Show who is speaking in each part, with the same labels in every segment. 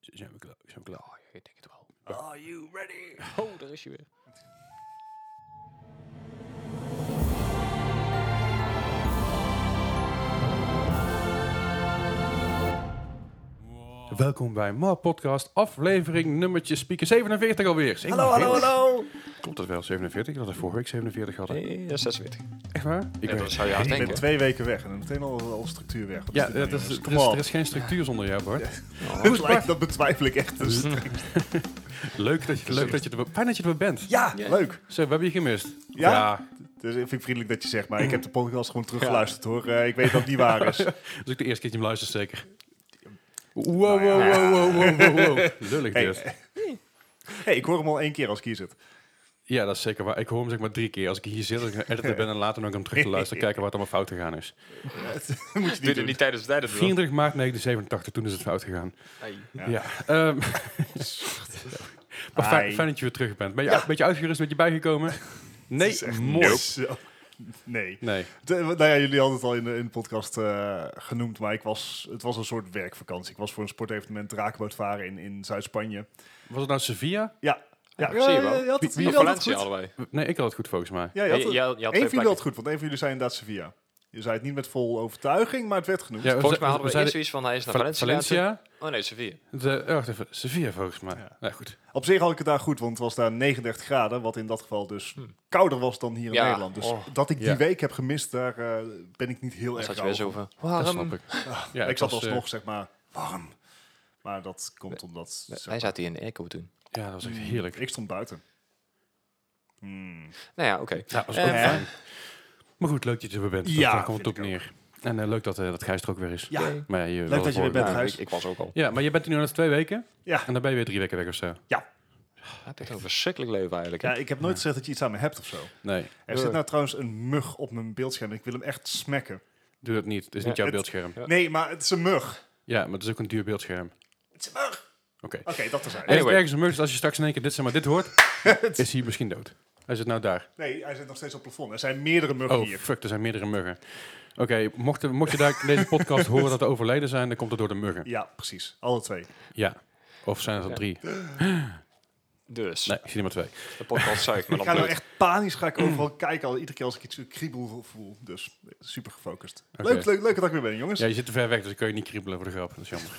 Speaker 1: Zijn we klaar? Zijn we klaar?
Speaker 2: Oh, ik denk het wel. Are you ready? Oh, daar is je weer.
Speaker 1: Welkom bij Ma Podcast, aflevering nummertje speaker 47 alweer.
Speaker 2: Hallo,
Speaker 3: Nou,
Speaker 2: hallo, hallo.
Speaker 1: Klopt dat wel, 47? Dat we vorige week 47 hadden.
Speaker 2: Nee, dat is 46.
Speaker 1: Echt waar? Ik
Speaker 2: Ja,
Speaker 1: weet
Speaker 2: dat zou je haast
Speaker 3: Ik ben
Speaker 2: denken.
Speaker 3: twee weken weg en meteen al, al structuur weg. Wat
Speaker 1: Ja,
Speaker 3: dit
Speaker 1: dat
Speaker 3: nou,
Speaker 1: is,
Speaker 3: jongens?
Speaker 1: er,
Speaker 3: Kom
Speaker 1: is,
Speaker 3: op.
Speaker 1: er is geen structuur zonder jou, Bart.
Speaker 3: Dat lijkt- Dat betwijfel ik echt. Dus-
Speaker 2: Mm.
Speaker 1: Leuk dat je, leuk dat je er, fijn dat je er weer bent.
Speaker 3: ja,
Speaker 2: Ja.
Speaker 3: leuk.
Speaker 1: Zo, we hebben je gemist.
Speaker 3: Ja? Dus ik vind het vriendelijk dat je zegt,
Speaker 2: Mm.
Speaker 3: maar ik heb de podcast gewoon teruggeluisterd hoor. Eh, ik weet dat het niet waar is.
Speaker 1: Dat is ook de eerste keer dat je hem luistert, zeker. Wow, wow,
Speaker 3: Nou ja.
Speaker 1: wow, wow, wow, wow, wow. Lullig
Speaker 3: Hey.
Speaker 1: dus.
Speaker 3: Hey, ik hoor hem al één keer als ik hier zit.
Speaker 1: Ja, dat is zeker waar. Ik hoor hem zeg maar drie keer. Als ik hier zit, als ik een editor ben en later nog hem terug te luisteren, kijken waar het allemaal fout gegaan is.
Speaker 3: Moet je
Speaker 2: Doe
Speaker 3: niet
Speaker 2: het
Speaker 3: doen.
Speaker 2: niet tijdens de tijd. dat we-
Speaker 1: 34 maart 1987, toen is het fout gegaan.
Speaker 2: Nee.
Speaker 1: Ja. ehm, maar fijn,
Speaker 3: Hi.
Speaker 1: fijn dat je weer terug bent. Ben je een beetje uitgerust, ben je bijgekomen? Nee,
Speaker 3: Het is echt
Speaker 1: mooi.
Speaker 3: zo- Nee.
Speaker 1: Nee.
Speaker 3: De- nou ja, jullie hadden het al in de, in de podcast eh, genoemd, maar ik was, het was een soort werkvakantie. Ik was voor een sportevenement draakboot varen in, in Zuid-Spanje.
Speaker 1: Was het nou Sevilla?
Speaker 3: Ja. Ja, Eh,
Speaker 2: zie je wel.
Speaker 3: Je had het,
Speaker 2: Wie
Speaker 3: jullie hadden het
Speaker 2: Valencia
Speaker 3: goed.
Speaker 2: allebei.
Speaker 1: Nee, ik had het goed volgens mij.
Speaker 3: Ja, je
Speaker 2: Ja,
Speaker 3: had
Speaker 2: je-
Speaker 3: het-
Speaker 2: je had- je had
Speaker 3: Eén
Speaker 2: twee
Speaker 3: van jullie had
Speaker 2: plekken.
Speaker 3: het goed, want één van jullie zei inderdaad Sevilla. Je zei het niet met vol overtuiging, maar het werd genoemd.
Speaker 1: Ja,
Speaker 2: Volgens mij hadden we
Speaker 1: zeiden
Speaker 2: eerst zoiets van, hij is naar
Speaker 1: Val-
Speaker 2: Valencia.
Speaker 1: Valencia.
Speaker 2: Oh nee, Sevilla.
Speaker 1: De, oh, wacht even, Sevilla volgens mij.
Speaker 3: Ja.
Speaker 1: Nou goed.
Speaker 3: Op zich had ik het daar goed, want het was daar 39 graden, wat in dat geval dus kouder was dan hier in
Speaker 2: Hm. Ja.
Speaker 3: Nederland. Dus
Speaker 2: Oh.
Speaker 3: dat ik die
Speaker 1: Ja.
Speaker 3: week heb gemist, daar eh, ben ik niet heel
Speaker 2: Dan
Speaker 3: erg
Speaker 2: zat je
Speaker 3: rauw
Speaker 2: weer zo van,
Speaker 1: Dat
Speaker 2: waarom?
Speaker 1: snap ik. Ja,
Speaker 3: Ik
Speaker 1: het
Speaker 3: zat
Speaker 1: was, eh,
Speaker 3: alsnog, zeg maar, warm. Maar dat komt omdat...
Speaker 2: Nee,
Speaker 3: zeg
Speaker 2: Hij
Speaker 3: maar,
Speaker 2: zat hier in de airco toen.
Speaker 1: eh, Ja, dat was echt heerlijk.
Speaker 3: Ik stond buiten. Hmm.
Speaker 2: Nou ja, oké.
Speaker 1: Ja, dat was
Speaker 2: Eh,
Speaker 1: ook
Speaker 3: hè?
Speaker 1: fijn. Maar goed, leuk dat je er weer bent.
Speaker 3: Ja,
Speaker 1: Ja, daar komt het
Speaker 3: vind
Speaker 1: op neer. En eh, leuk dat, eh, dat Gijs er ook weer is.
Speaker 3: Ja.
Speaker 2: Yay.
Speaker 1: Maar ja, je
Speaker 3: dat je weer bent.
Speaker 2: Nou,
Speaker 3: Gijs.
Speaker 2: ik- Ik was ook al.
Speaker 1: Ja, maar je bent hier nu net twee weken.
Speaker 3: Ja.
Speaker 1: En dan ben je weer drie weken weg of zo.
Speaker 2: Het is een verschrikkelijk leven eigenlijk. hè?
Speaker 3: ja, ik heb nooit gezegd dat je iets aan me hebt of zo.
Speaker 1: Nee,
Speaker 3: Er zit nou trouwens een mug op mijn beeldscherm. Ik wil hem echt smekken.
Speaker 1: doe dat niet. Het is niet
Speaker 2: Ja,
Speaker 1: jouw
Speaker 3: het-
Speaker 1: beeldscherm.
Speaker 2: Ja.
Speaker 3: Nee, maar het is een mug.
Speaker 1: Ja, maar het is ook een duur beeldscherm.
Speaker 3: Het Oh. is een mug.
Speaker 1: Oké.
Speaker 3: Oké, dat is
Speaker 1: Er
Speaker 3: hij.
Speaker 1: is
Speaker 2: Anyway.
Speaker 1: ergens een mug, dus als je straks in één keer dit, zeg maar, dit hoort, is hij misschien dood. Hij zit nou daar.
Speaker 3: Nee, hij zit nog steeds op het plafond. Er zijn meerdere muggen
Speaker 1: Oh,
Speaker 3: hier.
Speaker 1: fuck, er zijn meerdere muggen. Oké, mocht, mocht je daar in deze podcast horen dat er overleden zijn, dan komt het door de muggen.
Speaker 3: Ja, precies. Alle twee.
Speaker 1: Ja. Of zijn het
Speaker 2: Ja.
Speaker 1: er drie?
Speaker 2: Dus,
Speaker 1: Nee, ik zie er maar twee.
Speaker 2: de podcast zuigt, maar
Speaker 3: Ik
Speaker 2: dan
Speaker 3: ga nou
Speaker 2: bloed.
Speaker 3: echt panisch ga
Speaker 1: Mm.
Speaker 3: ik overal kijken. Al, iedere keer als ik iets kriebel voel. Dus eh, super gefocust.
Speaker 1: Oké.
Speaker 3: Leuk, leuk, leuk dat ik weer ben, jongens.
Speaker 1: Ja, je zit te ver weg, dus ik kan je niet kriebelen voor de grap. Dat is jammer.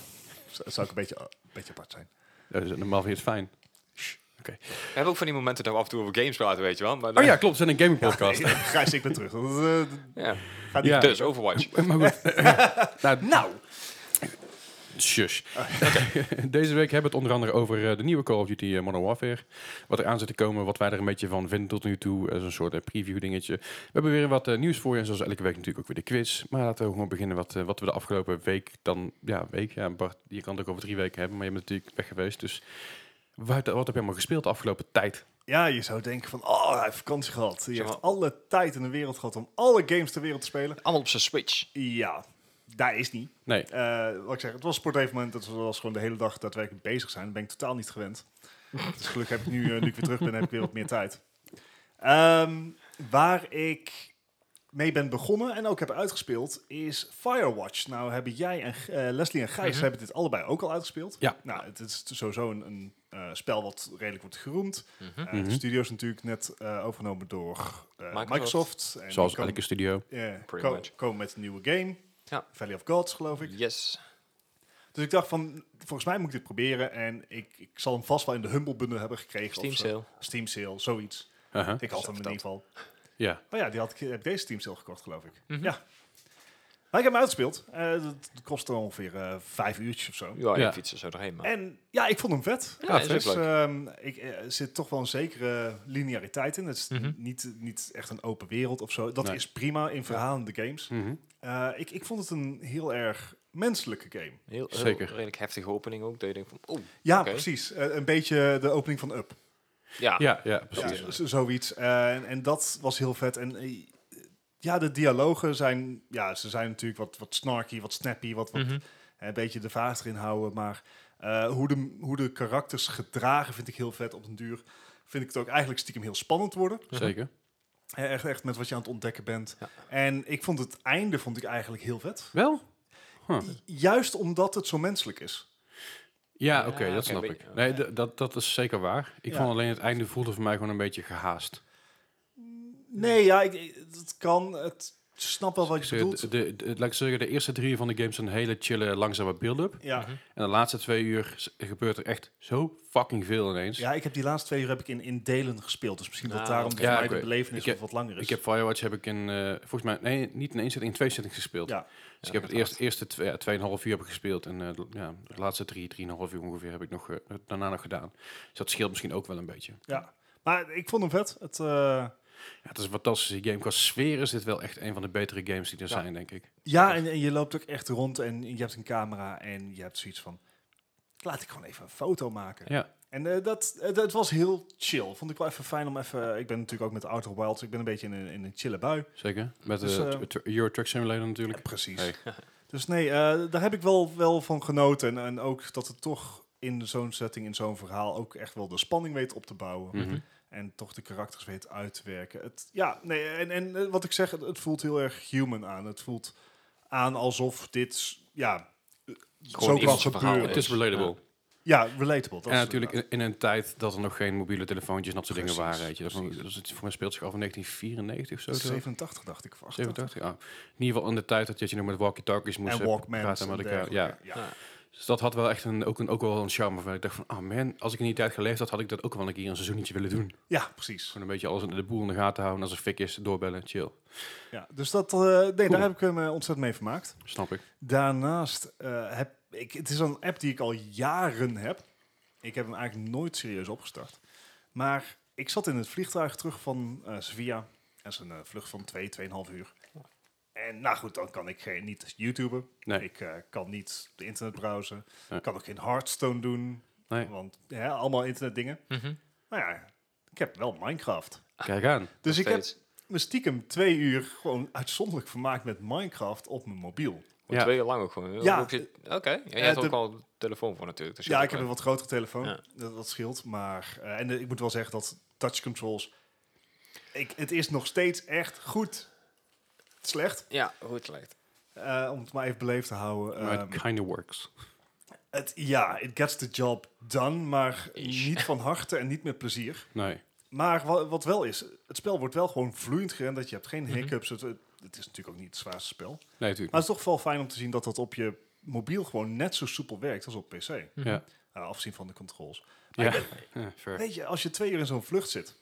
Speaker 3: Z- Zou ik een beetje, oh, een beetje apart zijn.
Speaker 1: Dat is- normaal vind je het fijn.
Speaker 3: Oh
Speaker 2: We hebben ook van die momenten dat we af en toe over games praten, weet je wel. Maar
Speaker 1: Oh ja, klopt. We zijn een gaming podcast.
Speaker 3: Nee, Gijs, ik ben terug. Dat, eh, d-
Speaker 2: ja.
Speaker 3: gaat niet.
Speaker 1: Ja.
Speaker 2: Dus, Overwatch.
Speaker 1: Maar goed. nou,
Speaker 3: Nou,
Speaker 1: shush. Deze week hebben we het onder andere over eh, de nieuwe Call of Duty eh, Modern Warfare. Wat er aan zit te komen, wat wij er een beetje van vinden tot nu toe. Zo'n soort eh, preview dingetje. We hebben weer wat eh, nieuws voor je. En zoals elke week natuurlijk ook weer de quiz. Maar laten we gewoon beginnen wat, eh, wat we de afgelopen week dan... Ja, week. Ja, Bart, je kan het ook over drie weken hebben. Maar je bent natuurlijk weg geweest. Dus wat, wat heb je allemaal gespeeld de afgelopen tijd?
Speaker 3: ja, je zou denken van, oh, hij heeft vakantie gehad. Je
Speaker 2: Zeg
Speaker 3: hebt
Speaker 2: maar-
Speaker 3: alle tijd in de wereld gehad om alle games ter wereld te spelen.
Speaker 2: Allemaal op zijn Switch.
Speaker 3: Ja, daar is niet.
Speaker 1: Nee.
Speaker 3: Eh, wat ik zeg, het was een sportevenement. Dat was gewoon de hele dag daadwerkelijk bezig zijn. Dat ben ik totaal niet gewend. dus gelukkig heb ik nu, eh, nu ik weer terug ben, heb ik weer wat meer tijd. Ehm, waar ik mee ben begonnen en ook heb uitgespeeld, is Firewatch. Nou hebben jij en G- eh, Leslie en Gijs
Speaker 1: Mhm.
Speaker 3: hebben dit allebei ook al uitgespeeld.
Speaker 1: Ja.
Speaker 3: Nou, het is sowieso een, een eh, spel wat redelijk wordt geroemd.
Speaker 2: Mhm.
Speaker 3: Eh,
Speaker 1: Mhm.
Speaker 3: De studio is natuurlijk net eh, overgenomen door eh,
Speaker 2: Microsoft.
Speaker 3: Microsoft. En die
Speaker 1: Zoals
Speaker 3: komen-
Speaker 1: elke studio.
Speaker 3: ja,
Speaker 2: Pretty
Speaker 3: ko-
Speaker 2: much.
Speaker 3: komen met een nieuwe game.
Speaker 2: Ja.
Speaker 3: Valley of Gods, geloof ik.
Speaker 2: Yes.
Speaker 3: Dus ik dacht van, volgens mij moet ik dit proberen. En ik, ik zal hem vast wel in de Humble Bundle hebben gekregen.
Speaker 2: Steam
Speaker 3: of zo.
Speaker 2: sale.
Speaker 3: Steam Sale, zoiets.
Speaker 1: Uh-huh.
Speaker 3: Ik had
Speaker 2: Zo
Speaker 3: hem in
Speaker 2: dat.
Speaker 3: ieder geval.
Speaker 1: Ja.
Speaker 3: Oh ja, die had ik, heb ik deze Steam Sale gekocht, geloof ik.
Speaker 2: Mhm.
Speaker 3: Ja. Maar ik heb hem uitgespeeld. Eh dat kostte ongeveer eh, vijf uurtjes of zo.
Speaker 2: Ja,
Speaker 1: Ja.
Speaker 2: ik fiets er zo doorheen, maar...
Speaker 3: En ja, ik vond hem vet.
Speaker 2: Ja,
Speaker 1: Ja,
Speaker 2: is
Speaker 1: vet.
Speaker 2: ook
Speaker 3: Dus
Speaker 2: leuk.
Speaker 3: ehm, ik, eh, er zit toch wel een zekere lineariteit in. Het is
Speaker 2: Mhm.
Speaker 3: niet, niet echt een open wereld of zo. Dat
Speaker 1: Nee.
Speaker 3: is prima in verhalende games.
Speaker 1: Mhm.
Speaker 3: Eh, ik, ik vond het een heel erg menselijke game.
Speaker 2: Heel, heel
Speaker 1: Zeker.
Speaker 2: redelijk heftige opening ook. Dat je denkt van, oh,
Speaker 3: Ja,
Speaker 2: Oké.
Speaker 3: precies. Eh, een beetje de opening van Up.
Speaker 2: ja.
Speaker 1: Ja, ja, precies.
Speaker 3: Ja, z- zoiets. Eh, en, en dat was heel vet. En eh, ja, de dialogen zijn... Ja, ze zijn natuurlijk wat, wat snarky, wat snappy, wat, wat,
Speaker 2: Mhm.
Speaker 3: een beetje de vaart erin houden. Maar eh, hoe, de, hoe de karakters gedragen vind ik heel vet op den duur. Vind ik het ook eigenlijk stiekem heel spannend worden.
Speaker 1: Zeker.
Speaker 3: Eh, Echt, echt met wat je aan het ontdekken bent.
Speaker 2: Ja.
Speaker 3: En ik vond het einde vond ik eigenlijk heel vet.
Speaker 1: Wel? Huh.
Speaker 3: Juist omdat het zo menselijk is.
Speaker 1: Ja,
Speaker 2: Ja,
Speaker 1: oké, dat
Speaker 2: oké,
Speaker 1: snap
Speaker 2: weet-
Speaker 1: ik. Nee, d- dat, dat is zeker waar. Ik
Speaker 3: Ja.
Speaker 1: vond alleen het einde voelde voor mij gewoon een beetje gehaast.
Speaker 3: Nee, ja, ik- ik, dat kan. Het ik snap wel wat je
Speaker 1: De,
Speaker 3: bedoelt.
Speaker 1: de, eh, de, de- laat Dus ik zeggen, de eerste drie van de games zijn hele chille, langzame build-up.
Speaker 3: Ja.
Speaker 2: Mhm.
Speaker 1: En de laatste twee uur s- gebeurt er echt zo fucking veel ineens.
Speaker 3: ja, ik heb die laatste twee uur heb ik in, in delen gespeeld. Dus misschien dat
Speaker 2: Nou,
Speaker 3: daarom
Speaker 2: oké.
Speaker 3: voor
Speaker 1: Ja,
Speaker 3: mij
Speaker 1: Dus- oké.
Speaker 3: de belevenis
Speaker 1: Ik heb-
Speaker 3: of wat langer is.
Speaker 1: Ik heb Firewatch heb ik in, eh, volgens mij, nee, niet in één zitting, in twee zittings gespeeld.
Speaker 3: Ja.
Speaker 1: Dus ik heb het eerst, eerste twee, ja, tweeënhalf uur heb ik gespeeld en eh, de- ja, de laatste drie, drieënhalf uur ongeveer heb ik nog, eh, daarna nog gedaan. Dus dat scheelt misschien ook wel een beetje.
Speaker 3: ja. Maar ik vond hem vet. Het, eh,
Speaker 1: Ja, het is een fantastische game. Qua sfeer is dit wel echt een van de betere games die er
Speaker 2: Ja.
Speaker 1: zijn, denk ik.
Speaker 3: ja, en, en je loopt ook echt rond en je hebt een camera en je hebt zoiets van... Laat ik gewoon even een foto maken.
Speaker 1: Ja,
Speaker 3: En eh, dat, eh, dat was heel chill. Vond ik wel even fijn om even... Ik ben natuurlijk ook met Outer Wilds. Ik ben een beetje in een, in een chille bui.
Speaker 1: zeker. Met de
Speaker 3: Dus, eh,
Speaker 1: Euro Truck Simulator natuurlijk.
Speaker 3: Precies.
Speaker 1: Hey.
Speaker 3: Dus nee, eh, daar heb ik wel, wel van genoten. En, en ook dat het toch in zo'n setting, in zo'n verhaal... ook echt wel de spanning weet op te bouwen.
Speaker 1: Mhm.
Speaker 3: En toch de karakters weet uit te werken. Het, ja, nee, en, en eh, wat ik zeg, het, het voelt heel erg human aan. Het voelt aan alsof dit... Ja, eh, zo kan
Speaker 2: iemands verhaal
Speaker 3: gebeuren.
Speaker 1: Het is relatable.
Speaker 3: dus, Ja, relatable. Dat
Speaker 1: en
Speaker 3: is
Speaker 1: natuurlijk
Speaker 3: het
Speaker 1: in, in een tijd dat er nog geen mobiele telefoontjes en dat soort dingen
Speaker 3: Precies,
Speaker 1: waren. Weet je. Dat,
Speaker 3: precies.
Speaker 1: dat is het voor mij speelt zich af in 1994 of zo.
Speaker 3: inderdaad.
Speaker 1: toch?
Speaker 3: 87 dacht ik, of 88.
Speaker 1: 87, ja. In ieder geval in de tijd dat je nog met walkie-talkies moest
Speaker 3: En
Speaker 1: hebben,
Speaker 3: Walkmans
Speaker 1: praten
Speaker 3: en
Speaker 1: met elkaar. eh, Ja.
Speaker 3: dergelijke, ja.
Speaker 1: Dus dat had wel echt een, ook, een, ook wel een charme. Van. Ik dacht van, ah man, als ik in die tijd geleefd had, had ik dat ook wel een keer een seizoentje willen doen.
Speaker 3: Ja, precies.
Speaker 1: Gewoon een beetje alles in de boel in de gaten houden. Als er fik is, doorbellen, chill.
Speaker 3: Ja, dus dat, eh, nee, daar heb ik hem eh, ontzettend mee vermaakt.
Speaker 1: Snap ik.
Speaker 3: Daarnaast eh, heb ik, het is een app die ik al jaren heb. Ik heb hem eigenlijk nooit serieus opgestart. Maar ik zat in het vliegtuig terug van eh, Sevilla. Dat is een eh, vlucht van 2, 2,5 uur. En nou goed, dan kan ik geen, niet YouTuber.
Speaker 1: Nee.
Speaker 3: Ik eh, kan niet de internet browsen.
Speaker 1: Ja.
Speaker 3: Ik kan ook geen Hearthstone doen.
Speaker 1: Nee.
Speaker 3: Want ja, allemaal internetdingen.
Speaker 2: Mhm.
Speaker 3: Maar ja, ik heb wel Minecraft.
Speaker 1: Kijk aan.
Speaker 3: Dus ik heb
Speaker 2: Steeds.
Speaker 3: me stiekem twee uur gewoon uitzonderlijk vermaakt met Minecraft op mijn mobiel.
Speaker 2: Voor
Speaker 1: Ja.
Speaker 2: twee jaar lang ook gewoon.
Speaker 3: Ja.
Speaker 2: Ja. Oké. Ja, jij
Speaker 3: Eh,
Speaker 2: hebt
Speaker 3: de-
Speaker 2: ook al telefoon voor natuurlijk. Dus je
Speaker 3: Ja,
Speaker 2: hebt
Speaker 3: ik heb
Speaker 2: ook
Speaker 3: een wat grotere telefoon.
Speaker 2: Ja.
Speaker 3: Dat, dat scheelt. Maar, eh, en eh, ik moet wel zeggen dat touch controls... Ik, het is nog steeds echt goed slecht.
Speaker 2: wel- Ja, hoe het lijkt.
Speaker 3: eh, om het maar even beleefd te houden.
Speaker 1: Maar
Speaker 3: Ehm,
Speaker 1: it kinda works.
Speaker 3: het, ja, it gets the job done. Maar
Speaker 2: Ish.
Speaker 3: niet van harte en niet met plezier.
Speaker 1: Nee.
Speaker 3: Maar wa- wat wel is, het spel wordt wel gewoon vloeiend gerenderd. Je hebt
Speaker 2: Mhm.
Speaker 3: geen hiccups. Het, het is natuurlijk ook niet het zwaarste spel.
Speaker 1: Nee, natuurlijk.
Speaker 3: Maar het is toch wel fijn om te zien dat dat op je mobiel gewoon net zo soepel werkt als op PC.
Speaker 1: Ja.
Speaker 3: Eh, afzien van de controls.
Speaker 1: Ja. Ja, fair.
Speaker 3: Weet je, als je twee uur in zo'n vlucht zit.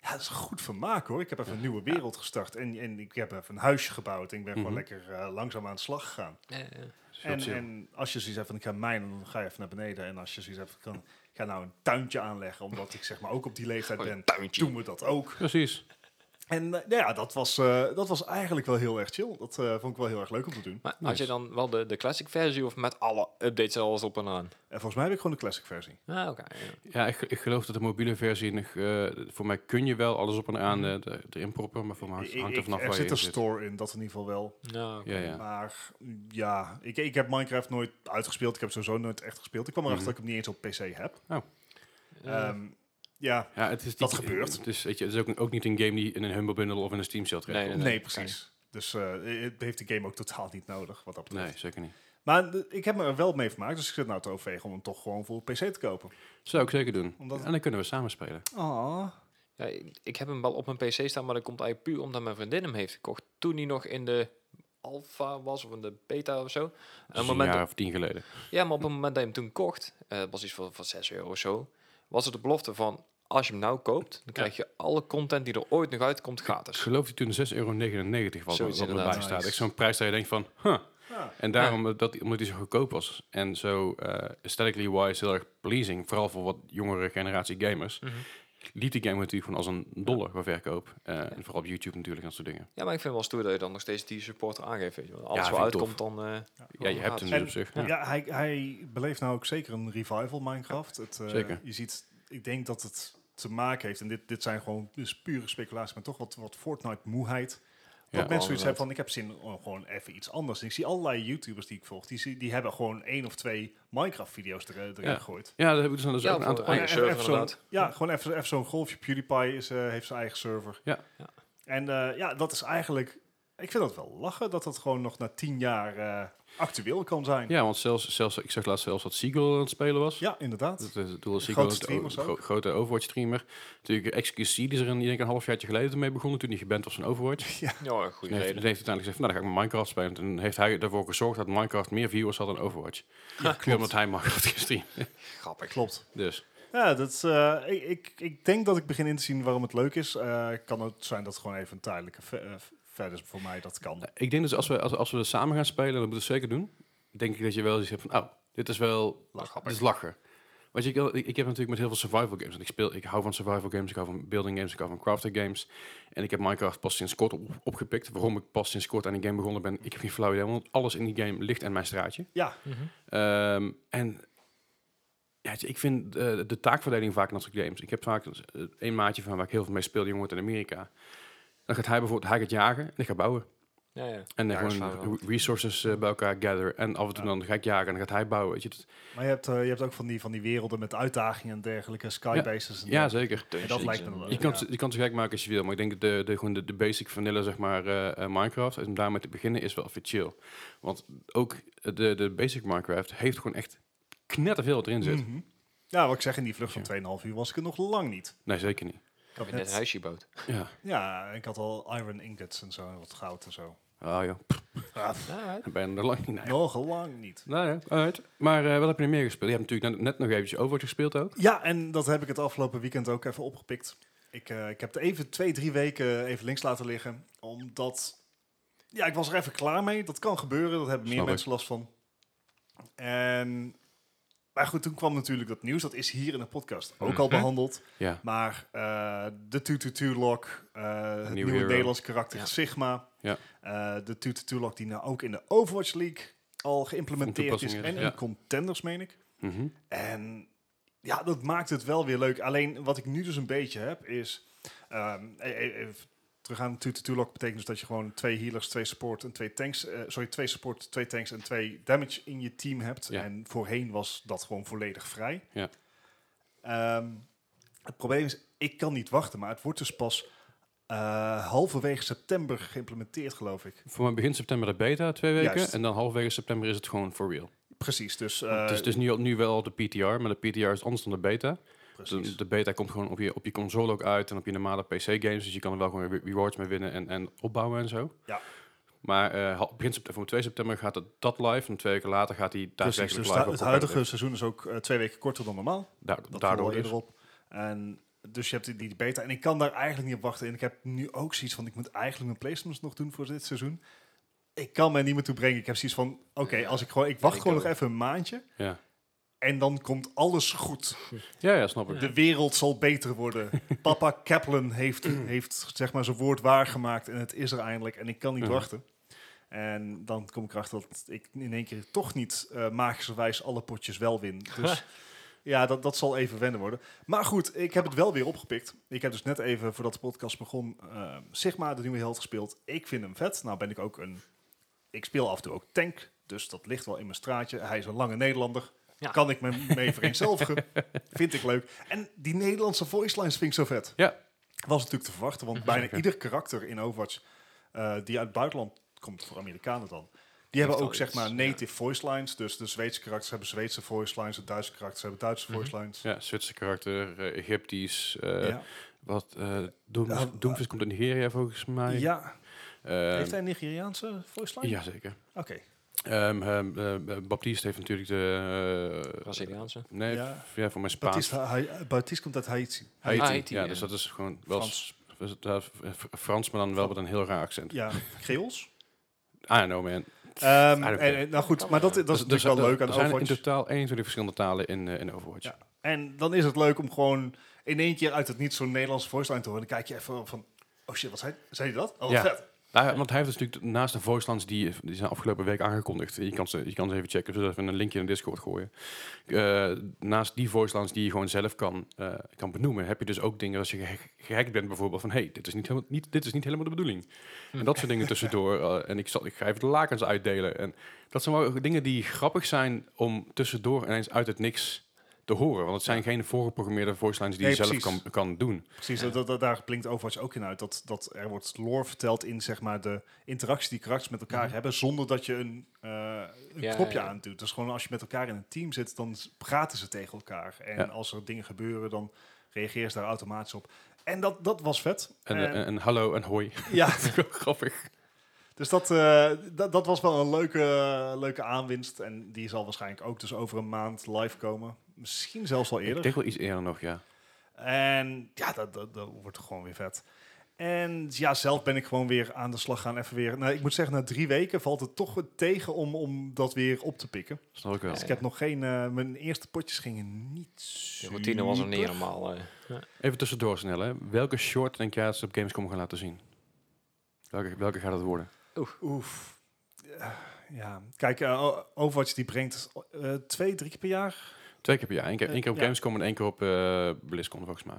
Speaker 3: Ja, dat is goed vermaak hoor. Ik heb even een nieuwe wereld gestart. En, en ik heb even een huisje gebouwd. En ik ben gewoon
Speaker 1: Mhm.
Speaker 3: lekker eh, langzaam aan de slag gegaan.
Speaker 2: Ja, ja.
Speaker 1: Is heel
Speaker 3: En,
Speaker 1: chill.
Speaker 3: en als je zoiets hebt van ik ga mijnen, dan ga je even naar beneden. En als je zoiets hebt van ik ga nou een tuintje aanleggen. Omdat ik zeg maar ook op die leeftijd
Speaker 2: Gewoon
Speaker 3: ben.
Speaker 2: een tuintje.
Speaker 3: Doen we dat ook.
Speaker 1: Precies.
Speaker 3: En eh, nou ja, dat was, eh, dat was eigenlijk wel heel erg chill. Dat eh, vond ik wel heel erg leuk om te doen.
Speaker 2: Maar had
Speaker 1: Nice.
Speaker 2: je dan wel de, de classic versie of met alle updates en alles op en aan?
Speaker 3: En volgens mij heb ik gewoon de classic versie.
Speaker 2: Ah, oké. ja.
Speaker 1: Ja, ik, ik geloof dat de mobiele versie nog... eh, voor mij kun je wel alles op en aan eh, er- erin proppen, maar voor mij
Speaker 3: Mhm. Ik-
Speaker 1: hangt er
Speaker 3: ik-
Speaker 1: vanaf
Speaker 3: er
Speaker 1: waar je
Speaker 3: zit
Speaker 1: in
Speaker 3: een
Speaker 1: zit.
Speaker 3: store in, dat in ieder geval wel.
Speaker 2: Nou, oké.
Speaker 1: Ja, ja.
Speaker 3: Maar mm, ja, ik, ik heb Minecraft nooit uitgespeeld. Ik heb sowieso nooit echt gespeeld. Ik kwam erachter
Speaker 1: Mhm.
Speaker 3: dat ik hem niet eens op PC heb.
Speaker 2: Ja.
Speaker 3: Ehm, ja,
Speaker 1: Ja, het is niet-
Speaker 3: Dat gebeurt.
Speaker 1: Het is, weet je, het is ook, ook niet een game die in een Humble Bundle of in een Steam sale terecht
Speaker 2: Nee,
Speaker 3: nee,
Speaker 1: komt.
Speaker 3: precies. Dus eh, het heeft de game ook totaal niet nodig, wat dat
Speaker 1: Nee,
Speaker 3: betreft.
Speaker 1: zeker niet.
Speaker 3: Maar eh, ik heb me er wel mee vermaakt, dus ik zit nou te overwegen om hem toch gewoon voor PC te kopen.
Speaker 1: Zou ik zeker doen.
Speaker 3: Omdat-
Speaker 1: En dan kunnen we samen spelen.
Speaker 3: Ah,
Speaker 2: Ja, ik, ik heb hem wel op mijn PC staan, maar dat komt eigenlijk puur omdat mijn vriendin hem heeft gekocht. Toen hij nog in de alpha was of in de beta of zo. En op
Speaker 1: Dat is
Speaker 2: het
Speaker 1: een
Speaker 2: moment
Speaker 1: jaar of tien geleden.
Speaker 2: Ja, maar op het moment dat je hem toen kocht, eh, het was iets van, van 6 euro of zo, was het de belofte van, als je hem nou koopt, dan krijg je alle content die er ooit nog uitkomt
Speaker 1: Ik
Speaker 2: gratis.
Speaker 1: geloof dat toen 6,99 euro was wat,
Speaker 2: Zoiets
Speaker 1: wat erbij
Speaker 2: inderdaad.
Speaker 1: staat.
Speaker 3: Nice.
Speaker 1: Echt zo'n prijs dat je denkt van, huh.
Speaker 3: Ja.
Speaker 1: En daarom, eh, dat, omdat hij zo goedkoop was. En zo eh aesthetically wise heel erg pleasing. Vooral voor wat jongere generatie gamers.
Speaker 2: Mhm.
Speaker 1: Liep die game natuurlijk gewoon als een dollar qua verkoop. Eh, En vooral op YouTube natuurlijk, en dat soort dingen.
Speaker 2: Ja, maar ik vind het wel stoer dat je dan nog steeds die supporter aangeeft. Weet je. wel. Alles
Speaker 1: Ja,
Speaker 2: wat
Speaker 1: vind ik
Speaker 2: uitkomt, dan... eh,
Speaker 1: Ja, je hebt hem dus
Speaker 3: En-
Speaker 1: op zich.
Speaker 3: Ja,
Speaker 1: Ja.
Speaker 3: hij, hij beleeft nou ook zeker een revival Minecraft. Het, eh,
Speaker 1: Zeker.
Speaker 3: Je ziet, ik denk dat het te maken heeft, en dit, dit zijn gewoon dus pure speculaties, maar toch wat, wat Fortnite-moeheid. Dat
Speaker 1: Ja.
Speaker 3: mensen
Speaker 2: inderdaad.
Speaker 3: zoiets hebben van, ik heb zin om gewoon even iets anders. En ik zie allerlei YouTubers die ik volg, die, zie- die hebben gewoon één of twee Minecraft-video's er, erin
Speaker 1: Ja.
Speaker 3: gegooid.
Speaker 1: ja, daar heb ik dus, dus
Speaker 2: Ja,
Speaker 1: ook een
Speaker 2: voor-
Speaker 1: aantal
Speaker 2: oh ja.
Speaker 1: aan-
Speaker 2: server
Speaker 3: even zo'n,
Speaker 2: inderdaad.
Speaker 3: ja, gewoon even, even zo'n golfje. PewDiePie is, eh, heeft zijn eigen server.
Speaker 1: Ja.
Speaker 2: Ja.
Speaker 3: En eh, ja, dat is eigenlijk... Ik vind dat wel lachen, dat dat gewoon nog na tien jaar... eh, actueel kan zijn. Ja,
Speaker 1: Ja, want zelfs, zelfs, ik zag laatst zelfs dat Seagull aan het spelen was.
Speaker 3: inderdaad.
Speaker 1: Dat is het doel
Speaker 3: Grote
Speaker 1: Seagull, is de
Speaker 3: streamer
Speaker 1: o-
Speaker 3: zo.
Speaker 1: gro- grote Overwatch-streamer. Natuurlijk, XQC, die is er een, ik denk een halfjaartje geleden mee begonnen toen hij geband was van Overwatch.
Speaker 2: Ja,
Speaker 1: En
Speaker 2: goede
Speaker 1: heeft,
Speaker 2: reden.
Speaker 1: heeft uiteindelijk gezegd, van, nou dan ga ik met Minecraft spelen. En heeft hij ervoor gezorgd dat Minecraft meer viewers had dan Overwatch. Puur omdat hij Minecraft gestreamd
Speaker 2: Grappig.
Speaker 3: Klopt.
Speaker 1: Dus,
Speaker 3: Ja, dat is, eh, ik, ik, ik denk dat ik begin in te zien waarom het leuk is. Eh, kan het zijn dat het gewoon even een tijdelijke ve- eh, verder is voor mij. Dat kan.
Speaker 1: nou, ik denk dus als we, als, als we samen gaan spelen, en dat moeten we zeker doen. Denk ik dat je wel eens hebt van, oh, dit is wel,
Speaker 2: Grappig.
Speaker 1: dit is lachen. Want ik, ik ik heb natuurlijk met heel veel survival games. En ik speel, ik hou van survival games, ik hou van building games, ik hou van crafting games. En ik heb Minecraft pas sinds kort op, opgepikt. Waarom ik pas sinds kort aan die game begonnen ben, ik heb geen flauw idee. Want alles in die game ligt aan mijn straatje.
Speaker 3: Ja,
Speaker 2: Mhm.
Speaker 1: Ehm, en ja, weet je, ik vind eh, de taakverdeling vaak in dat soort games. Ik heb vaak eh, een maatje van waar ik heel veel mee speel, die jongen uit Amerika. Dan gaat hij bijvoorbeeld, hij gaat jagen en ik ga bouwen.
Speaker 2: Ja, ja.
Speaker 1: En dan
Speaker 2: Ja, is waar,
Speaker 1: gewoon resources eh, bij elkaar gatheren. En af en toe dan ga ik jagen en dan gaat hij bouwen. Weet je. Dat-
Speaker 3: maar je hebt, eh, je hebt ook van die, van die werelden met uitdagingen en dergelijke, skybases. en
Speaker 1: ja,
Speaker 3: dergelijke.
Speaker 1: zeker.
Speaker 2: Dungeons
Speaker 3: dat lijkt me
Speaker 2: en-
Speaker 3: wel
Speaker 1: Je
Speaker 3: leuk.
Speaker 1: kan,
Speaker 3: Ja.
Speaker 1: het- je kan het zo gek maken als je wil, maar ik denk dat de, de, gewoon de, de basic vanille, zeg maar, eh, eh, Minecraft, en om daarmee te beginnen, is wel even chill. Want ook de, de basic Minecraft heeft gewoon echt knetterveel wat erin zit.
Speaker 3: Mhm. Ja, wat ik zeg, in die vlucht van 2,5 uur was ik er nog lang niet.
Speaker 1: Nee, zeker niet.
Speaker 2: Heb
Speaker 3: Ik had
Speaker 2: je net een
Speaker 3: net,
Speaker 2: huisje gebouwd?
Speaker 1: Ja,
Speaker 3: ja, ik had al iron ingots en zo, en wat goud en zo.
Speaker 1: ah joh.
Speaker 3: Ah,
Speaker 2: Ja,
Speaker 1: Ik ben er lang niet naar.
Speaker 3: nog lang niet.
Speaker 1: Nou ja, alright. Maar eh, wat heb je nog meer gespeeld? Je hebt natuurlijk net, net nog eventjes Overwatch gespeeld ook.
Speaker 3: Ja, en dat heb ik het afgelopen weekend ook even opgepikt. Ik, eh, ik heb het even twee, drie weken even links laten liggen. Omdat, ja, ik was er even klaar mee. Dat kan gebeuren, dat hebben meer
Speaker 1: Snap ik.
Speaker 3: mensen last van. En, maar goed, toen kwam natuurlijk dat nieuws. Dat is hier in de podcast ook al
Speaker 2: Mhm.
Speaker 3: behandeld.
Speaker 1: Ja.
Speaker 3: Maar eh, de 222-lock, het
Speaker 1: Nieuwe
Speaker 3: nieuwe
Speaker 1: hero.
Speaker 3: Nederlands karakter
Speaker 2: Ja.
Speaker 3: Sigma.
Speaker 1: Ja.
Speaker 3: Eh, de 222-lock die nou ook in de Overwatch League al geïmplementeerd is.
Speaker 1: toepassing
Speaker 3: En
Speaker 1: is, ja.
Speaker 3: in contenders, meen ik.
Speaker 1: Mhm.
Speaker 3: En ja, dat maakt het wel weer leuk. Alleen wat ik nu dus een beetje heb is... ehm, e- e- even terug aan de 222-lock betekent dus dat je gewoon twee healers, twee support en twee tanks... eh, sorry, twee support, twee tanks en twee damage in je team hebt.
Speaker 1: Ja.
Speaker 3: En voorheen was dat gewoon volledig vrij.
Speaker 1: Ja.
Speaker 3: Ehm, het probleem is, ik kan niet wachten, maar het wordt dus pas... eh, halverwege september geïmplementeerd, geloof ik.
Speaker 1: Voor mij begin september de beta, twee weken.
Speaker 3: Juist.
Speaker 1: En dan halverwege september is het gewoon for real.
Speaker 3: Precies, dus...
Speaker 1: het is,
Speaker 3: eh,
Speaker 1: het is nu, al- nu wel Oh, de PTR, maar de PTR is anders dan de beta.
Speaker 3: precies.
Speaker 1: Dus De, de beta komt gewoon op je, op je console ook uit en op je normale PC-games. Dus je kan er wel gewoon re- rewards mee winnen en, en opbouwen en zo.
Speaker 3: Ja.
Speaker 1: Maar eh, hal- begin september, voor 2 september gaat het dat live. En twee weken later gaat die
Speaker 3: Precies,
Speaker 1: daadwerkelijk
Speaker 3: dus
Speaker 1: live.
Speaker 3: da-
Speaker 1: ook
Speaker 3: het
Speaker 1: op
Speaker 3: huidige
Speaker 1: competitive.
Speaker 3: seizoen is ook eh, twee weken korter dan normaal.
Speaker 1: Da-
Speaker 3: Dat viel
Speaker 1: daardoor
Speaker 3: al
Speaker 1: dus.
Speaker 3: eerder op. En dus je hebt die, die beta. En ik kan daar eigenlijk niet op wachten. En ik heb nu ook zoiets van, ik moet eigenlijk mijn placements nog doen voor dit seizoen. Ik kan mij niet meer toe brengen. Ik heb zoiets van, oké,
Speaker 2: Ja.
Speaker 3: als ik gewoon, ik wacht
Speaker 2: ik
Speaker 3: gewoon
Speaker 2: ook.
Speaker 3: nog even een maandje.
Speaker 1: Ja.
Speaker 3: En dan komt alles goed.
Speaker 1: Ja, ja, snap ik.
Speaker 3: De wereld zal beter worden. Papa Kaplan heeft,
Speaker 1: Mm.
Speaker 3: heeft zeg maar zijn woord waargemaakt. En het is er eindelijk. En ik kan niet
Speaker 1: Ja.
Speaker 3: wachten. En dan kom ik erachter dat ik in één keer toch niet eh, magischerwijs alle potjes wel win. Dus ja, dat, dat zal even wennen worden. Maar goed, ik heb het wel weer opgepikt. Ik heb dus net even, voordat de podcast begon, eh, Sigma, de nieuwe held, gespeeld. Ik vind hem vet. Nou ben ik ook een... Ik speel af en toe ook tank. Dus dat ligt wel in mijn straatje. Hij is een lange Nederlander.
Speaker 2: Ja.
Speaker 3: Kan ik me mee vereenzelvigen. vind ik leuk. En die Nederlandse voice lines vind ik zo vet.
Speaker 1: Ja.
Speaker 3: Was natuurlijk te verwachten, want bijna
Speaker 1: Zeker.
Speaker 3: ieder karakter in Overwatch eh, die uit het buitenland komt, voor Amerikanen dan, die hebben
Speaker 2: al
Speaker 3: ook zeg
Speaker 2: iets,
Speaker 3: maar
Speaker 2: ja.
Speaker 3: native voice lines. Dus de Zweedse karakters hebben Zweedse voice lines, de Duitse karakters hebben Duitse voice lines.
Speaker 1: Ja, Zwitserse karakter, eh, Egyptisch. eh,
Speaker 3: Ja.
Speaker 1: Wat, eh Doom,
Speaker 3: Ja,
Speaker 1: Doomfist komt uit Nigeria volgens mij.
Speaker 3: Ja.
Speaker 1: Ehm,
Speaker 3: Heeft hij een Nigeriaanse voice line?
Speaker 1: Jazeker.
Speaker 3: Oké.
Speaker 1: Ehm, ehm, eh, Baptiste heeft natuurlijk de... eh,
Speaker 2: Braziliaanse.
Speaker 1: nee,
Speaker 3: Ja.
Speaker 1: f- ja, voor mij Spaans.
Speaker 3: Baptiste, hij- eh, Baptiste komt uit Haiti.
Speaker 1: Haiti.
Speaker 2: Haiti,
Speaker 1: ja,
Speaker 2: ja.
Speaker 1: dus dat is gewoon wel...
Speaker 3: Frans.
Speaker 1: s- is het, eh, f- eh, Frans, maar dan wel met een heel raar accent.
Speaker 3: Ja, Creols.
Speaker 1: I don't know, man.
Speaker 3: Ehm,
Speaker 1: care.
Speaker 3: en, en- nou goed, maar dat, dat is
Speaker 1: Dus-
Speaker 3: natuurlijk
Speaker 1: dus
Speaker 3: wel
Speaker 1: er-
Speaker 3: leuk aan
Speaker 1: Er zijn in
Speaker 3: Overwatch.
Speaker 1: totaal 21 verschillende talen in, eh, in Overwatch.
Speaker 3: Ja. En dan is het leuk om gewoon in één keer uit het niet zo'n Nederlandse voice line te horen. Dan kijk je even van, oh shit, wat zei, zei hij dat? Oh, wat
Speaker 1: Ja.
Speaker 3: vet.
Speaker 1: Nou ja, want hij heeft dus natuurlijk naast de voice lines die, die zijn afgelopen week aangekondigd. Je kan ze, je kan ze even checken. We zullen even een linkje in de Discord gooien. Eh, naast die voice lines die je gewoon zelf kan, eh, kan benoemen, heb je dus ook dingen als je geha- gehackt bent bijvoorbeeld van hey, dit is niet helemaal, niet, dit is niet helemaal de bedoeling. En dat soort dingen tussendoor. eh, en ik, zal, ik ga even de lakens uitdelen. En dat zijn wel dingen die grappig zijn om tussendoor ineens uit het niks te horen. Want het zijn geen voorgeprogrammeerde voicelines die
Speaker 3: Nee,
Speaker 1: je zelf
Speaker 3: precies.
Speaker 1: kan, kan doen.
Speaker 3: Precies, dat, dat, daar blinkt Overwatch ook in uit. Dat, dat er wordt lore verteld in zeg maar, de interactie die karakters met elkaar
Speaker 2: Mhm.
Speaker 3: hebben, zonder dat je een, eh een
Speaker 2: Ja,
Speaker 3: knopje
Speaker 2: ja.
Speaker 3: aandoet. Dus gewoon als je met elkaar in een team zit, dan s- praten ze tegen elkaar. En
Speaker 1: Ja.
Speaker 3: als er dingen gebeuren, dan reageren ze daar automatisch op. En dat, dat was vet.
Speaker 1: En,
Speaker 3: En-
Speaker 1: eh, en, en hallo en hoi.
Speaker 2: eh,
Speaker 3: ja,
Speaker 1: Grappig.
Speaker 3: dus dat, eh, dat, dat was wel een leuke, leuke aanwinst. En die zal waarschijnlijk ook dus over een maand live komen. Misschien zelfs al
Speaker 1: Ik
Speaker 3: eerder.
Speaker 1: denk wel iets eerder nog, ja.
Speaker 3: En ja, dat, dat, dat wordt gewoon weer vet. En ja, zelf ben ik gewoon weer aan de slag gaan. Even weer. Nou, ik moet zeggen, na drie weken valt het toch wat tegen om, om dat weer op te pikken.
Speaker 1: Snap ik wel.
Speaker 2: Ja,
Speaker 3: Dus ik heb nog geen. eh, mijn eerste potjes gingen niet.
Speaker 2: De routine was er niet
Speaker 3: super.
Speaker 2: helemaal. eh.
Speaker 1: Even tussendoor snel, hè. Welke short denk jij dat ze op Gamescom gaan laten zien? Welke, welke gaat het worden?
Speaker 3: Oef. Eh, Ja, kijk, eh, O- Overwatch die brengt eh, twee, drie keer per jaar
Speaker 1: Twee keer per jaar. Eén keer,
Speaker 3: Eh,
Speaker 1: één keer op
Speaker 3: ja.
Speaker 1: Gamescom en één keer op eh BlizzCon, volgens mij.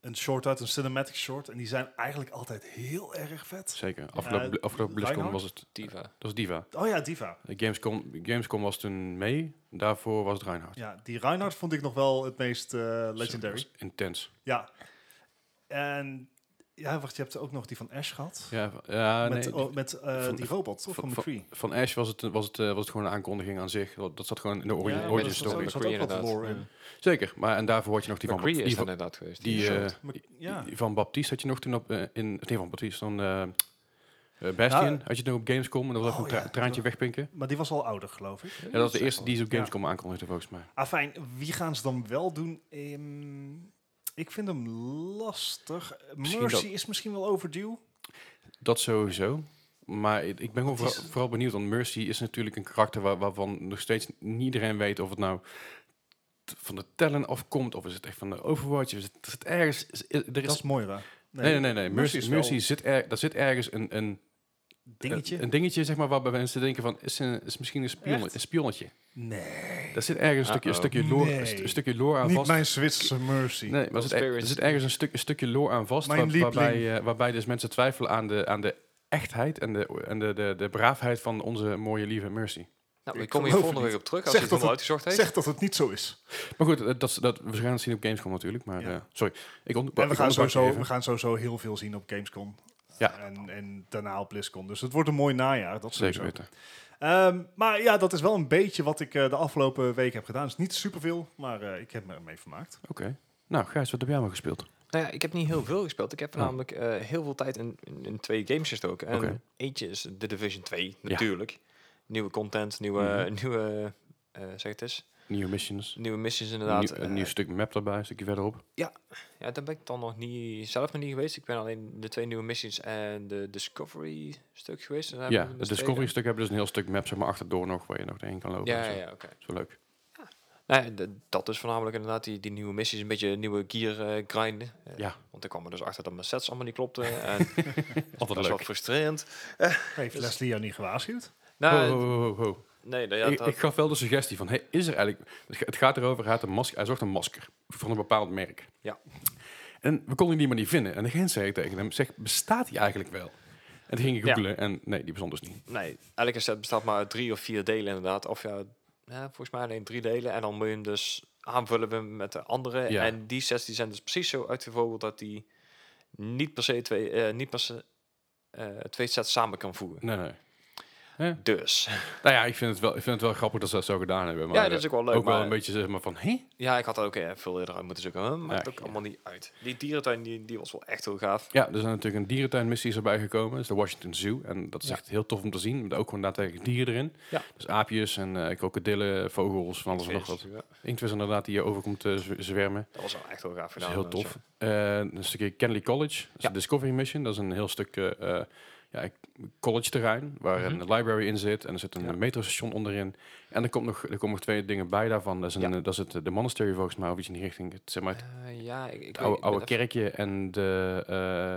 Speaker 3: een short uit, een cinematic short. En die zijn eigenlijk altijd heel erg vet.
Speaker 1: Zeker. Afgelopen, bl- afgelopen BlizzCon
Speaker 3: Reinhard?
Speaker 1: was het...
Speaker 2: Diva.
Speaker 1: Dat was Diva.
Speaker 3: Oh ja, Diva.
Speaker 1: Eh, Gamescom, Gamescom was toen mee. Daarvoor was het Reinhardt.
Speaker 3: Ja, die Reinhardt vond ik nog wel het meest eh, legendary.
Speaker 1: Dat was Intens.
Speaker 3: Ja. En ja, wacht, je hebt ook nog die van Ash gehad.
Speaker 1: Ja, v- ja
Speaker 3: met
Speaker 1: nee,
Speaker 3: oh, met eh,
Speaker 1: van-
Speaker 3: die robot, toch? Van,
Speaker 1: van-
Speaker 3: McCree.
Speaker 1: Van Ash was het, was, het, eh, was het gewoon een aankondiging aan zich. Dat, dat zat gewoon in de origin,
Speaker 3: Ja, maar
Speaker 1: origin
Speaker 3: dat is
Speaker 1: story.
Speaker 3: ook- zat wat lore in.
Speaker 1: Zeker, maar en daarvoor had je nog die van...
Speaker 2: McCree
Speaker 1: Bap-
Speaker 2: is
Speaker 1: die
Speaker 2: dat
Speaker 1: van-
Speaker 2: inderdaad geweest.
Speaker 1: die,
Speaker 2: short.
Speaker 1: eh,
Speaker 3: Maar- ja.
Speaker 1: die van Baptiste had je nog toen op... eh, in, nee, van Baptiste. Dan, eh, eh, Bastion
Speaker 3: Nou,
Speaker 1: had je toen op Gamescom. En dat was
Speaker 3: oh
Speaker 1: even een tra-
Speaker 3: ja,
Speaker 1: traantje
Speaker 3: dat-
Speaker 1: wegpinken.
Speaker 3: Maar die was al ouder, geloof ik.
Speaker 1: Ja, dat was de eerste die ze op
Speaker 3: Ja.
Speaker 1: Gamescom aankondigde, volgens mij.
Speaker 3: Afijn, wie gaan ze dan wel doen? Ehm, ik vind hem lastig.
Speaker 1: Misschien
Speaker 3: Mercy
Speaker 1: dat-
Speaker 3: is misschien wel overdue.
Speaker 1: Dat sowieso. Maar ik ik ben gewoon vooral, vooral benieuwd, want Mercy is natuurlijk een karakter waar, waarvan nog steeds niet iedereen weet of het nou t- van de Talon afkomt, of is het echt van de Overwatch, of is het, is het ergens... is- is- er
Speaker 3: Dat is
Speaker 1: is,
Speaker 3: Moira.
Speaker 1: nee, nee, nee, nee. Mercy,
Speaker 3: is wel
Speaker 1: Mercy zit, er, daar zit ergens een, een,
Speaker 3: Dingetje?
Speaker 1: een, een dingetje, zeg maar, waarbij mensen denken van, is, een, is misschien een, spion,
Speaker 3: Echt?
Speaker 1: een spionnetje.
Speaker 3: nee.
Speaker 1: Daar zit ergens een stukje, een stukje
Speaker 2: Uh-oh.
Speaker 1: lore,
Speaker 3: Nee.
Speaker 1: een, st- een stukje lore aan
Speaker 3: Niet
Speaker 1: vast.
Speaker 3: mijn Zwitserse Mercy.
Speaker 1: Nee, maar er zit, er- er
Speaker 2: Conspiracy.
Speaker 1: zit ergens een, stuk, een stukje lore aan vast,
Speaker 3: Mijn
Speaker 1: waar- waarbij,
Speaker 3: lieveling.
Speaker 1: eh, waarbij dus mensen twijfelen aan de, aan de echtheid en, de, en de, de, de braafheid van onze mooie lieve Mercy.
Speaker 2: nou, we
Speaker 3: ik
Speaker 2: komen hier
Speaker 3: geloof
Speaker 2: volgende
Speaker 3: het
Speaker 2: week op terug als hij
Speaker 3: Zeg
Speaker 2: het
Speaker 3: dat
Speaker 2: helemaal
Speaker 3: het-
Speaker 2: uitgezocht heeft.
Speaker 3: Zeg dat het niet zo is.
Speaker 1: Maar goed, eh, dat, is- dat, we gaan het zien op Gamescom natuurlijk, maar
Speaker 3: Ja.
Speaker 1: eh, sorry. Ik onder,
Speaker 3: En we
Speaker 1: ik
Speaker 3: gaan,
Speaker 1: onderbrak je
Speaker 3: sowieso,
Speaker 1: even.
Speaker 3: we gaan sowieso heel veel zien op Gamescom.
Speaker 1: Ja.
Speaker 3: En, en daarna op BlizzCon. Dus het wordt een mooi najaar. Dat
Speaker 1: Zeker
Speaker 3: sowieso.
Speaker 1: weten.
Speaker 3: Ehm, maar ja, dat is wel een beetje wat ik eh, de afgelopen week heb gedaan. Het is niet superveel, maar eh, ik heb me ermee vermaakt.
Speaker 1: Oké. Nou, Gijs, wat heb jij maar gespeeld?
Speaker 2: Nou ja, ik heb niet heel veel gespeeld. Ik heb
Speaker 1: Oh.
Speaker 2: namelijk eh, heel veel tijd in, in, in twee games gestoken. En
Speaker 1: Oké.
Speaker 2: eentje is The Division 2,
Speaker 1: Ja.
Speaker 2: natuurlijk. Nieuwe content, nieuwe,
Speaker 1: Mhm.
Speaker 2: nieuwe eh, zeg het eens,
Speaker 1: Nieuwe missions.
Speaker 2: nieuwe missies
Speaker 1: Een
Speaker 2: inderdaad.
Speaker 1: nieuw, een
Speaker 2: Eh,
Speaker 1: nieuw stuk map erbij, een stukje verderop.
Speaker 2: ja, daar ben ik dan nog niet, zelf nog niet geweest. Ik ben alleen de twee nieuwe missies en de Discovery stuk geweest. En daar
Speaker 1: Ja,
Speaker 2: heb ik
Speaker 1: het
Speaker 2: dus
Speaker 1: Discovery
Speaker 2: twee-
Speaker 1: stuk hebben dus een heel stuk map, zeg maar, achterdoor nog, waar je nog heen kan lopen.
Speaker 2: Ja,
Speaker 1: en zo.
Speaker 2: ja, ja, oké.
Speaker 1: Zo leuk.
Speaker 2: Nou, ja, d- dat is voornamelijk inderdaad die, die nieuwe missies, een beetje nieuwe gear eh, grinden. Eh,
Speaker 1: Ja.
Speaker 2: Want ik kwam er dus achter dat mijn sets allemaal niet klopten. En dat is
Speaker 1: Altijd
Speaker 2: best wel
Speaker 1: leuk.
Speaker 2: frustrerend.
Speaker 3: Heeft
Speaker 1: Dus-
Speaker 3: Leslie jou niet gewaarschuwd?
Speaker 2: Nou,
Speaker 1: Ho, ho, ho, ho, ho.
Speaker 2: Nee, nou ja,
Speaker 1: ik,
Speaker 2: dat-
Speaker 1: ik gaf wel de suggestie van, hey, is er eigenlijk... het ga- Het gaat erover, hij, had een masker, hij zocht een masker van een bepaald merk.
Speaker 2: Ja.
Speaker 1: En we konden die maar niet vinden. En de grens zei ik tegen hem, zeg, bestaat die eigenlijk wel? En toen ging ik
Speaker 2: Ja.
Speaker 1: googlen en nee, die bestond dus niet.
Speaker 2: nee, elke set bestaat maar uit drie of vier delen inderdaad. Of ja, ja, volgens mij alleen drie delen. En dan moet je hem dus aanvullen we- met de andere.
Speaker 1: Ja.
Speaker 2: En die sets die zijn dus precies zo uitgevogeld dat die niet per se twee, eh, niet per se, eh, twee sets samen kan voegen.
Speaker 1: Nee, nee.
Speaker 2: Dus.
Speaker 1: Nou ja, ik vind het wel, ik vind het wel grappig dat ze dat zo gedaan hebben. Maar
Speaker 2: ja, dat
Speaker 1: eh,
Speaker 2: is ook wel leuk.
Speaker 1: ook wel
Speaker 2: maar-
Speaker 1: een beetje zeg maar van, hé?
Speaker 2: Ja, ik had er ook eh, veel eerder uit moeten zoeken. Maar maakt
Speaker 1: Ja,
Speaker 2: ook
Speaker 1: ja.
Speaker 2: allemaal niet uit. Die dierentuin die, die was wel echt heel gaaf.
Speaker 1: Ja, er zijn natuurlijk een dierentuinmissie is erbij gekomen. Dat is de Washington Zoo. En dat is
Speaker 2: Ja.
Speaker 1: echt heel tof om te zien. Met ook gewoon daadwerkelijk dieren erin.
Speaker 2: Ja.
Speaker 1: Dus aapjes en eh, krokodillen, vogels, van alles en nog wat.
Speaker 2: Ja,
Speaker 1: Inktvis inderdaad, die hier overkomt te zwermen.
Speaker 2: dat was wel echt heel gaaf
Speaker 1: Dat is
Speaker 2: gedaan.
Speaker 1: heel
Speaker 2: eh,
Speaker 1: tof.
Speaker 2: zo.
Speaker 1: Eh, een stukje Kennedy College, dat is
Speaker 2: Ja.
Speaker 1: de Discovery Mission. Dat is een heel stuk eh, eh, ja, college terrein waar een library in zit. En er zit een
Speaker 2: Mhm. Ja.
Speaker 1: metrostation onderin. En er, komt nog, er komen nog twee dingen bij daarvan. Dat is, een,
Speaker 2: Ja.
Speaker 1: eh, dat is het, eh, de monastery volgens mij, of iets in die richting. Het, zeg maar, het
Speaker 2: Eh, ja, ik, ik,
Speaker 1: oude,
Speaker 2: weet- ik ben
Speaker 1: oude
Speaker 2: even-
Speaker 1: kerkje en de...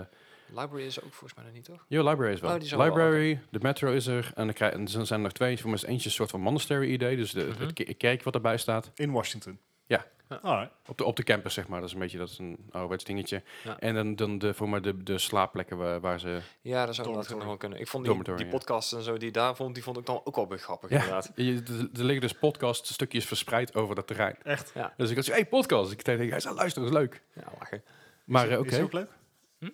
Speaker 1: eh
Speaker 2: Library is ook volgens mij nog niet, toch?
Speaker 1: ja, library is wel.
Speaker 2: Oh, die zijn wel,
Speaker 1: library, de metro is er. En, dan krijg- en er zijn er nog twee. Voor mij is eentje een soort van monastery idee. Dus de,
Speaker 2: Mhm.
Speaker 1: het ke- kerk wat erbij staat.
Speaker 3: In Washington. Ah, Alright.
Speaker 1: Op de, op de campus, zeg maar. Dat is een beetje dat is een ouderwets dingetje.
Speaker 2: Ja.
Speaker 1: En dan, dan de, voor mij de, de slaapplekken waar, waar ze...
Speaker 2: Ja, dat zou inderdaad
Speaker 3: Dormitory.
Speaker 2: nog wel kunnen. Ik vond die,
Speaker 1: Dormitory,
Speaker 2: die
Speaker 1: ja.
Speaker 2: podcast en zo die daar vond, die vond ik dan ook wel weer grappig
Speaker 1: Ja,
Speaker 2: inderdaad.
Speaker 1: je- er er liggen dus podcaststukjes verspreid over dat terrein.
Speaker 3: Echt.
Speaker 1: Dus ik had zo, hey, podcast. Ik denk, hij zei, luister, dat is leuk.
Speaker 2: Ja, lachen.
Speaker 1: Maar
Speaker 3: is,
Speaker 1: eh,
Speaker 3: het-
Speaker 1: oké.
Speaker 3: is het ook leuk?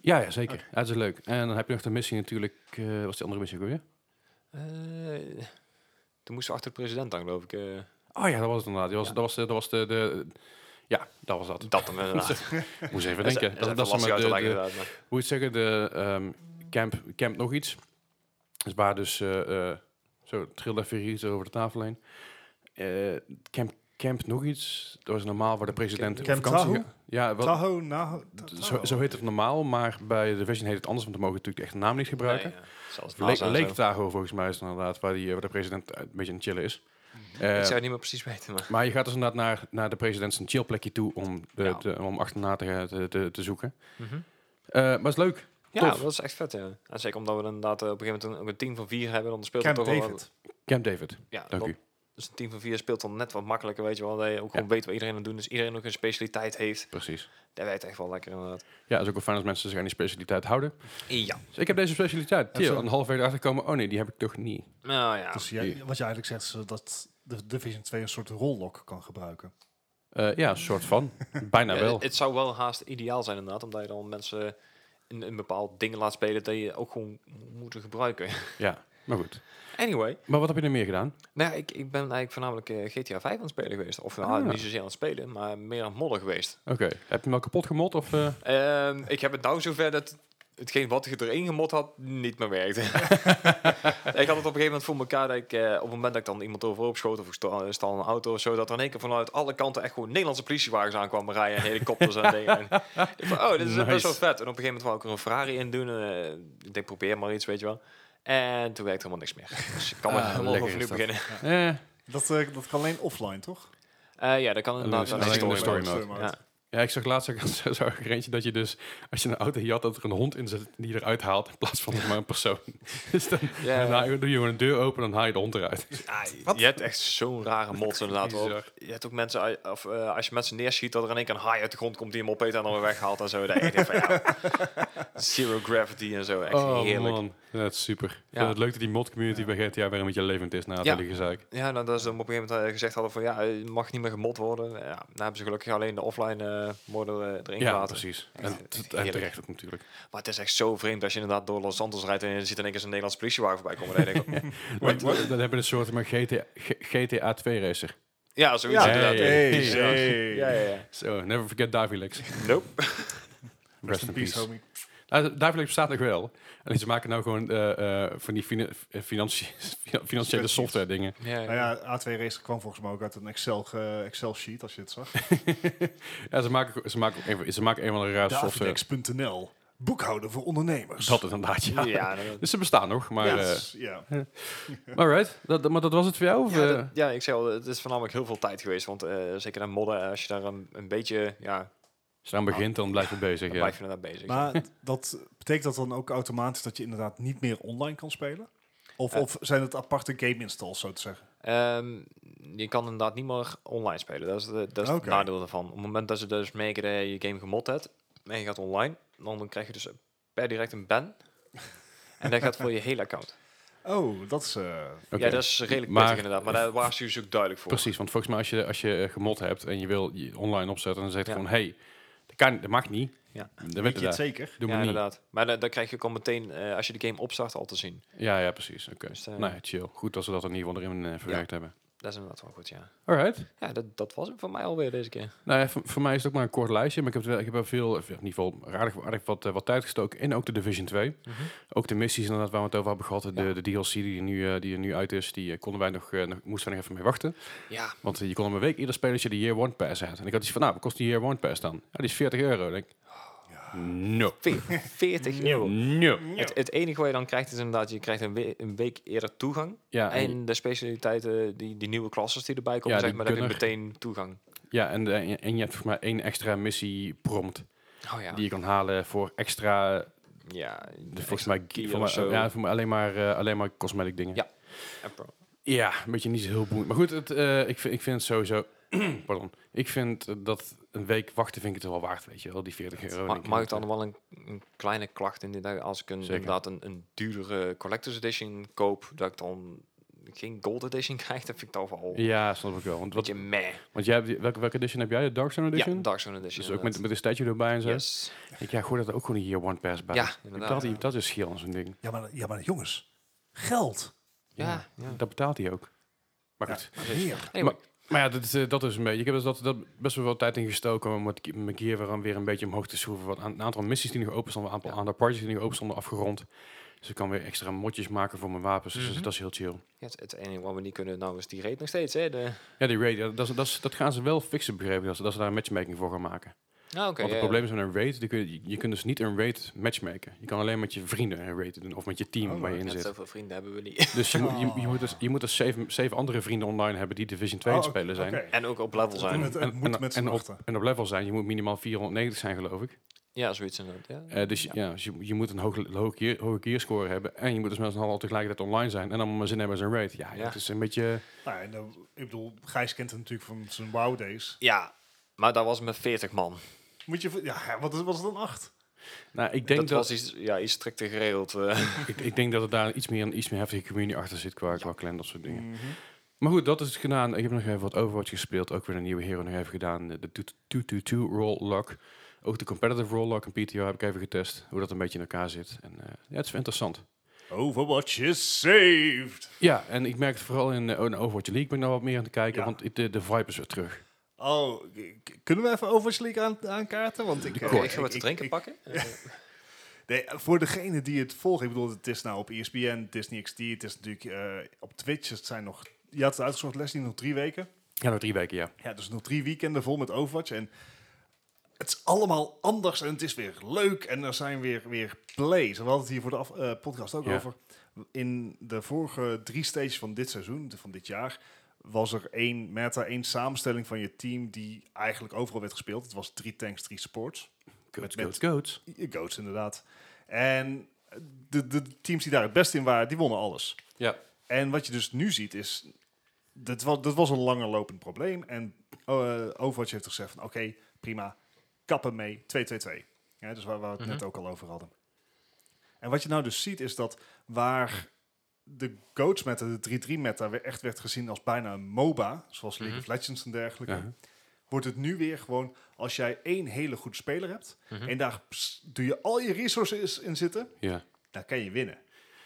Speaker 1: Ja, ja, zeker. Ja, dat is leuk. En dan heb je nog de missie natuurlijk... eh, was die andere missie ook weer?
Speaker 2: Eh, toen moesten we achter de president dan, geloof ik. eh.
Speaker 1: Oh ja, dat was het inderdaad. Dat was,
Speaker 2: Ja.
Speaker 1: dat was, de- dat was de, de... Ja, dat was dat.
Speaker 2: dat dan inderdaad.
Speaker 1: Moest even
Speaker 2: Dat
Speaker 1: denken.
Speaker 2: is- is even
Speaker 1: Dat, dat is
Speaker 2: lastig
Speaker 1: met
Speaker 2: uit te
Speaker 1: de,
Speaker 2: leggen,
Speaker 1: de-
Speaker 2: inderdaad, maar-
Speaker 1: hoe je het zeggen, de ehm, camp, camp nog iets. Dus waar dus, eh, eh, zo trilde even hier iets over de tafel heen. Eh, camp, camp nog iets, dat was normaal waar de president
Speaker 3: Camp-
Speaker 1: op vakantie
Speaker 3: Camp
Speaker 1: gaat. Ja, wel,
Speaker 3: Tahoe, Naho... Ta-
Speaker 1: zo,
Speaker 3: Tahoe.
Speaker 1: zo heet het normaal, maar bij de version heet het anders, want we mogen natuurlijk echt de naam niet gebruiken.
Speaker 2: Nee, ja. Zelfs
Speaker 1: Le-
Speaker 2: NASA en zo.
Speaker 1: Lake Tahoe volgens mij is het inderdaad, waar, die, eh, waar de president een beetje aan het chillen is. Eh,
Speaker 2: Mhm. Ik zou het niet meer precies weten, maar...
Speaker 1: maar je gaat dus inderdaad naar, naar de president zijn chillplekje toe om, de,
Speaker 2: Ja.
Speaker 1: te- om achterna te, te, te, te zoeken.
Speaker 2: Mhm.
Speaker 1: Eh, maar het is leuk.
Speaker 2: Ja,
Speaker 1: Tof.
Speaker 2: dat is echt vet, ja. En zeker omdat we dan inderdaad eh, op een gegeven moment een, ook een team van vier hebben, dan speelt
Speaker 3: Camp
Speaker 2: het toch wel...
Speaker 3: David.
Speaker 1: Camp David,
Speaker 2: Ja,
Speaker 1: dank
Speaker 2: dat-
Speaker 1: u.
Speaker 2: Dus een team van vier speelt dan net wat makkelijker, weet je wel. Dat je ook gewoon weet wat iedereen aan het doen is. Iedereen ook een specialiteit heeft.
Speaker 1: Precies.
Speaker 2: Dat werkt echt wel lekker, inderdaad.
Speaker 1: Ja, het is ook wel fijn als mensen zich aan die specialiteit houden.
Speaker 2: Ja.
Speaker 1: Dus ik heb deze specialiteit.
Speaker 3: Ja,
Speaker 1: Theo,
Speaker 3: zo.
Speaker 1: een half jaar erachter komen. Oh nee, die heb ik toch niet.
Speaker 2: Nou ja.
Speaker 3: Dus jij, wat je eigenlijk zegt is eh, dat de Division 2 een soort rollok kan gebruiken.
Speaker 1: Eh, ja, een soort van. Bijna
Speaker 2: Ja,
Speaker 1: wel.
Speaker 2: het- Het zou wel haast ideaal zijn inderdaad, omdat je dan mensen een, een bepaald ding laat spelen dat je ook gewoon moet gebruiken.
Speaker 1: Ja, maar goed.
Speaker 2: anyway,
Speaker 1: Maar wat heb je nog meer gedaan?
Speaker 2: nou, ja, ik, ik ben eigenlijk voornamelijk eh, GTA 5 aan het spelen geweest. Of nou,
Speaker 1: Ah.
Speaker 2: niet zozeer aan het spelen, maar meer aan het modden geweest.
Speaker 1: Oké, heb je hem al kapot gemot? Of, eh?
Speaker 2: Ehm, ik heb het nou zover dat hetgeen wat ik erin gemot had, niet meer werkte. ik had het op een gegeven moment voor elkaar dat ik, eh, op het moment dat ik dan iemand overhoop schoot of ik sta- stal een auto of zo, dat er in één keer vanuit alle kanten echt gewoon Nederlandse politiewagens aankwamen rijden en helikopters en dingen. En ik van, oh, dit is
Speaker 1: Nice.
Speaker 2: best wel vet. En op een gegeven moment wou ik er een Ferrari in doen. eh, ik denk, probeer maar iets, weet je wel. En toen werkte helemaal niks meer. Dus ik kan maar
Speaker 1: Ah,
Speaker 2: helemaal
Speaker 1: lekker
Speaker 2: overnieuw
Speaker 1: is dat.
Speaker 2: beginnen.
Speaker 1: Eh,
Speaker 3: Dat, eh, dat kan alleen offline, toch?
Speaker 2: Eh, ja, dat kan inderdaad.
Speaker 1: dat
Speaker 2: wel
Speaker 1: is
Speaker 2: een
Speaker 1: alleen in de
Speaker 2: story
Speaker 1: story
Speaker 2: mode.
Speaker 1: mode.
Speaker 2: Ja.
Speaker 1: ja, ik zag laatst ook zo- zo'n gereentje dat je dus... Als je een auto jat, dat er een hond in zit die je eruit haalt... in plaats van maar een persoon. dus dan
Speaker 2: Ja.
Speaker 1: daarna doe je gewoon een deur open en dan haal je de hond eruit.
Speaker 2: Je hebt echt zo'n rare mods inderdaad.
Speaker 1: Bizar.
Speaker 2: Op. Je hebt ook mensen, uit- of, eh, als je mensen neerschiet, dat er in één keer een haai uit de grond komt die hem opeet en dan weer weghaalt en zo. Dat je denkt van, ja, zero gravity en zo. Echt
Speaker 1: oh
Speaker 2: heerlijk.
Speaker 1: man, Ja, dat is super. Ik
Speaker 2: Ja.
Speaker 1: vind Het leuk dat die mod-community bij GTA weer een beetje levend is na het
Speaker 2: Ja.
Speaker 1: hele gezeik.
Speaker 2: Ja, nou, dat ze hem op een gegeven moment eh, gezegd hadden van ja, het mag niet meer gemod worden. Ja, nou hebben ze gelukkig alleen de offline eh modder eh, erin
Speaker 1: Ja,
Speaker 2: gelaten.
Speaker 1: precies.
Speaker 2: Echt,
Speaker 1: En,
Speaker 2: echt
Speaker 1: en
Speaker 2: heerlijk.
Speaker 1: terecht ook natuurlijk.
Speaker 2: Maar het is echt zo vreemd als je inderdaad door Los Santos rijdt en je ziet in één keer zo'n Nederlands politiewagen voorbij komen. Dan denk ik,
Speaker 1: Want eh, Dan hebben we een soort van GTA, G- GTA 2 racer.
Speaker 2: ja, zoiets
Speaker 1: Ja.
Speaker 2: inderdaad.
Speaker 1: Hey,
Speaker 2: Ja. Ja, ja, ja.
Speaker 1: Zo, never forget Davilex.
Speaker 2: Nope.
Speaker 1: Rest
Speaker 3: Een
Speaker 1: in
Speaker 3: piece,
Speaker 1: peace.
Speaker 3: homie.
Speaker 1: Nou, Davilex bestaat nog wel. En ze maken nou gewoon eh, eh, van die fina- eh, financi- finan- financiële
Speaker 3: Spreadsheets.
Speaker 1: software dingen.
Speaker 2: Ja, ja.
Speaker 3: Nou ja, A2 Racer kwam volgens mij ook uit een Excel, ge- Excel sheet, als je het zag.
Speaker 1: Ja, ze maken, ze maken, ook een- ze maken een van de raar software.
Speaker 3: Davidex.nl, boekhouder voor ondernemers.
Speaker 1: Dat is inderdaad, ja.
Speaker 2: Ja, dat-
Speaker 1: Dus ze bestaan nog, maar...
Speaker 3: ja,
Speaker 1: eh,
Speaker 3: dat is- ja.
Speaker 1: alright, dat, maar dat was het voor jou? Of,
Speaker 2: Ja,
Speaker 1: eh?
Speaker 2: dat- ja, ik zei al, het is voornamelijk heel veel tijd geweest. Want eh, zeker aan modden, als je daar een, een beetje, ja, dan
Speaker 1: Als je aan begint, dan blijf je bezig, ja.
Speaker 2: blijf je daar bezig.
Speaker 3: Maar dat betekent dat dan ook automatisch dat je inderdaad niet meer online kan spelen? Of,
Speaker 1: Eh.
Speaker 2: Ja.
Speaker 3: of zijn het aparte game installs, zo te zeggen?
Speaker 2: Ehm, je kan inderdaad niet meer online spelen. Dat is, de, dat is
Speaker 3: Oké.
Speaker 2: het nadeel daarvan. Op het moment dat ze dus merken dat je je game gemod hebt en je gaat online, dan krijg je dus per direct een ban. en dat gaat voor je hele account.
Speaker 3: Oh, dat is... eh,
Speaker 1: Oké.
Speaker 2: Ja, dat is redelijk
Speaker 1: Maar-
Speaker 2: pittig inderdaad. Maar daar waarschuw ze ook duidelijk voor.
Speaker 1: Precies, want volgens mij als je, als je eh, gemod hebt en je wil je online opzetten... dan zegt
Speaker 2: Ja.
Speaker 1: gewoon, hey, dat, kan, dat mag niet.
Speaker 2: Ja.
Speaker 1: Dat
Speaker 3: weet
Speaker 1: weet
Speaker 3: je
Speaker 1: je
Speaker 3: het
Speaker 1: daar.
Speaker 3: zeker?
Speaker 1: Doe
Speaker 2: ja,
Speaker 1: maar niet.
Speaker 2: inderdaad. Maar dan, dan krijg je ook al meteen, eh, als je de game opstart, al te zien.
Speaker 1: Ja, ja, precies. Oké.
Speaker 2: Dus, eh,
Speaker 1: nou ja, chill. Goed dat ze dat in ieder geval erin eh, verwerkt hebben.
Speaker 2: Dat is inderdaad wel goed, ja.
Speaker 1: Alright.
Speaker 2: Ja, dat, dat was hem voor mij alweer deze keer.
Speaker 1: Nou ja, voor, voor mij is het ook maar een kort lijstje, maar ik heb, er wel, ik heb er veel, of in ieder geval aardig, aardig wat, eh, wat tijd gestoken in ook de Division 2.
Speaker 2: Mhm.
Speaker 1: Ook de missies inderdaad waar we het over hebben gehad, de, de DLC die, er nu, eh, die er nu uit is, die eh, konden wij nog, eh, nog, moesten wij nog even mee wachten.
Speaker 2: Ja,
Speaker 1: Want eh, je kon hem een week eerder spelen als je de Year One Pass had. En ik had iets van, nou, wat kost die Year One Pass dan? Ja, die is 40 euro. denk ik, no.
Speaker 2: Veer- 40 euro.
Speaker 1: No.
Speaker 2: Het, het enige wat je dan krijgt is inderdaad, je krijgt een, we- een week eerder toegang.
Speaker 1: Ja, en-
Speaker 2: en de specialiteiten, die, die nieuwe klasses die erbij komen,
Speaker 1: Ja,
Speaker 2: zeg
Speaker 1: die
Speaker 2: maar, daar heb je
Speaker 1: gunner.
Speaker 2: meteen toegang.
Speaker 1: ja en, eh, en je hebt volgens mij één extra missie prompt
Speaker 2: Oh ja.
Speaker 1: die je kan halen voor extra
Speaker 2: ja,
Speaker 1: De, volgens mij,
Speaker 2: key
Speaker 1: voor
Speaker 2: of
Speaker 1: mij-
Speaker 2: zo.
Speaker 1: ja, voor mij alleen, maar, eh, alleen maar cosmetic dingen.
Speaker 2: Ja. en pro-
Speaker 1: Ja, een beetje niet zo heel boeiend. Maar goed, het, eh, ik, vind, ik vind het sowieso Pardon. Ik vind eh, dat een week wachten vind ik het wel waard, weet je wel, die 40 euro.
Speaker 2: Ma-
Speaker 1: En ik-
Speaker 2: mag ik dan wel een, een kleine klacht in dit als ik een,
Speaker 1: Zeker.
Speaker 2: inderdaad een, een duurdere collector's edition koop, dat ik dan geen gold edition krijg, dat vind ik dan wel een
Speaker 1: eh, Ja, snap ik wel. Want, wat,
Speaker 2: beetje meh.
Speaker 1: want jij hebt die- welke, welke edition heb jij? De Dark Zone edition?
Speaker 2: Ja, Dark Zone edition.
Speaker 1: dus ook met,
Speaker 2: inderdaad.
Speaker 1: met een statue erbij en zo.
Speaker 2: Yes.
Speaker 1: Ik ja, gooi dat ook gewoon een year one pass bij.
Speaker 2: Ja,
Speaker 1: Ik
Speaker 2: inderdaad,
Speaker 1: betaal die-
Speaker 2: ja.
Speaker 1: Dat is schiel aan zo'n ding.
Speaker 3: Ja maar, ja, maar jongens, geld.
Speaker 2: Ja, ja.
Speaker 1: Dat betaalt hij ook. Maar
Speaker 3: Ja,
Speaker 1: goed.
Speaker 3: heer.
Speaker 2: Nee,
Speaker 1: maar,
Speaker 2: maar-
Speaker 1: maar ja, dat, is, eh, dat is een beetje. Ik heb dus dat, dat best wel wat tijd in gestoken om met ki- mijn gear weer, aan- weer een beetje omhoog te schroeven. Wat aan, een aantal missies die nog open stonden, een aantal
Speaker 2: Ja.
Speaker 1: aantal parties die nog open stonden afgerond. Dus ik kan weer extra motjes maken voor mijn wapens. Dus
Speaker 2: Mhm.
Speaker 1: dat is heel chill.
Speaker 2: Ja, het, het enige wat we niet kunnen nou is die rate nog steeds. Hè? De, Ah,
Speaker 1: Ja, die raid, ja, dat, is- dat, is- dat gaan ze wel fixen, begreep ik. Dat ze, dat ze daar een matchmaking voor gaan maken.
Speaker 2: nou, oké.
Speaker 1: Want
Speaker 2: ja,
Speaker 1: het probleem is met een raid, die kun je, je kunt dus niet een raid matchmaken. Je kan alleen met je vrienden een raid doen of met je team
Speaker 3: Oh,
Speaker 1: waar je
Speaker 2: ja.
Speaker 1: in
Speaker 2: Net
Speaker 1: zit.
Speaker 2: zoveel vrienden hebben we niet.
Speaker 1: Dus je, moet- je, je
Speaker 3: Oh.
Speaker 1: moet dus, je moet dus zeven, zeven andere vrienden online hebben die Division 2 aan het
Speaker 3: Oh,
Speaker 1: spelen zijn.
Speaker 3: oké.
Speaker 2: en ook op level
Speaker 3: En
Speaker 2: zijn.
Speaker 3: het, het moet met z'n
Speaker 1: en, op,
Speaker 3: achten.
Speaker 1: en op level zijn, je moet minimaal 490 zijn geloof ik.
Speaker 2: Ja, zoiets inderdaad. Ja.
Speaker 1: Eh, dus je- ja. dus je, je moet een hoge, hoge, gear, hoge gearscore hebben en je moet dus met z'n allen tegelijkertijd online zijn en dan maar zin hebben als een raid. Ja,
Speaker 2: Ja.
Speaker 1: het is een beetje...
Speaker 3: Nou, en dan- ik bedoel, Gijs kent het natuurlijk van zijn wow days.
Speaker 2: ja, maar dat was met 40 man.
Speaker 3: Moet je, ja, wat is, wat is dan acht?
Speaker 1: Nou, ik denk
Speaker 2: dat,
Speaker 1: dat,
Speaker 2: was iets, ja, iets strikter geregeld. eh.
Speaker 1: ik, ik denk dat het daar iets meer, een iets meer heftige community achter zit qua, qua clan, dat soort dingen. Maar goed, dat is het gedaan. Ik heb nog even wat Overwatch gespeeld. Ook weer een nieuwe hero nog even gedaan. De 222 roll lock. Ook de competitive roll lock en PTO heb ik even getest. Hoe dat een beetje in elkaar zit. En eh, ja, het is wel interessant.
Speaker 3: Overwatch is saved.
Speaker 1: Ja, en ik merk het vooral in, eh, in Overwatch League ben ik nou wat meer aan het kijken.
Speaker 3: Ja.
Speaker 1: Want het- de, de vibe is weer terug.
Speaker 3: Oh, k- k- kunnen we even Overwatch League aan, aankaarten? Want ik, eh,
Speaker 2: ik ga wat te drinken
Speaker 3: ik-
Speaker 2: pakken.
Speaker 3: nee, voor degene die het volgen, ik bedoel, het is nou op ESPN, het is niet XT, het is natuurlijk eh, op Twitch. Het zijn nog, je had het uitgezocht, Leslie, nog drie weken.
Speaker 1: Ja, nog drie weken, ja.
Speaker 3: Ja, dus nog drie weekenden vol met Overwatch. En het is allemaal anders en het is weer leuk. En er zijn weer, weer plays. En we hadden het hier voor de af- eh, podcast ook
Speaker 1: Ja.
Speaker 3: over. In de vorige drie stages van dit seizoen, van dit jaar, was er één meta, één samenstelling van je team die eigenlijk overal werd gespeeld. Het was drie tanks, drie supports.
Speaker 1: Coats,
Speaker 3: met-
Speaker 1: coats, coats.
Speaker 3: Je Goats inderdaad. En de, de teams die daar het best in waren, die wonnen alles.
Speaker 1: Ja.
Speaker 3: En wat je dus nu ziet is, dat was, dat was een langer lopend probleem. En eh Overwatch heeft gezegd van, oké, prima, kappen mee, 2-2-2. Ja, dus waar, waar we het net
Speaker 2: Mhm.
Speaker 3: ook al over hadden. En wat je nou dus ziet is dat waar de Goats meta, de 3-3 meta, weer echt werd gezien als bijna een MOBA, zoals League
Speaker 2: Mhm.
Speaker 3: of Legends en dergelijke,
Speaker 1: Ja.
Speaker 3: wordt het nu weer gewoon, als jij één hele goede speler hebt,
Speaker 2: Mhm.
Speaker 3: en daar ps- doe je al je resources in zitten,
Speaker 1: ja.
Speaker 3: dan kan je winnen.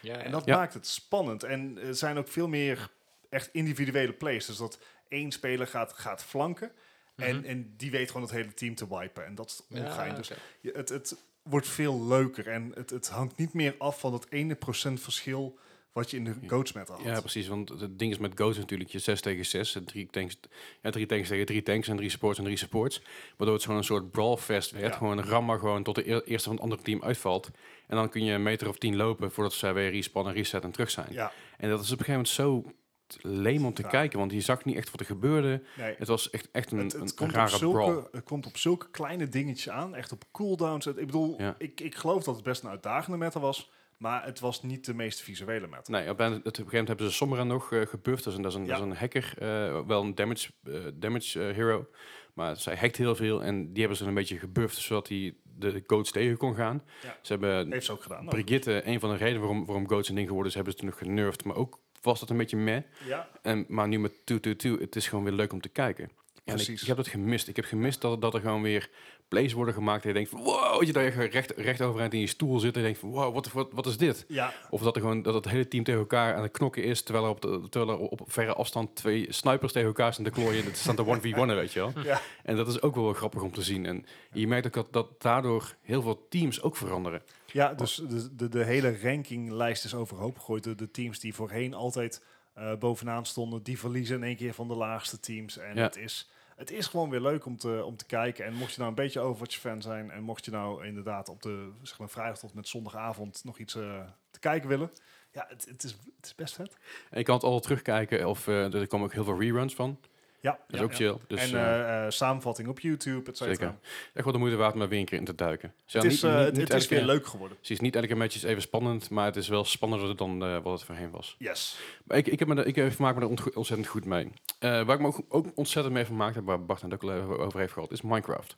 Speaker 2: Ja, ja.
Speaker 3: En dat
Speaker 1: Ja.
Speaker 3: maakt het spannend. En er zijn ook veel meer echt individuele plays. Dus dat één speler gaat, gaat flanken. en,
Speaker 2: Mhm.
Speaker 3: en die weet gewoon het hele team te wipen. En dat is
Speaker 2: Ja, eh,
Speaker 3: ongein. Dus
Speaker 2: oké.
Speaker 3: je- het, het wordt veel leuker. En het, het hangt niet meer af van dat ene procent verschil... wat je in de coachmat had.
Speaker 1: Ja, precies. Want het ding is met Goats natuurlijk, je 6 tegen 6, drie tanks, ja, drie tanks tegen drie tanks en drie supports en drie supports. Waardoor het gewoon een soort brawlfest werd.
Speaker 3: Ja.
Speaker 1: Gewoon een rammer gewoon tot de eer- eerste van het andere team uitvalt. En dan kun je een meter of tien lopen voordat zij weer respannen, reset en terug zijn.
Speaker 3: ja
Speaker 1: En dat is op een gegeven moment zo t- leem om te
Speaker 3: Ja.
Speaker 1: kijken, want je zag niet echt wat er gebeurde.
Speaker 3: nee.
Speaker 1: Het was echt, echt een,
Speaker 3: Het,
Speaker 1: een-
Speaker 3: het,
Speaker 1: een
Speaker 3: komt op
Speaker 1: rare brawl.
Speaker 3: zulke, het komt op zulke kleine dingetjes aan. Echt op cooldowns. Het- Ik bedoel,
Speaker 1: Ja.
Speaker 3: ik, ik geloof dat het best een uitdagende meta was. Maar het was niet de meest visuele meta.
Speaker 1: Nee, op, het- op een gegeven moment hebben ze Sombra nog eh gebufft. Dat is een, dat is een, dat is
Speaker 3: Ja.
Speaker 1: een hacker, eh, wel een damage, eh, damage eh, hero. Maar zij hackt heel veel en die hebben ze een beetje gebufft, zodat hij de coach tegen kon gaan.
Speaker 3: Ja. nou,
Speaker 1: Ze hebben
Speaker 3: Heeft ze ook gedaan.
Speaker 1: Brigitte, een van de redenen waarom, waarom Goats een ding geworden is, hebben ze toen nog genurfd. Maar ook was dat een beetje meh.
Speaker 3: Ja.
Speaker 1: En, maar nu met 222, het is gewoon weer leuk om te kijken. En ik,
Speaker 3: Precies.
Speaker 1: ik heb dat gemist. Ik heb gemist dat, dat er gewoon weer plays worden gemaakt. En je denkt van, wow, dat je daar echt recht, recht overeind in je stoel zit. En je denkt van, wow, wat, wat, wat is dit?
Speaker 3: Ja,
Speaker 1: Of dat, er gewoon, dat het hele team tegen elkaar aan het knokken is. Terwijl er op, de- terwijl er op verre afstand twee snipers tegen elkaar staan te klooien. Het staan te 1v1'en, weet je wel.
Speaker 3: Ja.
Speaker 1: En dat is ook wel grappig om te zien. En je merkt ook dat, dat daardoor heel veel teams ook veranderen.
Speaker 3: ja dus de, de, de hele rankinglijst is overhoop gegooid. De, de teams die voorheen altijd eh, bovenaan stonden, die verliezen in één keer van de laagste teams. En
Speaker 1: Ja.
Speaker 3: het, is, het is gewoon weer leuk om te, om te kijken. En mocht je nou een beetje Overwatch-fan zijn en mocht je nou inderdaad op de zeg maar, vrijdag tot met zondagavond nog iets eh, te kijken willen. Ja, het, het, is, het is best vet.
Speaker 1: En je kan het al terugkijken. Of eh, er komen ook heel veel reruns van.
Speaker 3: Ja,
Speaker 1: Dat is
Speaker 3: ja,
Speaker 1: ook
Speaker 3: ja.
Speaker 1: chill. Dus,
Speaker 3: en
Speaker 1: eh,
Speaker 3: eh, eh, samenvatting op YouTube, et
Speaker 1: zeker.
Speaker 3: cetera.
Speaker 1: Echt wel de moeite waard om er weer een keer in te duiken.
Speaker 3: Het is, eh, het- het is weer leuk geworden.
Speaker 1: Precies, niet elke match is even spannend, maar het is wel spannender dan eh, wat het voorheen was.
Speaker 3: Yes.
Speaker 1: Maar ik, ik, heb me daar- ik eh, vermaak me er ont- ontzettend goed mee. Eh, waar ik me ook, ook ontzettend mee vermaakt heb, waar Bart het ook al even over heeft gehad, is Minecraft.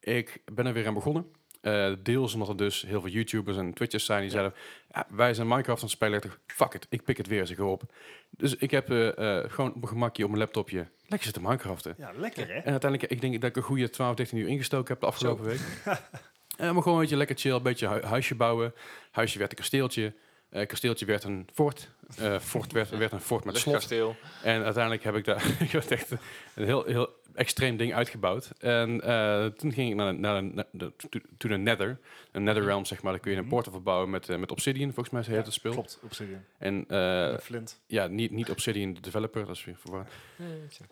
Speaker 1: Ik ben er weer aan begonnen. Eh, deels omdat er dus heel veel YouTubers en Twitchers zijn die zeiden... "Ja, wij zijn Minecraft aan het spelen. Ik dacht, Fuck it, ik pik het weer eens een keer op. Dus ik heb eh, eh, gewoon op mijn gemakje op mijn laptopje lekker zitten Minecraften.
Speaker 3: Ja, lekker hè?
Speaker 1: En uiteindelijk, ik denk dat ik een goede 12, 13 uur ingestoken heb de afgelopen week. en maar gewoon een beetje lekker chill, een beetje hu- huisje bouwen. Huisje werd een kasteeltje. Eh, kasteeltje werd een fort. Eh, fort werd, werd een fort met slot.
Speaker 2: Luchtkasteel.
Speaker 1: En uiteindelijk heb ik daar ik had echt een heel, heel extreem ding uitgebouwd. En eh, toen ging ik naar, de- naar, de- naar de, to- to de Nether. Een Netherrealm, zeg maar. Daar kun je een portal verbouwen met, eh, met Obsidian, volgens mij heet het speel.
Speaker 3: Klopt, Obsidian.
Speaker 1: En eh,
Speaker 3: En Flint.
Speaker 1: ja, niet, niet Obsidian de developer, dat is weer verwarrend.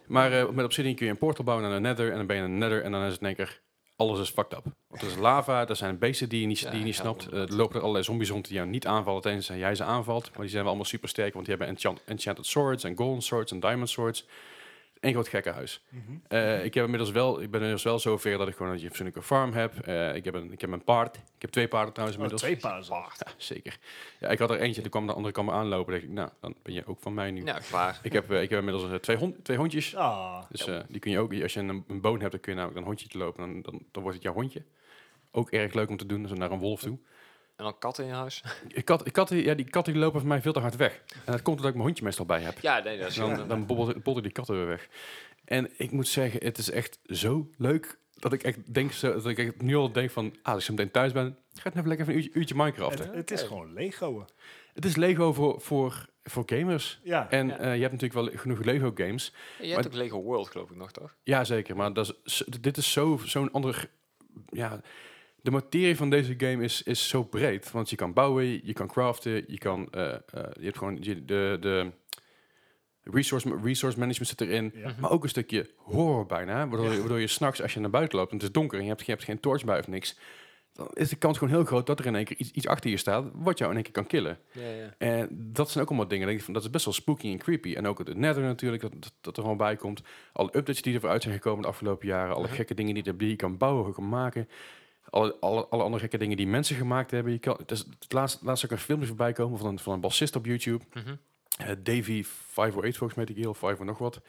Speaker 1: Maar eh, met Obsidian kun je een portal bouwen naar de Nether en dan ben je in de Nether en dan is het in één keer alles is fucked up. Want er is lava, er zijn beesten die je niet, die je
Speaker 2: Ja,
Speaker 1: niet
Speaker 2: ja,
Speaker 1: snapt. Eh,
Speaker 2: inderdaad.
Speaker 1: er lopen er allerlei zombies rond die jou niet aanvallen tijdens dat jij ze aanvalt. Maar die zijn wel allemaal super sterk, want die hebben enchant- enchanted swords en golden swords en diamond swords. Eén groot gekkenhuis.
Speaker 3: Mhm.
Speaker 1: Eh, ik, heb inmiddels wel, ik ben inmiddels wel zover dat ik gewoon een fatsoenlijke farm heb. Eh, ik, heb een, ik heb een paard. Ik heb twee paarden trouwens
Speaker 3: Oh,
Speaker 1: inmiddels.
Speaker 3: twee paarden.
Speaker 1: Ja, zeker. Ja, ik had er eentje, toen kwam de andere kwam me aanlopen. dacht ik, nou, dan ben je ook van mij nu.
Speaker 2: Ja, Nou, klaar.
Speaker 1: Ik, heb, eh, ik heb inmiddels eh, twee, hond, twee hondjes.
Speaker 3: Ah,
Speaker 1: Dus eh, die kun je ook, als je een, een boon hebt, dan kun je namelijk een hondje te lopen. Dan, dan, dan wordt het jouw hondje. Ook erg leuk om te doen, dus naar een wolf toe.
Speaker 2: En dan katten in je huis.
Speaker 1: Ik kat, ik katten, ja, die katten die lopen voor mij veel te hard weg. En dat komt omdat ik mijn hondje meestal bij heb.
Speaker 2: Dus Ja, nee, dat is
Speaker 1: Dan, dan bobbelt- bolden die katten weer weg. En ik moet zeggen, het is echt zo leuk dat ik echt denk, zo, dat ik echt nu al denk van, ah, als ik zo meteen thuis ben, ga ik even lekker even een uurtje, uurtje Minecraft.
Speaker 3: het, het is gewoon Lego'en.
Speaker 1: Het is Lego voor, voor, voor gamers.
Speaker 3: Ja,
Speaker 1: En
Speaker 2: Ja.
Speaker 1: eh, je hebt natuurlijk wel genoeg Lego games,
Speaker 2: Je
Speaker 1: Maar-
Speaker 2: hebt ook Lego World, geloof ik nog, toch?
Speaker 1: Ja, zeker. Maar dat is, z- dit is zo- zo'n ander... Ja, de materie van deze game is, is zo breed. Want je kan bouwen, je je kan craften, je kan... eh, eh, je hebt gewoon je- de... de resource, ma- resource management zit erin.
Speaker 3: Ja.
Speaker 1: Maar ook een stukje horror bijna. Waardoor, je- waardoor je s'nachts, als je naar buiten loopt en het is donker... en je hebt, je hebt geen torch bij of niks... dan is de kans gewoon heel groot dat er in één keer iets, iets achter je staat... wat jou in één keer kan killen.
Speaker 2: Ja, ja.
Speaker 1: En dat zijn ook allemaal dingen. Denk ik van, dat is best wel spooky en creepy. En ook het nether natuurlijk, dat, dat, dat er gewoon bij komt. Alle updates die er vooruit zijn gekomen de afgelopen jaren. Alle
Speaker 2: Mhm.
Speaker 1: gekke dingen die, er- die je kan bouwen, kan maken. Alle, alle, alle andere gekke dingen die mensen gemaakt hebben. Je kan, het, is, het laatst, laatst ook een filmpje voorbij komen van een, van een bassist op YouTube.
Speaker 2: Mhm.
Speaker 1: Eh, Davy 508 volgens mij, die heel 5 of nog wat.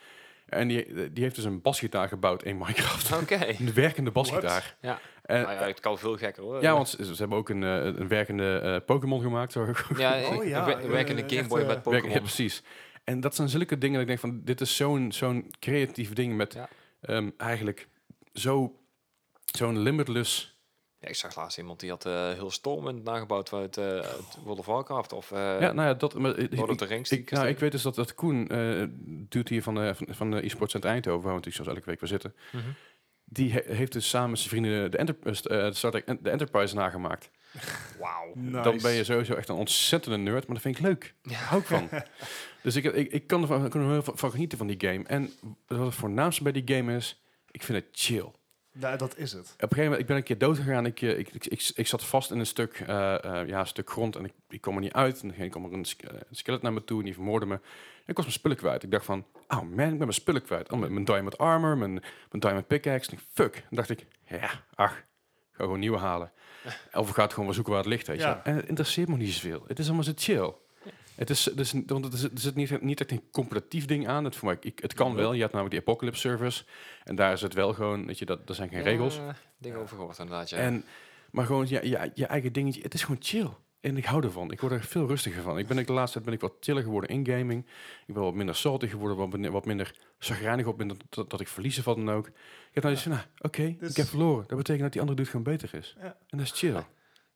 Speaker 1: En die, die heeft dus een basgitaar gebouwd in Minecraft.
Speaker 2: Oké.
Speaker 1: Een werkende basgitaar.
Speaker 2: Ja.
Speaker 1: En-
Speaker 2: Nou ja, het kan veel gekker hoor.
Speaker 1: ja, want ze, ze hebben ook een, eh, een werkende eh, Pokémon gemaakt. zo
Speaker 2: Ja,
Speaker 3: Oh,
Speaker 2: ik-
Speaker 3: ja,
Speaker 2: we- we werken in
Speaker 3: eh,
Speaker 2: de Game Boy
Speaker 3: echt,
Speaker 2: met
Speaker 3: eh,
Speaker 1: Werken- Ja,
Speaker 2: Pokémon.
Speaker 1: precies. En dat zijn zulke dingen dat ik denk van, dit is zo'n zo'n creatief ding met
Speaker 2: Ja.
Speaker 1: ehm, eigenlijk zo- zo'n limitless...
Speaker 2: Ja, ik zag laatst iemand die had eh heel Stormwind nagebouwd uit, eh, uit World of Warcraft of eh oh,
Speaker 1: ja, nou ja, dat... Maar, ik,
Speaker 2: Lord of
Speaker 1: ik,
Speaker 2: the Rings. die
Speaker 1: ik- nou,
Speaker 2: kasteel.
Speaker 1: ik weet dus dat, dat Koen, eh doet hier van de, van, van de e-sports uit Eindhoven, waar we natuurlijk zoals elke week weer zitten,
Speaker 2: Mhm.
Speaker 1: die he- heeft dus samen met zijn vrienden de, Enter- eh, st- eh, Star Trek en- de Enterprise nagemaakt.
Speaker 2: Wauw.
Speaker 3: nice.
Speaker 1: Dan ben je sowieso echt een ontzettende nerd, maar dat vind ik leuk. Daar hou ik van. dus ik, ik, ik kan er van, kan er heel veel van genieten van die game. En wat het voornaamste bij die game is, ik vind het chill.
Speaker 3: Nou, dat is het.
Speaker 1: Op een gegeven moment, ik ben een keer dood gegaan. Ik, eh, ik, ik, ik, ik zat vast in een stuk, eh, eh, ja, een stuk grond en ik, ik kwam er niet uit. En dan kwam er een, sk- eh, een skelet naar me toe en die vermoordde me. En ik was mijn spullen kwijt. Ik dacht van, oh man, ik ben mijn spullen kwijt. Oh, mijn, mijn diamond armor, mijn, mijn diamond pickaxe. En ik, fuck. Dan dacht ik, ja, ach, ik ga gewoon nieuwe halen. Of ik ga het gewoon wel zoeken waar het ligt, weet je.
Speaker 3: Ja.
Speaker 1: En het interesseert me niet zoveel. Het is allemaal zo chill. Het is, dus, want het is, er zit niet, niet echt een competitief ding aan. Het, voor mij, ik, het kan wel. Je had namelijk die Apocalypse servers. En daar is het wel gewoon, weet je, dat, er zijn geen
Speaker 2: Ja,
Speaker 1: regels. Eh,
Speaker 2: Dingen over gehoord inderdaad, ja.
Speaker 1: En, maar gewoon ja, ja, je eigen dingetje. Het is gewoon chill. En ik hou ervan. Ik word er veel rustiger van. Ik ben ook de laatste tijd ben ik wat chiller geworden in gaming. Ik ben wat minder salty geworden, wat, min- wat minder chagrijnig op ben dat, dat, dat ik verliezen van dan ook. Ik heb nou iets van, nou, oké,
Speaker 3: Dus-
Speaker 1: ik heb verloren. Dat betekent dat die andere doet gewoon beter is.
Speaker 3: Ja.
Speaker 1: En dat is chill. En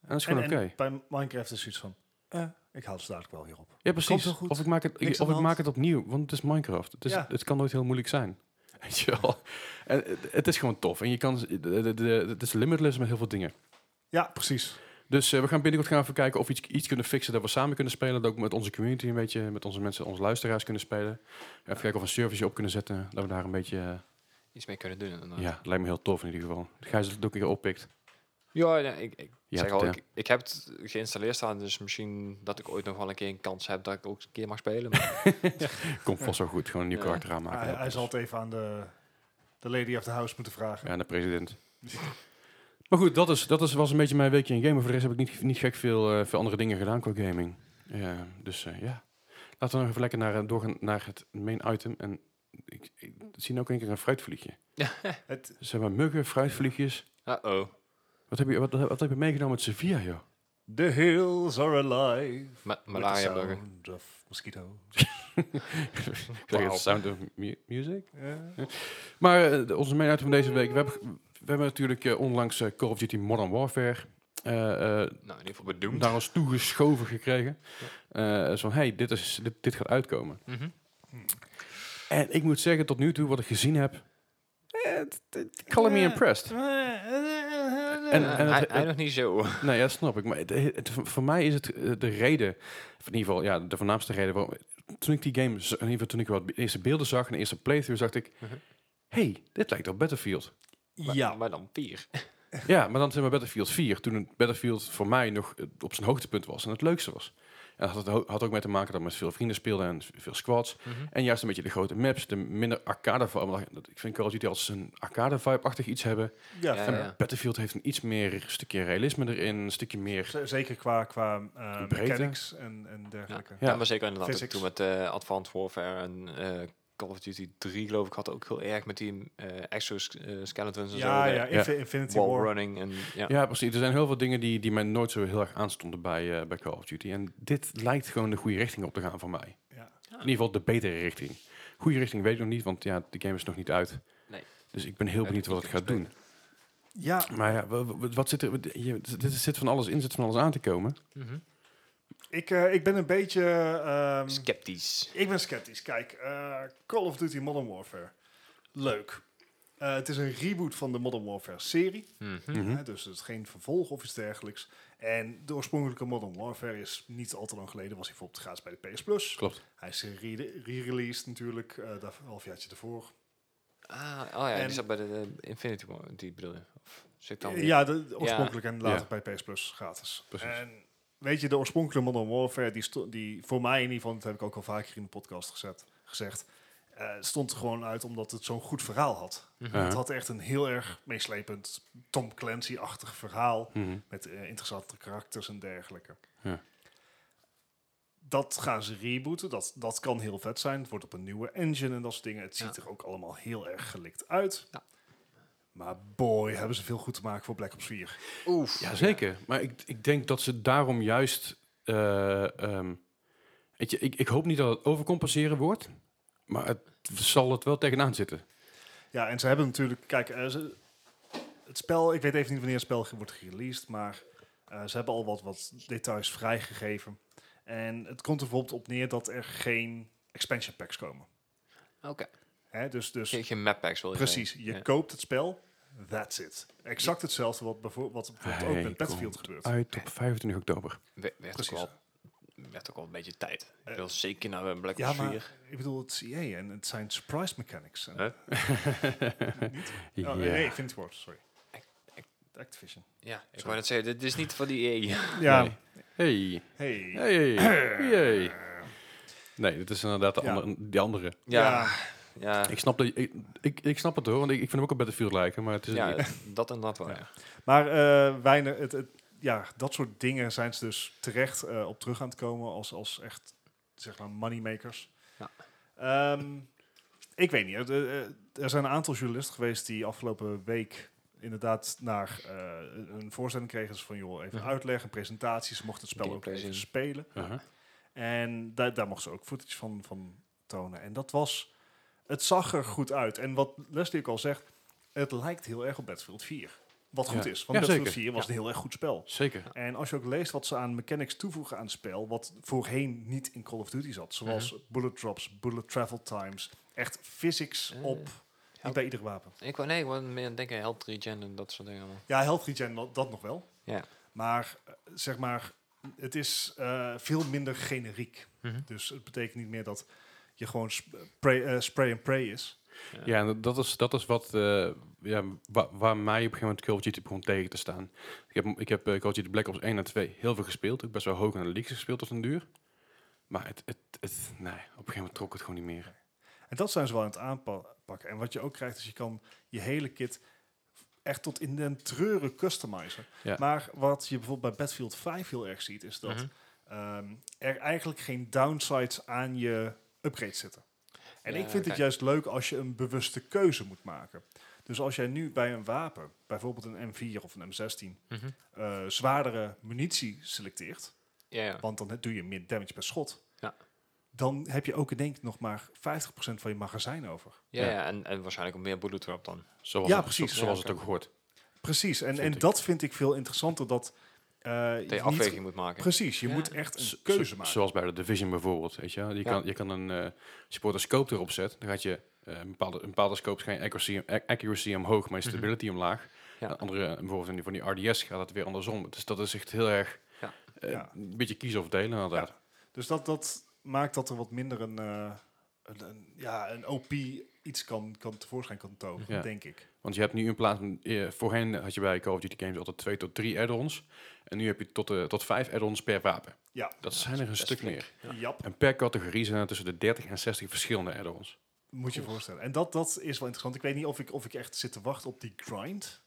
Speaker 1: dat is
Speaker 3: En,
Speaker 1: gewoon oké.
Speaker 3: en bij Minecraft is zoiets van, eh, ik haal ze dadelijk wel weer op.
Speaker 1: Ja,
Speaker 3: Komt
Speaker 1: precies.
Speaker 3: wel goed.
Speaker 1: Of ik maak het,
Speaker 3: Niks aan
Speaker 1: of
Speaker 3: de
Speaker 1: ik maak
Speaker 3: hand.
Speaker 1: het opnieuw, want het is Minecraft. Het, is,
Speaker 3: Ja.
Speaker 1: het kan nooit heel moeilijk zijn. Weet je wel? En het, het is gewoon tof. En je kan, de- de- de- het is limitless met heel veel dingen.
Speaker 3: Ja, precies.
Speaker 1: Dus eh, we gaan binnenkort gaan even kijken of we iets, iets kunnen fixen dat we samen kunnen spelen. Dat ook met onze community een beetje, met onze mensen, onze luisteraars kunnen spelen. Even kijken of we een service op kunnen zetten. Dat we daar een beetje, eh,
Speaker 2: Iets mee kunnen doen eh, inderdaad.
Speaker 1: ja, lijkt me heel tof in ieder geval. Gijs het ook een keer oppikt. eh,
Speaker 2: Ja, nee, ik, ik
Speaker 1: Je
Speaker 2: zeg
Speaker 1: hebt
Speaker 2: al,
Speaker 1: het,
Speaker 2: ik, ik heb het geïnstalleerd staan, dus misschien dat ik ooit nog wel een keer een kans heb dat ik ook een keer mag spelen. Maar
Speaker 1: Komt vast wel goed. Gewoon een nieuw
Speaker 2: Ja.
Speaker 1: karakter aanmaken.
Speaker 3: Hij, hij zal het even aan de, de lady of the house moeten vragen.
Speaker 1: Ja, en de president. maar goed, dat, is, dat is, was een beetje mijn weekje in gamen. Voor de rest heb ik niet, niet gek veel, eh, veel andere dingen gedaan qua gaming. Ja, dus eh, ja. Laten we nog even lekker naar, eh, doorgaan naar het main item. En ik, ik zie nou ook een keer een fruitvliegje.
Speaker 3: Het,
Speaker 1: Ze hebben Dus muggen, fruitvliegjes.
Speaker 2: Uh-oh.
Speaker 1: Wat heb je, wat, wat heb je meegenomen uit Sevilla, joh?
Speaker 3: the hills are alive.
Speaker 2: Ma-
Speaker 3: with the
Speaker 2: malaria burger.
Speaker 3: sound of mosquito.
Speaker 1: Ik zeg het, Sound of mu- Music.
Speaker 3: Ja.
Speaker 1: Maar eh, de- onze main item van deze week. We hebben, we hebben natuurlijk eh, onlangs eh, Call of Duty Modern Warfare. eh, eh,
Speaker 2: Nou, in ieder geval bedoemd.
Speaker 1: daar ons toegeschoven gekregen. Eh zo van, hey, dit, is, dit, dit gaat uitkomen.
Speaker 2: Mhm.
Speaker 1: En ik moet zeggen, tot nu toe, wat ik gezien heb... eh, het- het- Color me
Speaker 3: Eh,
Speaker 1: impressed. En-
Speaker 2: Ja,
Speaker 1: en het-
Speaker 2: Eh, hij,
Speaker 1: het-
Speaker 2: hij nog niet zo. eh,
Speaker 1: Nee, dat Nou snap ik. Maar het, het- voor mij is het eh, de reden... of in ieder geval, ja, de voornaamste reden... Waarom, toen ik die game... z- In ieder geval toen ik wat be- eerste beelden zag... En de eerste playthrough dacht ik...
Speaker 2: Mhm.
Speaker 1: hey, dit lijkt op Battlefield.
Speaker 2: Maar,
Speaker 3: Ja.
Speaker 2: maar dan vier.
Speaker 1: ja, maar dan zijn we Battlefield 4. Toen het Battlefield voor mij nog eh, op zijn hoogtepunt was. En het leukste was. En dat had, het ho- had ook mee te maken dat ik met veel vrienden speelde en veel squads.
Speaker 2: Mhm.
Speaker 1: En juist een beetje de grote maps, de minder arcade vibe. Want dat- Ik vind Call of Duty als een arcade vibe-achtig iets hebben.
Speaker 3: Ja,
Speaker 2: Ja,
Speaker 1: en
Speaker 2: ja.
Speaker 1: Battlefield heeft een iets meer stukje realisme erin, een stukje meer.
Speaker 3: z- zeker qua, qua eh,
Speaker 1: Breedte.
Speaker 3: mechanics en, en dergelijke.
Speaker 1: Ja.
Speaker 2: Ja, maar zeker inderdaad. ook
Speaker 3: Physics.
Speaker 2: Toen met eh, Advanced Warfare en eh, Call of Duty 3 geloof ik had ook heel erg met die eh exoskeletons en
Speaker 3: Ja,
Speaker 2: zo. de
Speaker 3: ja, Infi- Infinity
Speaker 2: wall
Speaker 3: War.
Speaker 2: running en ja.
Speaker 1: Ja. precies. Er zijn heel veel dingen die, die mij nooit zo heel erg aanstonden bij, eh, bij Call of Duty. En dit lijkt gewoon de goede richting op te gaan voor mij.
Speaker 3: Ja.
Speaker 1: In ieder geval de betere richting. Goede richting weet ik nog niet, want ja, de game is nog niet uit.
Speaker 2: Nee.
Speaker 1: Dus ik ben heel
Speaker 2: Ja,
Speaker 1: benieuwd wat het gaat doen.
Speaker 3: Ja,
Speaker 1: Maar ja, wa- wa- wat zit er? wat- je- Dit dit zit van alles in, zit van alles aan te komen.
Speaker 2: Mhm.
Speaker 3: ik, eh, ik ben een beetje... ehm,
Speaker 2: Sceptisch.
Speaker 3: ik ben sceptisch. Kijk, eh, Call of Duty Modern Warfare. Leuk. Eh, het is een reboot van de Modern Warfare serie.
Speaker 2: Mhm.
Speaker 1: Mhm.
Speaker 3: Hè, dus het is geen vervolg of iets dergelijks. En de oorspronkelijke Modern Warfare is niet al te lang geleden, was hij bijvoorbeeld gratis bij de PS Plus.
Speaker 1: Klopt.
Speaker 3: Hij is re- re-released natuurlijk, eh daar een halfjaartje ervoor.
Speaker 2: Ah, oh ja,
Speaker 3: En-
Speaker 2: die zat bij de, eh, Infinity War, die bedoel je? Of zit ik dan weer-
Speaker 3: Eh, Ja, de, de oorspronkelijk en later
Speaker 1: Ja.
Speaker 3: bij PS Plus gratis.
Speaker 1: Precies.
Speaker 3: En weet je, de oorspronkelijke Modern Warfare, die, sto- die voor mij in ieder geval, dat heb ik ook al vaker in de podcast gezet, gezegd, eh, stond er gewoon uit omdat het zo'n goed verhaal had.
Speaker 2: Mhm.
Speaker 1: Ja.
Speaker 3: Het had echt een heel erg meeslepend Tom Clancy-achtig verhaal.
Speaker 1: Mhm.
Speaker 3: Met eh, interessante karakters en dergelijke.
Speaker 1: Ja.
Speaker 3: Dat gaan ze rebooten. Dat, dat kan heel vet zijn. Het wordt op een nieuwe engine en dat soort dingen. Het ziet er ook allemaal heel erg gelikt uit.
Speaker 2: Ja.
Speaker 3: Maar boy, hebben ze veel goed te maken voor Black Ops 4.
Speaker 2: Oef.
Speaker 1: Ja, zeker. Maar ik, ik denk dat ze daarom juist... eh, ehm, weet je, ik, ik hoop niet dat het overcompenseren wordt. Maar het zal het wel tegenaan zitten.
Speaker 3: Ja, en ze hebben natuurlijk... Kijk, eh, ze- het spel... Ik weet even niet wanneer het spel ge- wordt gereleased, maar eh, ze hebben al wat, wat details vrijgegeven. En het komt er bijvoorbeeld op neer dat er geen expansion packs komen.
Speaker 2: Oké.
Speaker 3: Hè, dus, dus
Speaker 2: Geen, geen map packs wil je
Speaker 3: Precies,
Speaker 2: zeggen.
Speaker 3: je
Speaker 2: Ja.
Speaker 3: koopt het spel, that's it. Exact hetzelfde wat, bijvoor- wat bijvoorbeeld ook
Speaker 1: Hij
Speaker 3: met Battlefield gebeurt.
Speaker 1: Uit op 25 oktober.
Speaker 2: We- werd,
Speaker 3: Precies.
Speaker 2: Ook wel, werd ook wel een beetje tijd.
Speaker 3: Eh,
Speaker 2: Ik wil zeker naar een Black
Speaker 3: Ja,
Speaker 2: Ops
Speaker 3: maar
Speaker 2: 4.
Speaker 3: ik bedoel, het is EA en het zijn surprise mechanics. En,
Speaker 2: Hè?
Speaker 1: Ja.
Speaker 3: oh, nee, Infinity Ward, sorry. Activision.
Speaker 2: Ja, ik wou net zeggen, dit is niet van die E. EA.
Speaker 3: Ja,
Speaker 1: Nee. Hey.
Speaker 3: hey.
Speaker 1: Hey. Yay. Nee, dit is inderdaad de
Speaker 3: Ja.
Speaker 1: andere, die andere.
Speaker 2: Ja, ja,
Speaker 1: Ik snap, dat, ik, ik, ik snap het hoor, want ik, ik vind hem ook op Battlefield lijken. Maar het is
Speaker 2: ja,
Speaker 1: ja.
Speaker 2: dat en dat wel.
Speaker 3: Ja.
Speaker 2: ja.
Speaker 3: Maar eh, weinig, het, het- ja, dat soort dingen zijn ze dus terecht eh, op terug aan het komen als, als echt, zeg maar, moneymakers.
Speaker 2: Ja.
Speaker 3: Ehm, ik weet niet. eh, de- eh, er zijn een aantal journalisten geweest die afgelopen week inderdaad naar eh, een voorstelling kregen. Dus van, joh, even
Speaker 2: Mhm.
Speaker 3: uitleggen, presentaties. Ze mochten het spel ook
Speaker 2: Gameplay
Speaker 3: even
Speaker 2: zien.
Speaker 3: spelen.
Speaker 1: Uh-huh.
Speaker 3: En daar daar mochten ze ook footage van, van tonen. En dat was... Het zag er goed uit. En wat Leslie ook al zegt, het lijkt heel erg op Battlefield 4. Wat goed
Speaker 1: Ja.
Speaker 3: is,
Speaker 1: Ja,
Speaker 3: want Battlefield
Speaker 1: zeker.
Speaker 3: 4 was een heel erg goed spel.
Speaker 1: Zeker.
Speaker 3: En als je ook leest wat ze aan mechanics toevoegen aan het spel, wat voorheen niet in Call of Duty zat, zoals
Speaker 1: Mhm.
Speaker 3: bullet drops, bullet travel times, echt physics
Speaker 2: Eh,
Speaker 3: op niet bij ieder wapen.
Speaker 2: Ik wou, nee, ik wou meer aan het denken, help regen en dat soort dingen allemaal.
Speaker 3: Ja, health regen, dat, dat nog wel.
Speaker 2: Ja.
Speaker 3: Maar eh, zeg maar, het is eh, veel minder generiek. Dus het betekent niet meer dat je gewoon sp- pray- eh, spray and pray is.
Speaker 1: Ja, en dat is, dat is wat, eh, ja, wa- waar mij op een gegeven moment Call of Duty begon tegen te staan. Ik heb, ik heb eh, Call of Duty Black Ops 1 en 2 heel veel gespeeld. Ook best wel hoog in de leagues gespeeld als een duur. Maar het, het, het, nee, op een gegeven moment trok het gewoon niet meer.
Speaker 3: En dat zijn ze wel aan het aanpakken. En wat je ook krijgt is je kan je hele kit echt tot in den treuren customizen.
Speaker 1: Ja.
Speaker 3: Maar wat je bijvoorbeeld bij Battlefield 5 heel erg ziet, is dat
Speaker 2: Mhm.
Speaker 3: ehm, er eigenlijk geen downsides aan je upgrades zitten. En
Speaker 2: Ja,
Speaker 3: ik vind het
Speaker 2: oké.
Speaker 3: juist leuk als je een bewuste keuze moet maken. Dus als jij nu bij een wapen, bijvoorbeeld een M4 of een M16,
Speaker 2: Mhm.
Speaker 3: eh, zwaardere munitie selecteert,
Speaker 2: Ja, ja.
Speaker 3: want dan doe je meer damage per schot,
Speaker 2: Ja.
Speaker 3: dan heb je ook in denk ik nog maar 50% van je magazijn over.
Speaker 2: ja,
Speaker 1: Ja.
Speaker 2: ja, En, en waarschijnlijk ook meer bullet drop dan.
Speaker 1: Zoals
Speaker 3: Ja,
Speaker 1: het,
Speaker 3: precies.
Speaker 1: Zoals
Speaker 2: Ja,
Speaker 1: het ook hoort.
Speaker 3: Precies, en,
Speaker 1: Vind
Speaker 3: en
Speaker 1: ik.
Speaker 3: dat vind ik veel interessanter. Dat, eh,
Speaker 2: Dat je
Speaker 3: niet-
Speaker 2: afweging moet maken.
Speaker 3: Precies, je
Speaker 2: Ja.
Speaker 3: moet echt
Speaker 1: Zo-
Speaker 3: een keuze
Speaker 1: zo-
Speaker 3: maken.
Speaker 1: Zoals bij de Division bijvoorbeeld. Weet je? wel. Je,
Speaker 2: Ja.
Speaker 1: kan, je kan een eh, als je bijvoorbeeld een scope erop zetten. Dan gaat je eh, een bepaalde, een bepaalde scope schijnt accuracy, ac- accuracy omhoog, maar je
Speaker 2: Mhm.
Speaker 1: stability omlaag.
Speaker 2: Ja.
Speaker 1: En Andere, eh, bijvoorbeeld in die, van die RDS gaat het weer andersom. Dus dat is echt heel erg
Speaker 2: Ja.
Speaker 1: eh,
Speaker 3: Ja.
Speaker 1: een beetje kiezen of delen inderdaad.
Speaker 3: Dus dat, dat maakt dat er wat minder een, eh, een, een- ja, een OP iets kan, kan tevoorschijn kan toveren,
Speaker 1: Ja.
Speaker 3: denk ik.
Speaker 1: Want je hebt nu in plaats van, eh, voorheen had je bij Call of Duty games altijd twee tot drie add-ons. En nu heb je tot, eh, tot vijf add-ons per wapen.
Speaker 3: Ja,
Speaker 1: Dat zijn er een
Speaker 2: best
Speaker 1: stuk
Speaker 2: flink.
Speaker 1: meer.
Speaker 2: Ja.
Speaker 3: jap,
Speaker 1: En per categorie zijn er tussen de 30 en 60 verschillende add-ons.
Speaker 3: moet je je voorstellen. En dat, dat is wel interessant. Ik weet niet of ik, of ik echt zit te wachten op die grind,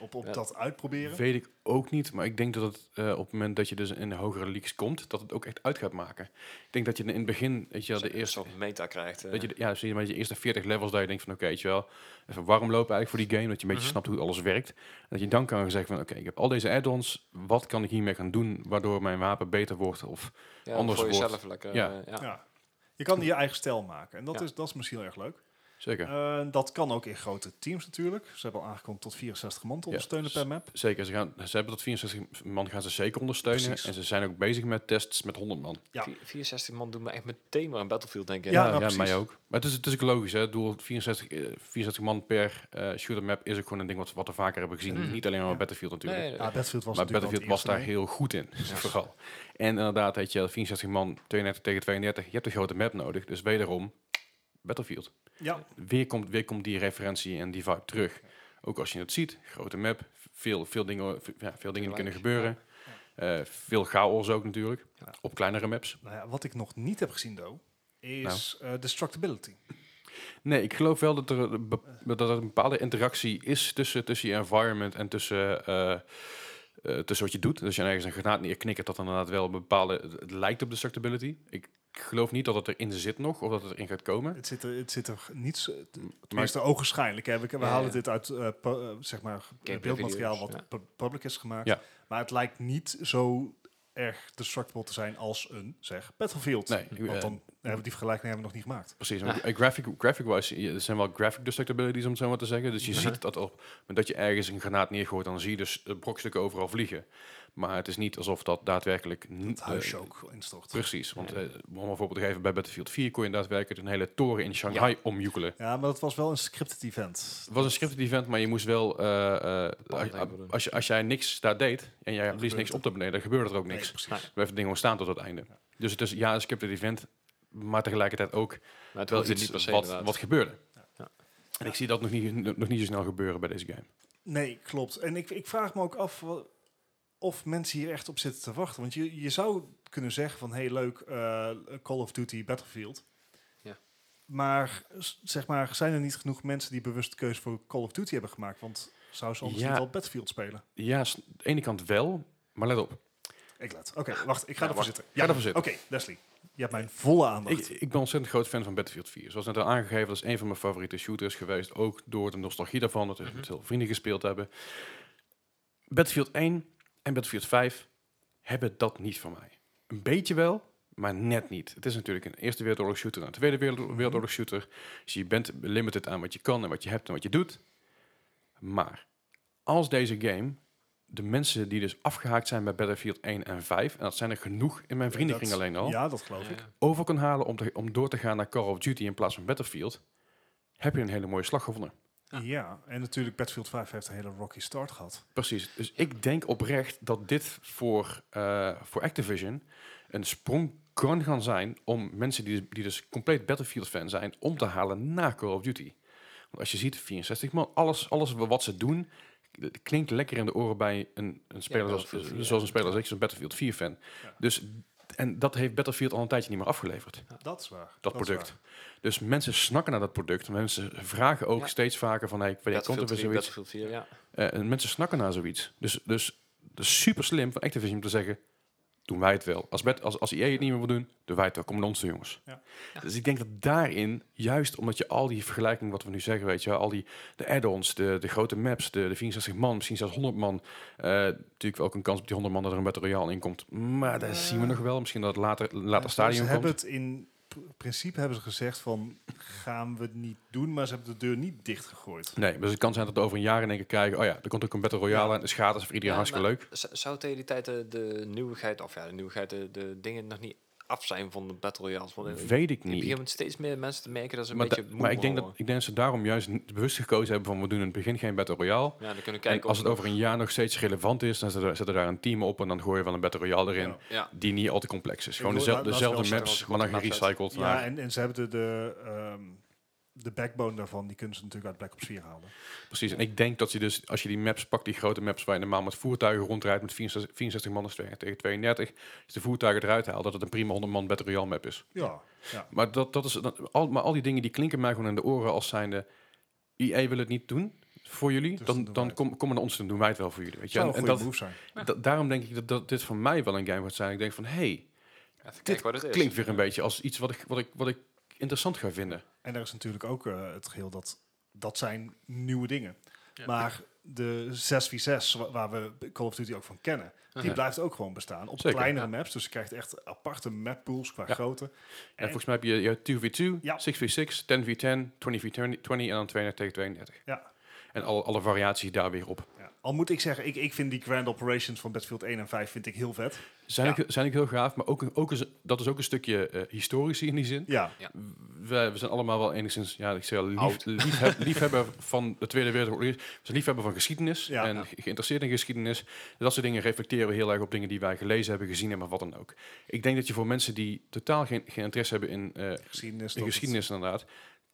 Speaker 3: op, op
Speaker 2: Ja.
Speaker 3: dat uitproberen.
Speaker 1: Weet ik ook niet, maar ik denk dat het eh, op het moment dat je dus in de hogere leagues komt, dat het ook echt uit gaat maken. Ik denk dat je in het begin, weet je wel, de
Speaker 2: Een
Speaker 1: eerste...
Speaker 2: soort meta krijgt. eh.
Speaker 1: Dat je, de- ja, zie je, met je eerste 40 levels dat je denkt van oké, weet je wel, even warm lopen eigenlijk voor die game, dat je een beetje
Speaker 2: Mhm.
Speaker 1: snapt hoe alles werkt. En dat je dan kan zeggen van oké, ik heb al deze add-ons, wat kan ik hiermee gaan doen waardoor mijn wapen beter wordt of
Speaker 2: ja,
Speaker 1: anders
Speaker 2: voor
Speaker 1: wordt.
Speaker 2: jezelf lekker.
Speaker 1: Ja.
Speaker 2: eh, ja.
Speaker 3: Ja. Je kan je eigen stijl maken. En dat,
Speaker 2: Ja.
Speaker 3: is, dat is misschien heel erg leuk.
Speaker 1: Zeker.
Speaker 3: Eh, dat kan ook in grote teams natuurlijk. Ze hebben al aangekondigd tot 64 man te
Speaker 1: Ja,
Speaker 3: ondersteunen
Speaker 1: s-
Speaker 3: per map.
Speaker 1: Zeker, ze, gaan, ze hebben tot 64 man gaan ze zeker ondersteunen.
Speaker 3: Precies.
Speaker 1: En ze zijn ook bezig met tests met 100 man.
Speaker 3: Ja.
Speaker 2: Vier- 64 man doen me echt meteen maar een Battlefield, denk ik.
Speaker 3: Ja, nou, precies.
Speaker 1: mij ook. Maar het is, het is ook logisch, hè. Ik bedoel, 64, eh, 64 man per eh, shooter map is ook gewoon een ding wat, wat we vaker hebben gezien.
Speaker 2: Mhm.
Speaker 1: Niet alleen maar
Speaker 3: Mm. Ja.
Speaker 1: Battlefield natuurlijk.
Speaker 2: Nee,
Speaker 3: Ja, Ah, Battlefield was
Speaker 1: maar
Speaker 3: natuurlijk
Speaker 1: Battlefield
Speaker 3: wel
Speaker 1: was
Speaker 3: het
Speaker 1: daar
Speaker 3: eerste,
Speaker 1: heel goed in, vooral. En inderdaad, weet je, 64 man, 32 tegen 32, je hebt een grote map nodig. Dus wederom, Battlefield.
Speaker 3: hè? Ja,
Speaker 1: Weer komt, weer komt die referentie en die vibe terug. Ook als je het ziet, grote map, veel, veel dingen, v- ja, veel dingen die kunnen gebeuren. Eh, veel chaos ook natuurlijk,
Speaker 3: Ja.
Speaker 1: op kleinere maps.
Speaker 3: Nou ja, wat ik nog niet heb gezien, though, is eh, destructibility.
Speaker 1: Nee, ik geloof wel dat er, een be- dat er een bepaalde interactie is tussen, tussen je environment en tussen, eh, eh, tussen wat je doet. Dus als je ergens een granaat neerknikkert, dat dan inderdaad wel een bepaalde... Het, het lijkt op destructibility. Ik geloof niet dat het erin zit nog, of dat het erin gaat komen.
Speaker 3: Het zit er, het zit er niet zo... t- Tenminste, ogenschijnlijk. Hè. We, we
Speaker 2: Ja,
Speaker 3: halen
Speaker 2: ja.
Speaker 3: dit uit eh, pu- eh, zeg maar,
Speaker 2: Gameplay
Speaker 3: beeldmateriaal wat
Speaker 2: video's,
Speaker 3: pu- public is gemaakt.
Speaker 1: Ja.
Speaker 3: Maar het lijkt niet zo erg destructible te zijn als een, zeg, Battlefield.
Speaker 1: Nee, ik- eh,
Speaker 3: Want dan hebben we die vergelijking hebben we nog niet gemaakt.
Speaker 1: Precies, maar eh, graphic, graphic-wise eh, er zijn wel graphic destructibilities, om het zo maar te zeggen. Dus je ziet dat op het moment dat je ergens een granaat neergooit, dan zie je dus eh, brokstukken overal vliegen. Maar het is niet alsof dat daadwerkelijk... n-
Speaker 3: Het huisje
Speaker 1: eh,
Speaker 3: ook instort.
Speaker 1: Precies, want eh, om een voorbeeld te geven, bij Battlefield 4 kon je daadwerkelijk een hele toren in Shanghai omjoekelen.
Speaker 3: Ja, maar dat was wel een scripted event.
Speaker 1: Het was een scripted event, maar je moest wel... eh, eh, als,
Speaker 2: denk ik.
Speaker 1: als, je, als jij niks daar deed en jij blies
Speaker 3: gebeurt
Speaker 1: niks
Speaker 3: het.
Speaker 1: op te beneden, dan gebeurde er ook
Speaker 3: Nee,
Speaker 1: niks.
Speaker 3: precies.
Speaker 1: We hebben het ding gewoon staan tot het einde. Dus het is ja, een scripted event, maar tegelijkertijd ook
Speaker 2: Maar het
Speaker 1: wel
Speaker 2: hoeft er
Speaker 1: iets
Speaker 2: niet per se,
Speaker 1: wat,
Speaker 2: inderdaad.
Speaker 1: wat gebeurde.
Speaker 2: Ja.
Speaker 1: En ik zie dat nog niet, nog niet zo snel gebeuren bij deze game.
Speaker 3: Nee, klopt. En ik, ik vraag me ook af wa- of mensen hier echt op zitten te wachten. Want je, je zou kunnen zeggen van, hey leuk, eh, Call of Duty Battlefield.
Speaker 2: Ja.
Speaker 3: Maar s- zeg maar, zijn er niet genoeg mensen die bewust keuze voor Call of Duty hebben gemaakt? Want zou ze anders
Speaker 1: Ja.
Speaker 3: niet wel Battlefield spelen?
Speaker 1: Ja, s- aan de ene kant wel, maar let op. Ga
Speaker 3: Ik laat. Oké, wacht, ik ga
Speaker 2: Ja,
Speaker 3: ervoor
Speaker 2: wacht.
Speaker 3: zitten.
Speaker 1: ja,
Speaker 3: Ja,
Speaker 1: ervoor
Speaker 3: Oké,
Speaker 1: zitten.
Speaker 3: Leslie, je hebt mijn volle aandacht.
Speaker 1: Ik, ik ben ontzettend groot fan van Battlefield 4. Zoals net al aangegeven, dat is een van mijn favoriete shooters geweest. Ook door de nostalgie daarvan, dat we
Speaker 3: Mhm.
Speaker 1: met veel vrienden gespeeld hebben. Battlefield 1 en Battlefield 5 hebben dat niet van mij. Een beetje wel, maar net niet. Het is natuurlijk een Eerste Wereldoorlog shooter en een Tweede
Speaker 3: Mhm.
Speaker 1: Wereldoorlog wereldoorlog shooter. Dus je bent limited aan wat je kan en wat je hebt en wat je doet. Maar als deze game de mensen die dus afgehaakt zijn bij Battlefield 1 en 5, en dat zijn er genoeg in mijn vriendenkring
Speaker 3: Dat-
Speaker 1: alleen al
Speaker 3: Ja, dat geloof
Speaker 2: Ja,
Speaker 3: ik.
Speaker 2: ja.
Speaker 1: over kan halen om, te- om door te gaan naar Call of Duty in plaats van Battlefield, heb je een hele mooie slag gewonnen.
Speaker 3: Ja. en natuurlijk Battlefield 5 heeft een hele rocky start gehad.
Speaker 1: Precies. Dus ik denk oprecht dat dit voor, eh, voor Activision een sprong kan gaan zijn om mensen die, die dus compleet Battlefield fan zijn, om te halen naar Call of Duty. Want als je ziet, 64 man, alles, alles wat ze doen, het klinkt lekker in de oren bij een, een speler zoals,
Speaker 2: Battlefield vier,
Speaker 1: zoals een speler als ik, zo'n Battlefield 4 fan.
Speaker 3: Ja.
Speaker 1: Dus, en dat heeft Battlefield al een tijdje niet meer afgeleverd
Speaker 3: Dat is waar.
Speaker 1: dat
Speaker 3: is
Speaker 1: product. Dus mensen snakken naar dat product. Mensen vragen ook
Speaker 2: Ja.
Speaker 1: steeds vaker van, hey, wanneer komt er weer zoiets?
Speaker 2: Battlefield 4, ja.
Speaker 1: Eh, en mensen snakken naar zoiets. Dus, dus, dus super slim van Activision om te zeggen, doen wij het wel. Als, bet, als, als EA het niet meer wil doen, doen wij het wel. Kom naar ons toe, jongens.
Speaker 3: Ja.
Speaker 1: Dus ik denk dat daarin, juist omdat je al die vergelijkingen wat we nu zeggen, weet je wel, al die de add-ons, de, de grote maps, de, de 64 man, misschien zelfs 100 man. eh, natuurlijk ook een kans op die 100 man dat er een Battle Royale in komt. Maar dat zien we nog wel. Misschien dat het later, later
Speaker 3: Ja,
Speaker 1: stadium
Speaker 3: Ze
Speaker 1: komt.
Speaker 3: hebben het in pr- principe hebben ze gezegd van gaan we het niet doen, maar ze hebben de deur niet dichtgegooid.
Speaker 1: Nee, dus het kan zijn dat we over een jaar in één keer krijgen... oh ja, er komt ook een Battle Royale en de schade is voor iedereen
Speaker 2: Ja,
Speaker 1: hartstikke
Speaker 2: maar
Speaker 1: leuk.
Speaker 2: z- Zou tegen die tijd de, de nieuwigheid, of ja, de nieuwigheid, de, de dingen nog niet af zijn van de Battle Royales? Want ik
Speaker 1: Weet ik
Speaker 2: ik
Speaker 1: niet.
Speaker 2: begin met steeds meer mensen te merken dat ze een
Speaker 1: Maar,
Speaker 2: beetje
Speaker 1: da-
Speaker 2: moe
Speaker 1: maar ik, denk dat,
Speaker 2: worden.
Speaker 1: ik denk dat ze daarom juist n- bewust gekozen hebben van... we doen in het begin geen Battle Royale.
Speaker 2: Ja, dan kunnen we
Speaker 1: En
Speaker 2: kijken
Speaker 1: als
Speaker 2: of-
Speaker 1: het over een jaar nog steeds relevant is... dan zetten zetten daar een team op en dan gooien we wel een Battle Royale erin...
Speaker 3: Ja.
Speaker 2: Ja,
Speaker 1: die niet al te complex is. Gewoon
Speaker 3: wil-
Speaker 1: dezelfde,
Speaker 3: laat- laat
Speaker 1: dezelfde
Speaker 3: wel
Speaker 1: maps,
Speaker 2: zeggen,
Speaker 1: maar dan
Speaker 2: als ik wat
Speaker 1: gerecycled.
Speaker 3: Ja,
Speaker 1: naar-
Speaker 3: en, en ze hebben de, de, ehm, de backbone daarvan, die kunnen ze natuurlijk uit Black Ops 4 halen.
Speaker 1: Precies, en ik denk dat je dus, als je die maps pakt, die grote maps waar je normaal met voertuigen rondrijdt met 64, 64 man is tegen- tegen 32, als je de voertuigen eruit haalt, dat het een prima 100 man Battle Royale map is.
Speaker 3: Ja, ja.
Speaker 1: Maar, dat, dat is, dat, al, maar al die dingen die klinken mij gewoon in de oren als zijnde... EA wil het niet doen voor jullie,
Speaker 3: Dus dan
Speaker 1: dan,
Speaker 3: doen wij
Speaker 1: dan
Speaker 3: het.
Speaker 1: kom, kom maar naar ons, dan doen wij het wel voor jullie. Weet je?
Speaker 3: zou
Speaker 1: En,
Speaker 3: een
Speaker 1: en
Speaker 3: goede
Speaker 1: dat,
Speaker 3: move zijn.
Speaker 1: da- daarom denk ik dat, dat dit voor mij wel een game wordt zijn. Ik denk van, hey,
Speaker 2: even
Speaker 1: dit
Speaker 2: kijken wat het is.
Speaker 1: klinkt weer een beetje als iets wat ik, wat ik, wat ik interessant ga vinden.
Speaker 3: En er is natuurlijk ook eh, het geheel dat dat zijn nieuwe dingen. Maar de 6v6, wa- waar we Call of Duty ook van kennen, die
Speaker 1: Ja.
Speaker 3: blijft ook gewoon bestaan. Op
Speaker 1: Zeker,
Speaker 3: kleinere
Speaker 2: ja.
Speaker 3: maps, dus je krijgt echt aparte mappools qua
Speaker 1: Ja.
Speaker 3: grootte.
Speaker 1: En volgens mij heb je, je 2v2,
Speaker 3: Ja.
Speaker 1: 6v6, 10v10, 20v20 20 en dan 32 tegen 32.
Speaker 3: Ja.
Speaker 1: En al, alle variaties daar weer op.
Speaker 3: Ja. Al moet ik zeggen, ik, ik vind die Grand Operations van Battlefield 1 en 5 vind ik heel vet.
Speaker 1: Zijn,
Speaker 3: Ja.
Speaker 1: ook, zijn ook heel gaaf, maar ook, ook is, dat is ook een stukje eh, historisch in die zin.
Speaker 3: Ja,
Speaker 1: we, we zijn allemaal wel enigszins, ja, ik zeg al, lief,
Speaker 2: Oud.
Speaker 1: liefheb- liefhebber van de Tweede Wereldoorlog. We zijn liefhebber van geschiedenis
Speaker 3: Ja.
Speaker 1: en
Speaker 2: Ja.
Speaker 1: ge- geïnteresseerd in geschiedenis. Dat soort dingen reflecteren we heel erg op dingen die wij gelezen hebben, gezien hebben, wat dan ook. Ik denk dat je voor mensen die totaal geen, geen interesse hebben in, eh,
Speaker 3: geschiedenis.
Speaker 1: in
Speaker 3: dat-
Speaker 1: geschiedenis inderdaad,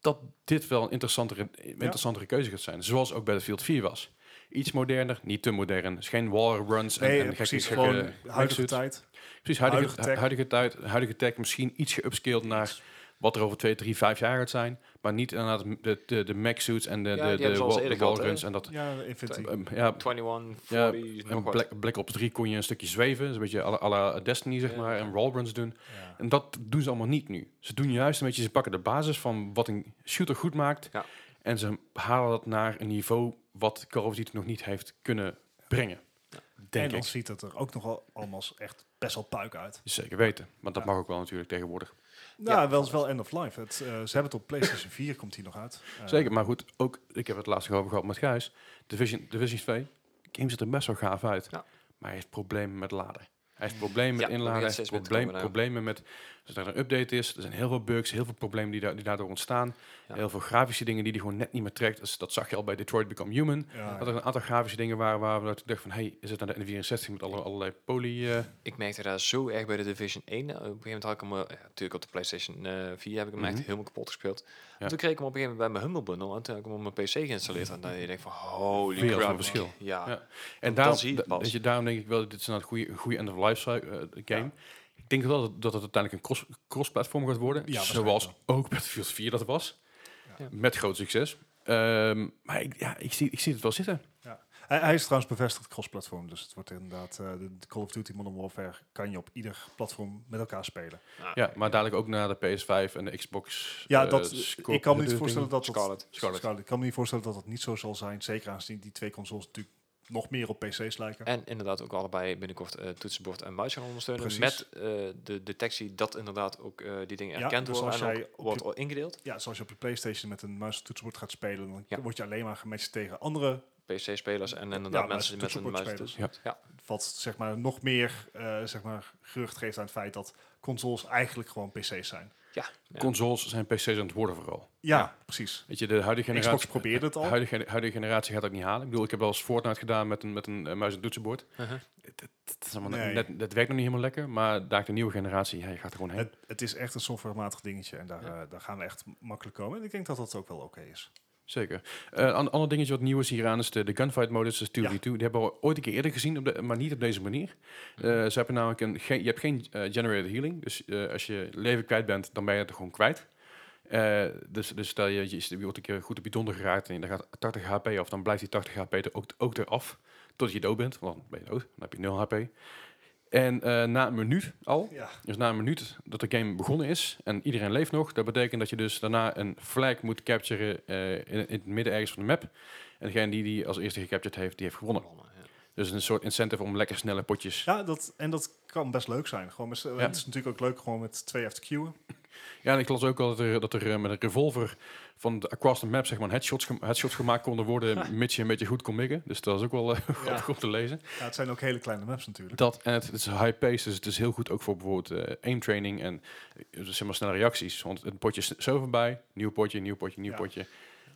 Speaker 1: dat dit wel een interessantere, interessantere keuze gaat zijn. Zoals ook Battlefield 4 was. Iets moderner, niet te modern. Dus geen wall runs en,
Speaker 3: Nee,
Speaker 1: en
Speaker 3: precies,
Speaker 1: gekke-
Speaker 3: gewoon
Speaker 1: gekke
Speaker 3: huidige
Speaker 1: wingsuits.
Speaker 3: tijd.
Speaker 1: Precies, huidige,
Speaker 3: Huidige tech.
Speaker 1: huidige, tijd, huidige tech misschien iets geupscaled naar wat er over twee, drie, vijf jaar gaat zijn. Maar niet inderdaad de, de, de Mac suits en de,
Speaker 2: Ja,
Speaker 1: de,
Speaker 2: die
Speaker 1: de,
Speaker 2: hebben ze
Speaker 1: wall-
Speaker 2: al eens
Speaker 1: de
Speaker 2: eerder gehad, hè?
Speaker 1: wallruns en dat.
Speaker 3: Ja, Infinity.
Speaker 1: ehm, ja,
Speaker 2: 21,
Speaker 1: Ja,
Speaker 2: 40,
Speaker 1: en
Speaker 2: nog wat.
Speaker 1: Black, Black Ops 3 kon je een stukje zweven. Dus een beetje à la, à la Destiny, zeg
Speaker 2: Ja.
Speaker 1: maar. En wallruns doen.
Speaker 3: Ja.
Speaker 1: En dat doen ze allemaal niet nu. Ze doen juist een beetje, ze pakken de basis van wat een shooter goed maakt.
Speaker 2: Ja.
Speaker 1: En ze halen dat naar een niveau wat Call of Duty nog niet heeft kunnen brengen.
Speaker 3: En
Speaker 1: Denk
Speaker 3: dan
Speaker 1: ik.
Speaker 3: ziet het er ook nogal allemaal echt best wel puik uit.
Speaker 1: Zeker weten. Want dat
Speaker 3: Ja.
Speaker 1: mag ook wel natuurlijk tegenwoordig.
Speaker 3: Nou, wel is wel end of life. Het, eh, ze hebben het op PlayStation 4, komt die nog uit. Eh,
Speaker 1: Zeker, maar goed, ook, ik heb het laatst nog over gehad met Gijs. Division, Division 2, de game ziet er best wel gaaf uit.
Speaker 2: Ja.
Speaker 1: Maar hij heeft problemen met laden. Hij heeft problemen met
Speaker 2: Ja,
Speaker 1: inladen,
Speaker 2: dat
Speaker 1: hij
Speaker 2: gaat
Speaker 1: heeft
Speaker 2: steeds meer
Speaker 1: probleem-
Speaker 2: komen, ja.
Speaker 1: problemen met... Als er een update is, er zijn heel veel bugs, heel veel problemen die, daar die daardoor ontstaan.
Speaker 2: Ja.
Speaker 1: Heel veel grafische dingen die hij gewoon net niet meer trekt. Dus dat zag je al bij Detroit Become Human.
Speaker 3: Ja,
Speaker 1: Dat er een aantal grafische dingen waren waar we dachten van... hey, is het nou de N64 met alle, allerlei poly... eh,
Speaker 2: Ik merkte daar zo erg bij de Division 1. Eh, Op een gegeven moment had ik hem, eh, ja, natuurlijk op de PlayStation eh 4 heb ik hem
Speaker 1: Mhm.
Speaker 2: echt helemaal kapot gespeeld.
Speaker 1: Ja.
Speaker 2: En toen kreeg ik hem op een gegeven moment bij mijn Humble Bundle en toen heb ik hem op mijn PC geïnstalleerd. En dan denk ik van, holy
Speaker 1: Wereld
Speaker 2: crap.
Speaker 1: van verschil.
Speaker 2: Ja,
Speaker 1: Ja.
Speaker 2: ja.
Speaker 1: En
Speaker 2: Dan
Speaker 1: daarom,
Speaker 2: zie je het
Speaker 1: da-
Speaker 2: pas.
Speaker 1: weet je, daarom denk ik wel, dat dit is een goede, goede end-of-life eh, game. Ik denk wel dat, dat het uiteindelijk een cross- cross-platform gaat worden.
Speaker 3: Ja, waarschijnlijk
Speaker 1: zoals ook Battlefield 4 dat was.
Speaker 3: Ja.
Speaker 1: Met groot succes. Ehm, maar ik, ja, ik, zie, ik zie het wel zitten.
Speaker 3: Hij, hij is trouwens bevestigd cross-platform, dus het wordt inderdaad... eh, de, de Call of Duty Modern Warfare kan je op ieder platform met elkaar spelen.
Speaker 1: Ja, maar dadelijk ook naar de PS5 en de Xbox.
Speaker 3: Ja,
Speaker 1: eh,
Speaker 3: dat,
Speaker 1: Scorp-
Speaker 3: ik
Speaker 1: dat
Speaker 3: kan me niet
Speaker 1: ding.
Speaker 3: voorstellen dat... dat-
Speaker 2: Scarlet.
Speaker 1: Scarlet.
Speaker 3: Scarlet. Ik kan me niet voorstellen dat dat niet zo zal zijn. Zeker aangezien die twee consoles natuurlijk nog meer op PC's lijken.
Speaker 2: En inderdaad ook allebei binnenkort eh, toetsenbord en muis gaan ondersteunen.
Speaker 3: Precies.
Speaker 2: Met eh, de detectie dat inderdaad ook eh, die dingen
Speaker 3: Ja,
Speaker 2: erkend
Speaker 3: dus
Speaker 2: worden
Speaker 3: als
Speaker 2: en
Speaker 3: jij
Speaker 2: ook
Speaker 3: op
Speaker 2: wordt
Speaker 3: je-
Speaker 2: al ingedeeld.
Speaker 3: Ja, zoals je op je PlayStation met een muis en toetsenbord gaat spelen, dan
Speaker 2: Ja.
Speaker 3: word je alleen maar gematcht tegen andere
Speaker 2: PC-spelers en inderdaad
Speaker 3: Ja,
Speaker 2: mensen die
Speaker 3: muis-
Speaker 2: met een muis...
Speaker 3: toetsenbordspelers.
Speaker 2: toetsen- Ja.
Speaker 3: Wat zeg maar nog meer eh, zeg maar, gerucht geeft aan het feit dat consoles eigenlijk gewoon PC's zijn.
Speaker 2: Ja. ja.
Speaker 1: Consoles zijn PC's aan het worden vooral.
Speaker 3: Ja,
Speaker 2: Ja.
Speaker 3: precies.
Speaker 1: Weet je, de huidige generatie...
Speaker 3: Xbox probeerde het
Speaker 1: de
Speaker 3: al.
Speaker 1: huidige, huidige generatie gaat dat niet halen. Ik bedoel, ik heb wel eens Fortnite gedaan met een, met een eh, muis en toetsenbord.
Speaker 2: Uh-huh.
Speaker 1: Dat, is allemaal
Speaker 3: Nee.
Speaker 1: net, dat werkt nog niet helemaal lekker. Maar daar de nieuwe generatie, ja, je gaat er gewoon heen.
Speaker 3: Het, het is echt een softwarematig dingetje en daar,
Speaker 2: Ja.
Speaker 3: eh, daar gaan we echt makkelijk komen. En ik denk dat dat ook wel oké is.
Speaker 1: Zeker. Eh, Een ander dingetje wat nieuw is hieraan is de, de gunfight modus, dus 2v2. Die hebben we ooit een keer eerder gezien, op de, maar niet op deze manier. Eh, ze hebben namelijk een, geen, je hebt geen eh, generated healing, dus eh, als je leven kwijt bent, dan ben je het gewoon kwijt. Eh, dus, dus stel je, je, je wordt een keer goed op je donder geraakt en dan gaat 80 HP af, dan blijft die 80 HP er ook, ook eraf, tot je dood bent, want dan ben je dood, dan heb je 0 HP. En eh, na een minuut al,
Speaker 3: Ja.
Speaker 1: dus na een minuut dat de game begonnen is en iedereen leeft nog, dat betekent dat je dus daarna een flag moet capturen eh, in, in het midden ergens van de map. En degene die die als eerste gecaptured heeft, die heeft gewonnen.
Speaker 2: Ja.
Speaker 1: Dus een soort incentive om lekker snelle potjes.
Speaker 3: Ja, dat, en dat kan best leuk zijn. Gewoon met, Het is natuurlijk ook leuk gewoon met twee af te queuen.
Speaker 1: Ja, en ik las ook al dat er, dat er eh, met een revolver van de, across the map zeg maar, een headshots, gem- headshots gemaakt konden worden, mits je een beetje goed kon mikken. Dus dat is ook wel eh, grappig om te lezen.
Speaker 3: Ja, het zijn ook hele kleine maps natuurlijk.
Speaker 1: Dat, en het, het is high-paced, dus het is heel goed ook voor bijvoorbeeld eh, aim training en eh, zeg maar snelle reacties. Want het potje is zo voorbij, nieuw potje, nieuw potje, nieuw
Speaker 3: Ja.
Speaker 1: potje.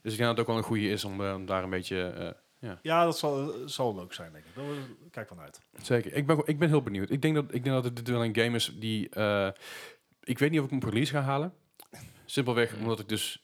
Speaker 1: Dus ik denk dat het ook wel een goede is om, eh, om daar een beetje... eh,
Speaker 3: Ja, dat zal, zal leuk zijn, denk ik. Daar kijk van uit.
Speaker 1: zeker, ik ben, ik ben heel benieuwd. Ik denk, dat, ik denk dat dit wel een game is die... eh, ik weet niet of ik hem op release ga halen.
Speaker 3: Hmm.
Speaker 1: Simpelweg omdat ik dus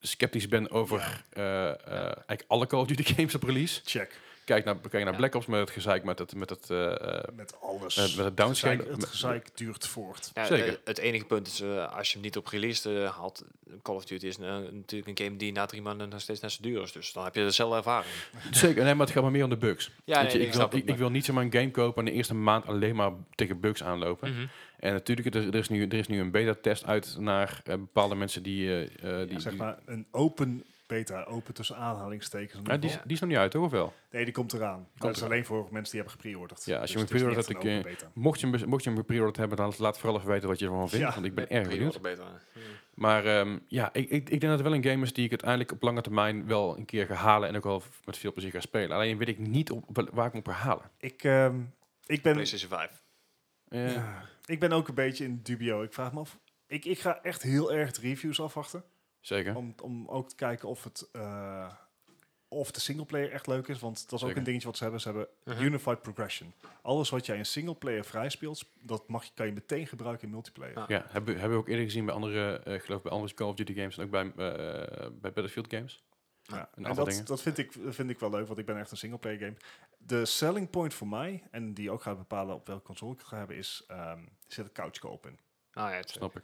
Speaker 1: sceptisch ben over eh, eh, eigenlijk alle Call of Duty games op release.
Speaker 3: Check.
Speaker 1: Kijk naar, kijk naar
Speaker 2: Ja.
Speaker 1: Black Ops met het gezeik, met het, met het, eh, eh,
Speaker 3: Met alles.
Speaker 1: met, met het
Speaker 3: het,
Speaker 1: downscale.
Speaker 3: gezeik, het gezeik duurt voort.
Speaker 2: Ja,
Speaker 1: Zeker.
Speaker 2: eh, Het enige punt is, eh, als je hem niet op release eh, haalt, Call of Duty is eh, natuurlijk een game die na drie maanden nog steeds net zo duur is. Dus dan heb je dezelfde ervaring.
Speaker 1: Zeker, nee, maar het gaat maar meer om de bugs.
Speaker 2: Ja,
Speaker 1: Weet je, ik,
Speaker 2: nee, ik
Speaker 1: wil,
Speaker 2: snap het,
Speaker 1: ik, ik wil niet zomaar een game kopen en de eerste maand alleen maar tegen bugs aanlopen.
Speaker 2: Mm. Mhm.
Speaker 1: En natuurlijk, er, er, is nu, er is nu een beta-test uit naar eh, bepaalde mensen die... eh, eh, die,
Speaker 3: Zeg
Speaker 1: die-
Speaker 3: maar een open beta, open tussen aanhalingstekens.
Speaker 1: Ja, die, is- die is nog niet uit, toch? Of wel?
Speaker 3: Nee, die komt eraan. dat is
Speaker 1: eraan.
Speaker 3: alleen voor mensen die hebben gepreorderd.
Speaker 1: Ja, als je
Speaker 3: Dus
Speaker 1: hem
Speaker 3: het is
Speaker 1: gepreorderd
Speaker 3: niet echt
Speaker 1: hebt,
Speaker 3: een
Speaker 1: dan
Speaker 3: open beta.
Speaker 1: Mocht je hem, bes- mocht je hem gepreorderd hebben, dan laat vooral even weten wat je ervan vindt.
Speaker 3: Ja.
Speaker 1: want ik ben erg benieuwd.
Speaker 2: Beter. hè.
Speaker 1: Maar ehm, ja, ik, ik, ik denk dat het wel een game is die ik uiteindelijk op lange termijn wel een keer ga halen. En ook wel v- met veel plezier ga spelen. Alleen weet ik niet op, op- waar ik hem op ga halen.
Speaker 3: Ik, ehm, ik, ben,
Speaker 2: PlayStation 5.
Speaker 1: Eh,
Speaker 3: ja, ik ben ook een beetje in dubio. Ik vraag me af. Ik, ik ga echt heel erg de reviews afwachten.
Speaker 1: Zeker.
Speaker 3: Om, om ook te kijken of het. eh, of de singleplayer echt leuk is, want dat is ook
Speaker 1: Zeker.
Speaker 3: een dingetje wat ze hebben. Ze hebben
Speaker 2: Mhm.
Speaker 3: unified progression. Alles wat jij in singleplayer vrij speelt, dat mag, je- kan je meteen gebruiken in multiplayer.
Speaker 2: Ja.
Speaker 1: Ja, hebben, we- hebben we ook eerder gezien bij andere, eh, ik geloof bij andere Call of Duty games en ook bij, eh, bij Battlefield games.
Speaker 3: Ja,
Speaker 1: Een
Speaker 3: en
Speaker 1: aantal
Speaker 3: dat,
Speaker 1: dingen.
Speaker 3: dat vind, ik, vind ik wel leuk, want ik ben echt een singleplayer game. De selling point voor mij, en die ook gaat bepalen op welke console ik het ga hebben, is ehm zit een couch co-op in.
Speaker 2: Ah, ja, het,
Speaker 1: Snap ik.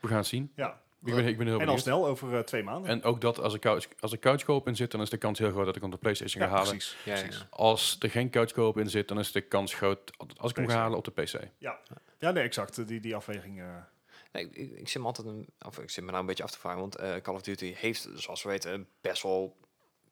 Speaker 1: We gaan het zien.
Speaker 3: Ja,
Speaker 1: Ik ben, ik ben heel
Speaker 3: en al
Speaker 1: benieuwd.
Speaker 3: snel over eh, twee maanden.
Speaker 1: En ook dat als er couch, als er couch co-op in zit, dan is de kans heel groot dat ik hem op de PlayStation
Speaker 3: ja,
Speaker 1: ga halen.
Speaker 3: precies.
Speaker 2: ja, ja,
Speaker 3: precies.
Speaker 2: ja.
Speaker 1: Als er geen couch co-op in zit, dan is de kans groot als ik hem ga
Speaker 3: PC.
Speaker 1: halen op de PC.
Speaker 3: Ja, nee, exact. Die, die afweging. eh,
Speaker 2: Nee, ik, ik, ik zit me altijd een, of ik zit me nou een beetje af te vragen, want eh, Call of Duty heeft, zoals we weten, een best wel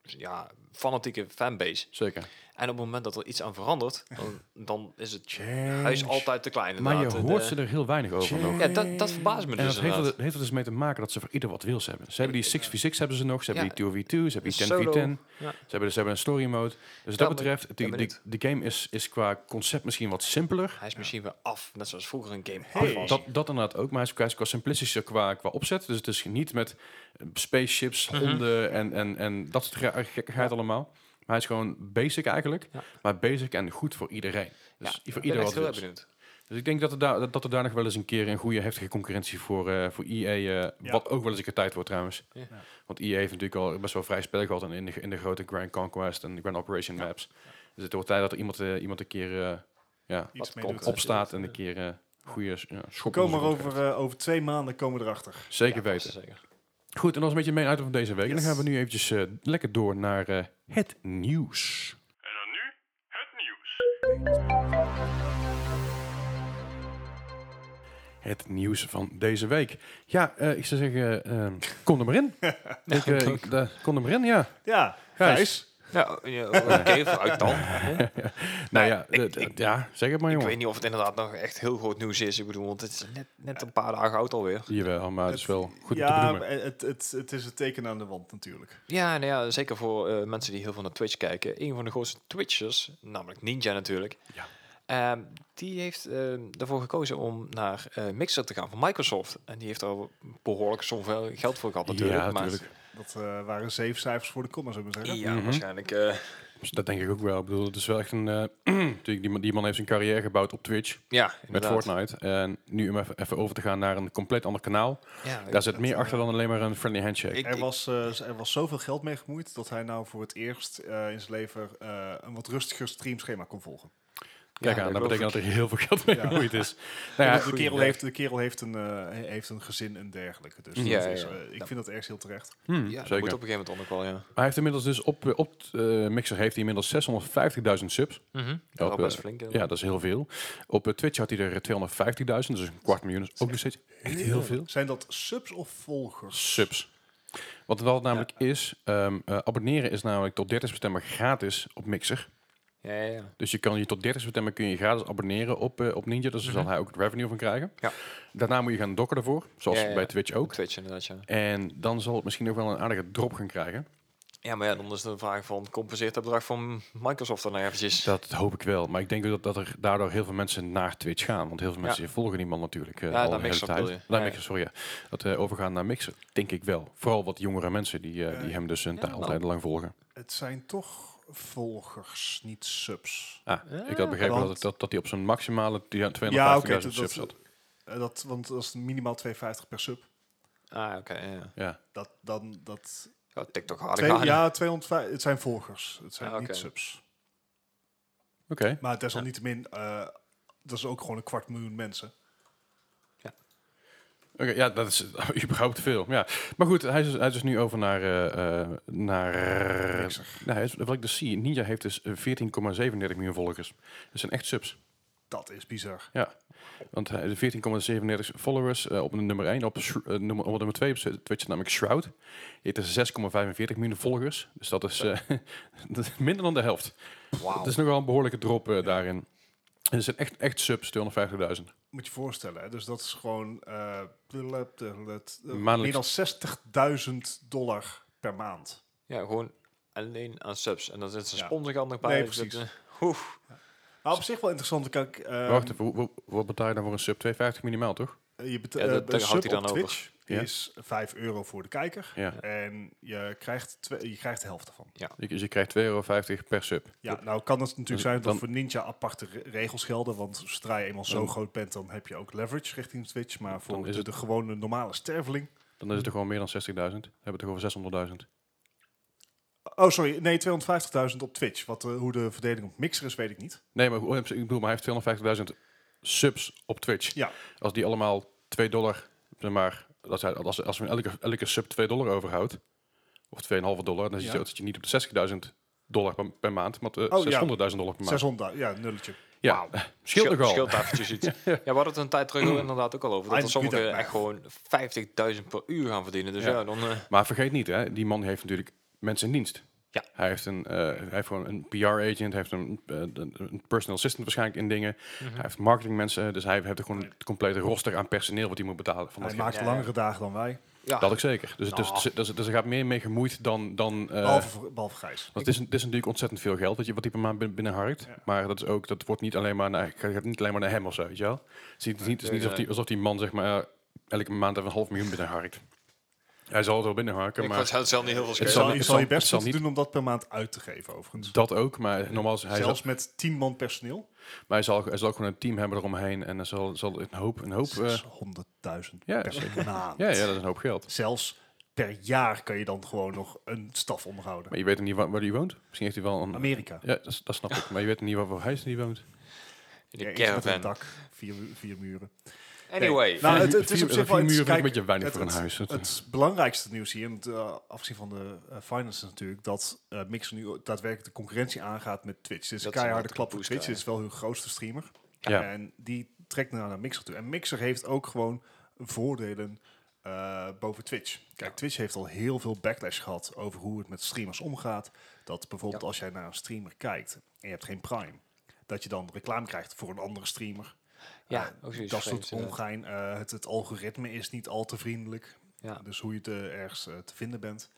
Speaker 2: ja, fanatieke fanbase.
Speaker 1: Zeker.
Speaker 2: En op het moment dat er iets aan verandert, dan, dan is het huis altijd te klein.
Speaker 1: Maar je
Speaker 2: inderdaad.
Speaker 1: hoort
Speaker 2: De-
Speaker 1: ze er heel weinig over nog.
Speaker 2: Ja, dat, dat verbaast me
Speaker 1: En
Speaker 2: dus
Speaker 1: dat heeft,
Speaker 2: inderdaad.
Speaker 1: er, heeft er dus mee te maken dat ze voor ieder wat wils hebben. Ze hebben die 6v6 hebben ze nog, ze hebben
Speaker 2: Ja.
Speaker 1: die 2v2, ze hebben die 10v10.
Speaker 2: Solo. Ja.
Speaker 1: Ze hebben, ze hebben een story mode. Dus wat
Speaker 2: Ja,
Speaker 1: dat
Speaker 2: maar-
Speaker 1: betreft, die-
Speaker 2: ja, maar
Speaker 1: die-
Speaker 2: niet.
Speaker 1: de game is, is qua concept misschien wat simpeler.
Speaker 2: Hij is misschien weer af, net zoals vroeger een game
Speaker 3: Hey.
Speaker 2: af was.
Speaker 1: Dat, dat inderdaad ook, maar hij is qua, hij is qua simplistischer qua, qua opzet. Dus het is niet met eh, spaceships,
Speaker 2: Mhm.
Speaker 1: honden en, en, en dat soort ge- gekkigheid allemaal. Maar hij is gewoon basic eigenlijk.
Speaker 2: Ja.
Speaker 1: Maar basic en goed voor iedereen. Dus
Speaker 2: ja,
Speaker 1: voor
Speaker 2: ik ben
Speaker 1: ieder
Speaker 2: echt
Speaker 1: wat
Speaker 2: heel
Speaker 1: wils.
Speaker 2: erg benieuwd.
Speaker 1: Dus ik denk dat er, daar, dat- dat er daar nog wel eens een keer een goede heftige concurrentie voor, eh voor EA, eh,
Speaker 3: Ja.
Speaker 1: wat ook wel eens een keer tijd wordt trouwens.
Speaker 2: Ja. Ja.
Speaker 1: Want EA heeft natuurlijk al best wel vrij spel gehad in de, in de grote Grand Conquest en Grand Operation maps. Dus het wordt tijd dat er iemand, eh, iemand een keer eh, ja,
Speaker 3: iets mee
Speaker 2: klopt.
Speaker 3: doet.
Speaker 1: opstaat en een keer eh goede s- ja, schop.
Speaker 3: Kom
Speaker 1: in de
Speaker 3: maar
Speaker 1: rug
Speaker 3: over, eh, over twee maanden komen we erachter.
Speaker 1: krijgt. Zeker
Speaker 2: Ja,
Speaker 1: weten.
Speaker 2: zeker.
Speaker 1: Goed, en dat is een beetje mijn item van deze week. En
Speaker 3: Yes.
Speaker 1: dan gaan we nu eventjes eh, lekker door naar eh, het nieuws.
Speaker 4: En dan nu het nieuws.
Speaker 1: Het nieuws van deze week. Ja, eh, ik zou zeggen, eh, kom er maar in. ik, eh, ik, eh, kom er maar in, ja.
Speaker 3: Ja,
Speaker 1: Gijs.
Speaker 3: Gijs.
Speaker 2: Ja, ja, oké, vooruit dan.
Speaker 1: Nou ja, eh, d- ja, zeg het maar
Speaker 2: Ik
Speaker 1: jongen.
Speaker 2: weet niet of het inderdaad nog echt heel groot nieuws is. Ik bedoel, want het is net, net een paar dagen oud alweer.
Speaker 1: Jawel, maar het is wel goed om te
Speaker 3: ja,
Speaker 1: benoemen.
Speaker 3: maar het, het, het is het teken aan de wand natuurlijk.
Speaker 2: Ja, nou ja zeker voor eh, mensen die heel veel naar Twitch kijken. Een van de grootste Twitchers, namelijk Ninja natuurlijk.
Speaker 1: Ja.
Speaker 2: ehm, die heeft ehm, ervoor daarvoor gekozen om naar eh, Mixer te gaan van Microsoft. En die heeft er een behoorlijke som veel geld voor gehad natuurlijk.
Speaker 1: Ja,
Speaker 2: maar-
Speaker 1: natuurlijk.
Speaker 3: Dat eh, waren zeven cijfers voor de comma, zou ik maar zeggen.
Speaker 2: Ja,
Speaker 1: Mhm.
Speaker 2: waarschijnlijk. eh,
Speaker 1: Dus dat denk ik ook wel. Ik bedoel, het is wel echt een... eh, natuurlijk, die, man, die man heeft zijn carrière gebouwd op Twitch
Speaker 2: Ja,
Speaker 1: met
Speaker 2: inderdaad.
Speaker 1: Fortnite. En nu om even, even over te gaan naar een compleet ander kanaal.
Speaker 2: Ja, ik-
Speaker 1: Daar zit meer achter dan alleen maar een friendly handshake.
Speaker 2: ik-
Speaker 3: Er
Speaker 2: ik-
Speaker 3: was, eh, er was zoveel geld mee gemoeid dat hij nou voor het eerst eh, in zijn leven eh, een wat rustiger streamschema kon volgen.
Speaker 1: Kijk
Speaker 2: ja,
Speaker 1: aan, dat
Speaker 2: dat
Speaker 1: betekent
Speaker 2: geloof
Speaker 1: dat er heel veel geld mee
Speaker 3: Ja.
Speaker 1: gemoeid is.
Speaker 3: En
Speaker 1: Nou ja,
Speaker 3: dat de,
Speaker 1: goed,
Speaker 3: kerel
Speaker 1: ja.
Speaker 3: heeft, de kerel heeft een, eh, he- heeft een gezin en dergelijke. Dus
Speaker 2: Ja,
Speaker 3: dat
Speaker 2: ja,
Speaker 3: is,
Speaker 2: ja.
Speaker 3: eh, ik
Speaker 2: Ja.
Speaker 3: vind dat ergens heel terecht.
Speaker 1: Hmm,
Speaker 2: Ja, dat
Speaker 1: zeker.
Speaker 2: moet op een gegeven moment onder wel, ja.
Speaker 1: Maar hij heeft inmiddels dus op, op eh, Mixer heeft hij inmiddels 650.000 subs.
Speaker 3: Mhm.
Speaker 2: Dat
Speaker 1: Op,
Speaker 2: was best
Speaker 1: eh,
Speaker 2: flink.
Speaker 1: Ja, dat is heel veel. Op eh, Twitch had hij er 250.000, dus een kwart miljoen. is ook nog steeds echt heel veel.
Speaker 3: Zijn dat subs of volgers?
Speaker 1: Subs. Wat het wel namelijk is, ehm, eh, abonneren is namelijk tot 30 september gratis op Mixer.
Speaker 2: Ja, ja, ja.
Speaker 1: Dus je kan je tot 30 september kun je gratis abonneren op, eh, op Ninja. Dus daar zal hij ook het revenue van krijgen.
Speaker 2: Mhm. Ja.
Speaker 1: Daarna moet je gaan dokken ervoor, zoals
Speaker 2: Ja, ja, ja.
Speaker 1: bij Twitch
Speaker 2: Op
Speaker 1: ook.
Speaker 2: Twitch inderdaad, ja.
Speaker 1: En dan zal het misschien ook wel een aardige drop gaan krijgen.
Speaker 2: Ja, maar ja, dan is de vraag van, compenseert dat bedrag van Microsoft dan nou eventjes?
Speaker 1: Dat hoop ik wel. Maar ik denk dat, dat er daardoor heel veel mensen naar Twitch gaan. Want heel veel mensen volgen die man natuurlijk eh
Speaker 2: Ja,
Speaker 1: al
Speaker 2: naar
Speaker 1: de hele
Speaker 2: Mixer
Speaker 1: tijd.
Speaker 2: bedoel je.
Speaker 1: Naar
Speaker 2: Ja,
Speaker 1: Mixer, sorry. Ja. Dat eh, overgaan naar Mixer, denk ik wel. Vooral wat jongere mensen die, eh, die hem dus een taal tijd lang volgen.
Speaker 3: Het zijn toch volgers, niet subs.
Speaker 1: Ah, ik had begrepen
Speaker 3: want-
Speaker 1: dat, dat, dat hij op zijn maximale die- 250.000
Speaker 3: dat-
Speaker 1: subs
Speaker 3: dat-
Speaker 1: zat.
Speaker 3: eh, dat, want dat is minimaal 250 per sub.
Speaker 2: Ah, oké, ja, ja.
Speaker 1: Ja.
Speaker 3: Dat, dan, dat,
Speaker 2: Ja, TikTok harder
Speaker 3: twee,
Speaker 2: gaan.
Speaker 3: ja, 250, het zijn volgers, het zijn
Speaker 2: Ah, oké.
Speaker 3: niet subs.
Speaker 1: Oké.
Speaker 3: Maar desalniettemin, eh dat is ook gewoon een kwart miljoen mensen.
Speaker 1: Oké, ja, dat is überhaupt te veel. Ja. Maar goed, hij is, hij is dus nu over naar... eh, eh, naar nou, hij is- wat ik dus zie, Ninja heeft dus 14,37 miljoen volgers. Dat zijn echt subs.
Speaker 3: Dat is bizar.
Speaker 1: Ja, want hij- de 14,37 followers eh, op nummer 1. Op, Sh- eh, nummer, op nummer 2 op Twitch is namelijk Shroud. Die heeft dus 6,45 miljoen volgers. Dus dat is eh, dat is minder dan de helft.
Speaker 2: Wauw.
Speaker 1: Het is nogal een behoorlijke drop eh, daarin. En er zijn echt, echt subs, 250.000.
Speaker 3: Moet je voorstellen, hè? dus dat is gewoon eh, blub, blub, blub, eh, meer dan
Speaker 1: Maandelijks.
Speaker 3: 60.000 dollar per maand.
Speaker 2: Ja, gewoon alleen aan subs. En dan zit zijn
Speaker 3: Ja.
Speaker 2: sponsor er nog bij.
Speaker 3: Nee,
Speaker 2: Dus dat,
Speaker 3: precies.
Speaker 2: eh, oeh.
Speaker 3: Maar op zich wel interessant. Kijk, eh,
Speaker 1: Wacht even, hoe- hoe- wat betaal je dan voor een sub? 2,50 minimaal, toch?
Speaker 3: je bet-
Speaker 2: Ja, dat-
Speaker 3: eh,
Speaker 2: daar
Speaker 3: een
Speaker 2: houdt
Speaker 3: sub
Speaker 2: hij dan
Speaker 3: op
Speaker 2: over.
Speaker 3: Twitch
Speaker 1: Ja.
Speaker 3: is 5 euro voor de kijker.
Speaker 1: Ja.
Speaker 3: En je krijgt, twee, je krijgt de helft ervan.
Speaker 1: Je- Dus je krijgt 2,50 per sub.
Speaker 3: Ja, nou kan het natuurlijk
Speaker 1: Dus
Speaker 3: zijn dat
Speaker 1: dan-
Speaker 3: voor Ninja aparte re- regels gelden. Want zodra je eenmaal zo
Speaker 1: Dan-
Speaker 3: groot bent, dan heb je ook leverage richting Twitch. Maar
Speaker 1: Dan
Speaker 3: voor
Speaker 1: is
Speaker 3: de,
Speaker 1: het-
Speaker 3: de gewone normale sterveling...
Speaker 1: Dan is het toch gewoon meer dan 60.000. Dan hebben we het toch over 600.000.
Speaker 3: Oh, sorry. Nee, 250.000 op Twitch. Wat, eh, hoe de verdeling op Mixer is, weet ik niet.
Speaker 1: Nee, maar hoe- ik bedoel, maar hij heeft 250.000 subs op Twitch.
Speaker 3: Ja.
Speaker 1: Als die allemaal 2 dollar, zeg maar, als, hij, als, als hij elke, elke sub 2 dollar overhoudt, of 2,5 dollar, dan zit je
Speaker 3: Ja.
Speaker 1: ook dat je niet op de 60.000 dollar per, per maand, maar eh,
Speaker 3: Oh, ja.
Speaker 1: 600.000 dollar per maand.
Speaker 3: 600, ja, nulletje.
Speaker 1: Ja, scheelt toch al.
Speaker 2: Scheelt eventjes iets. ja, we hadden het een tijd terug inderdaad ook al over. Dat
Speaker 3: Hm. Eindelijk
Speaker 2: er sommigen
Speaker 3: doet dat
Speaker 2: echt gewoon 50.000 per uur gaan verdienen. Dus
Speaker 1: Ja.
Speaker 2: ja, dan... eh,
Speaker 1: Maar vergeet niet, hè, die man heeft natuurlijk mensen in dienst.
Speaker 2: Ja.
Speaker 1: Hij heeft, een, eh, hij heeft gewoon een PR-agent, hij heeft een, eh, een- een personal assistant waarschijnlijk in dingen.
Speaker 3: Mhm.
Speaker 1: Hij heeft marketingmensen, dus hij heeft gewoon het complete roster aan personeel wat hij moet betalen. Van
Speaker 3: Hij
Speaker 1: dat,
Speaker 3: maakt
Speaker 2: ja, ja.
Speaker 3: langere dagen dan
Speaker 1: Eh,
Speaker 3: wij.
Speaker 2: ja.
Speaker 1: dat ook zeker. Dus, het is-
Speaker 2: Nou.
Speaker 1: dus, dus, er gaat meer mee gemoeid dan... dan eh,
Speaker 3: Behalve, voor- behalve Gijs.
Speaker 1: Want het is, het is natuurlijk ontzettend veel geld wat je wat die per maand bin- binnenharkt. Maar dat is ook, dat wordt niet alleen maar naar, gaat niet alleen maar naar hem of zo, weet je wel. Het is niet, het is niet- het is niet alsof, die, alsof die man zeg maar eh, elke maand even een half miljoen binnenharkt. Hij zal het wel binnenharken,
Speaker 2: Ik
Speaker 1: maar
Speaker 2: was het zelf niet heel veel
Speaker 1: Het
Speaker 3: Je
Speaker 2: schelen.
Speaker 1: zal
Speaker 3: zal,
Speaker 1: niet- het
Speaker 3: je,
Speaker 1: zal-
Speaker 3: zal je
Speaker 1: het
Speaker 3: best
Speaker 1: zal
Speaker 3: moeten
Speaker 1: niet-
Speaker 3: doen om dat per maand uit te geven, overigens.
Speaker 1: dat ook. Maar normaal is hij, zal,
Speaker 3: Zelfs met 10 man personeel.
Speaker 1: maar hij, zal, hij zal ook gewoon een team hebben eromheen en er zal, zal een hoop, een hoop. eh,
Speaker 3: 600.000
Speaker 1: ja,
Speaker 3: per maand.
Speaker 1: ja, ja, dat is een hoop geld.
Speaker 3: Zelfs per jaar kan je dan gewoon nog een staf onderhouden.
Speaker 1: Maar je weet niet waar, waar hij woont. Misschien heeft hij wel een.
Speaker 3: Amerika.
Speaker 1: Ja, dat, dat snap ik. Maar je weet niet waar, waar hij niet woont.
Speaker 2: In
Speaker 3: Ja,
Speaker 2: de
Speaker 3: iets met een
Speaker 2: caravan.
Speaker 3: dak, vier, vier muren.
Speaker 2: Anyway.
Speaker 3: Nou,
Speaker 1: Vier-
Speaker 3: het, het is op
Speaker 1: vier-
Speaker 3: zich wel
Speaker 1: vier muren
Speaker 3: iets-
Speaker 1: vind ik
Speaker 3: kijk,
Speaker 1: een beetje weinig
Speaker 3: het-
Speaker 1: voor een
Speaker 3: het-
Speaker 1: huis. Dat- eh.
Speaker 3: Het belangrijkste nieuws hier, en, eh, afgezien van de eh, finance natuurlijk, dat eh Mixer nu daadwerkelijk de concurrentie aangaat met Twitch. Dit is
Speaker 2: Dat
Speaker 3: een
Speaker 2: is
Speaker 3: keiharde
Speaker 2: inderdaad
Speaker 3: klap
Speaker 2: een
Speaker 3: voor
Speaker 2: boost
Speaker 3: Twitch. Dit
Speaker 2: daar,
Speaker 3: is wel hun grootste streamer.
Speaker 1: Ja.
Speaker 3: En die trekt nou naar Mixer toe. En Mixer heeft ook gewoon voordelen eh, boven Twitch. Kijk, Twitch heeft al heel veel backlash gehad over hoe het met streamers omgaat. Dat bijvoorbeeld als jij naar een streamer kijkt en je hebt geen Prime, dat je dan reclame krijgt voor een andere streamer.
Speaker 2: Ja,
Speaker 3: Eh,
Speaker 2: ook zoiets
Speaker 3: dat
Speaker 2: vreemds,
Speaker 3: soort ongein. Eh, het, het algoritme is niet al te vriendelijk.
Speaker 2: Ja.
Speaker 3: eh, Dus hoe je te ergens eh, te vinden bent.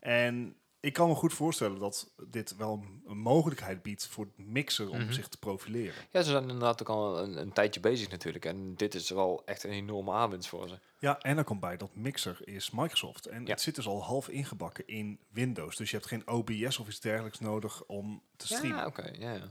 Speaker 3: En ik kan me goed voorstellen dat dit wel een- een mogelijkheid biedt voor Mixer om
Speaker 2: Mhm.
Speaker 3: zich te profileren.
Speaker 2: Ja, ze zijn inderdaad ook al een, een tijdje bezig natuurlijk. En dit is wel echt een enorme aanwinst voor ze.
Speaker 3: Ja, en er komt bij dat Mixer is Microsoft. En
Speaker 2: Ja.
Speaker 3: het zit dus al half ingebakken in Windows. Dus je hebt geen OBS of iets dergelijks nodig om te streamen.
Speaker 2: Ja, oké. ja, ja.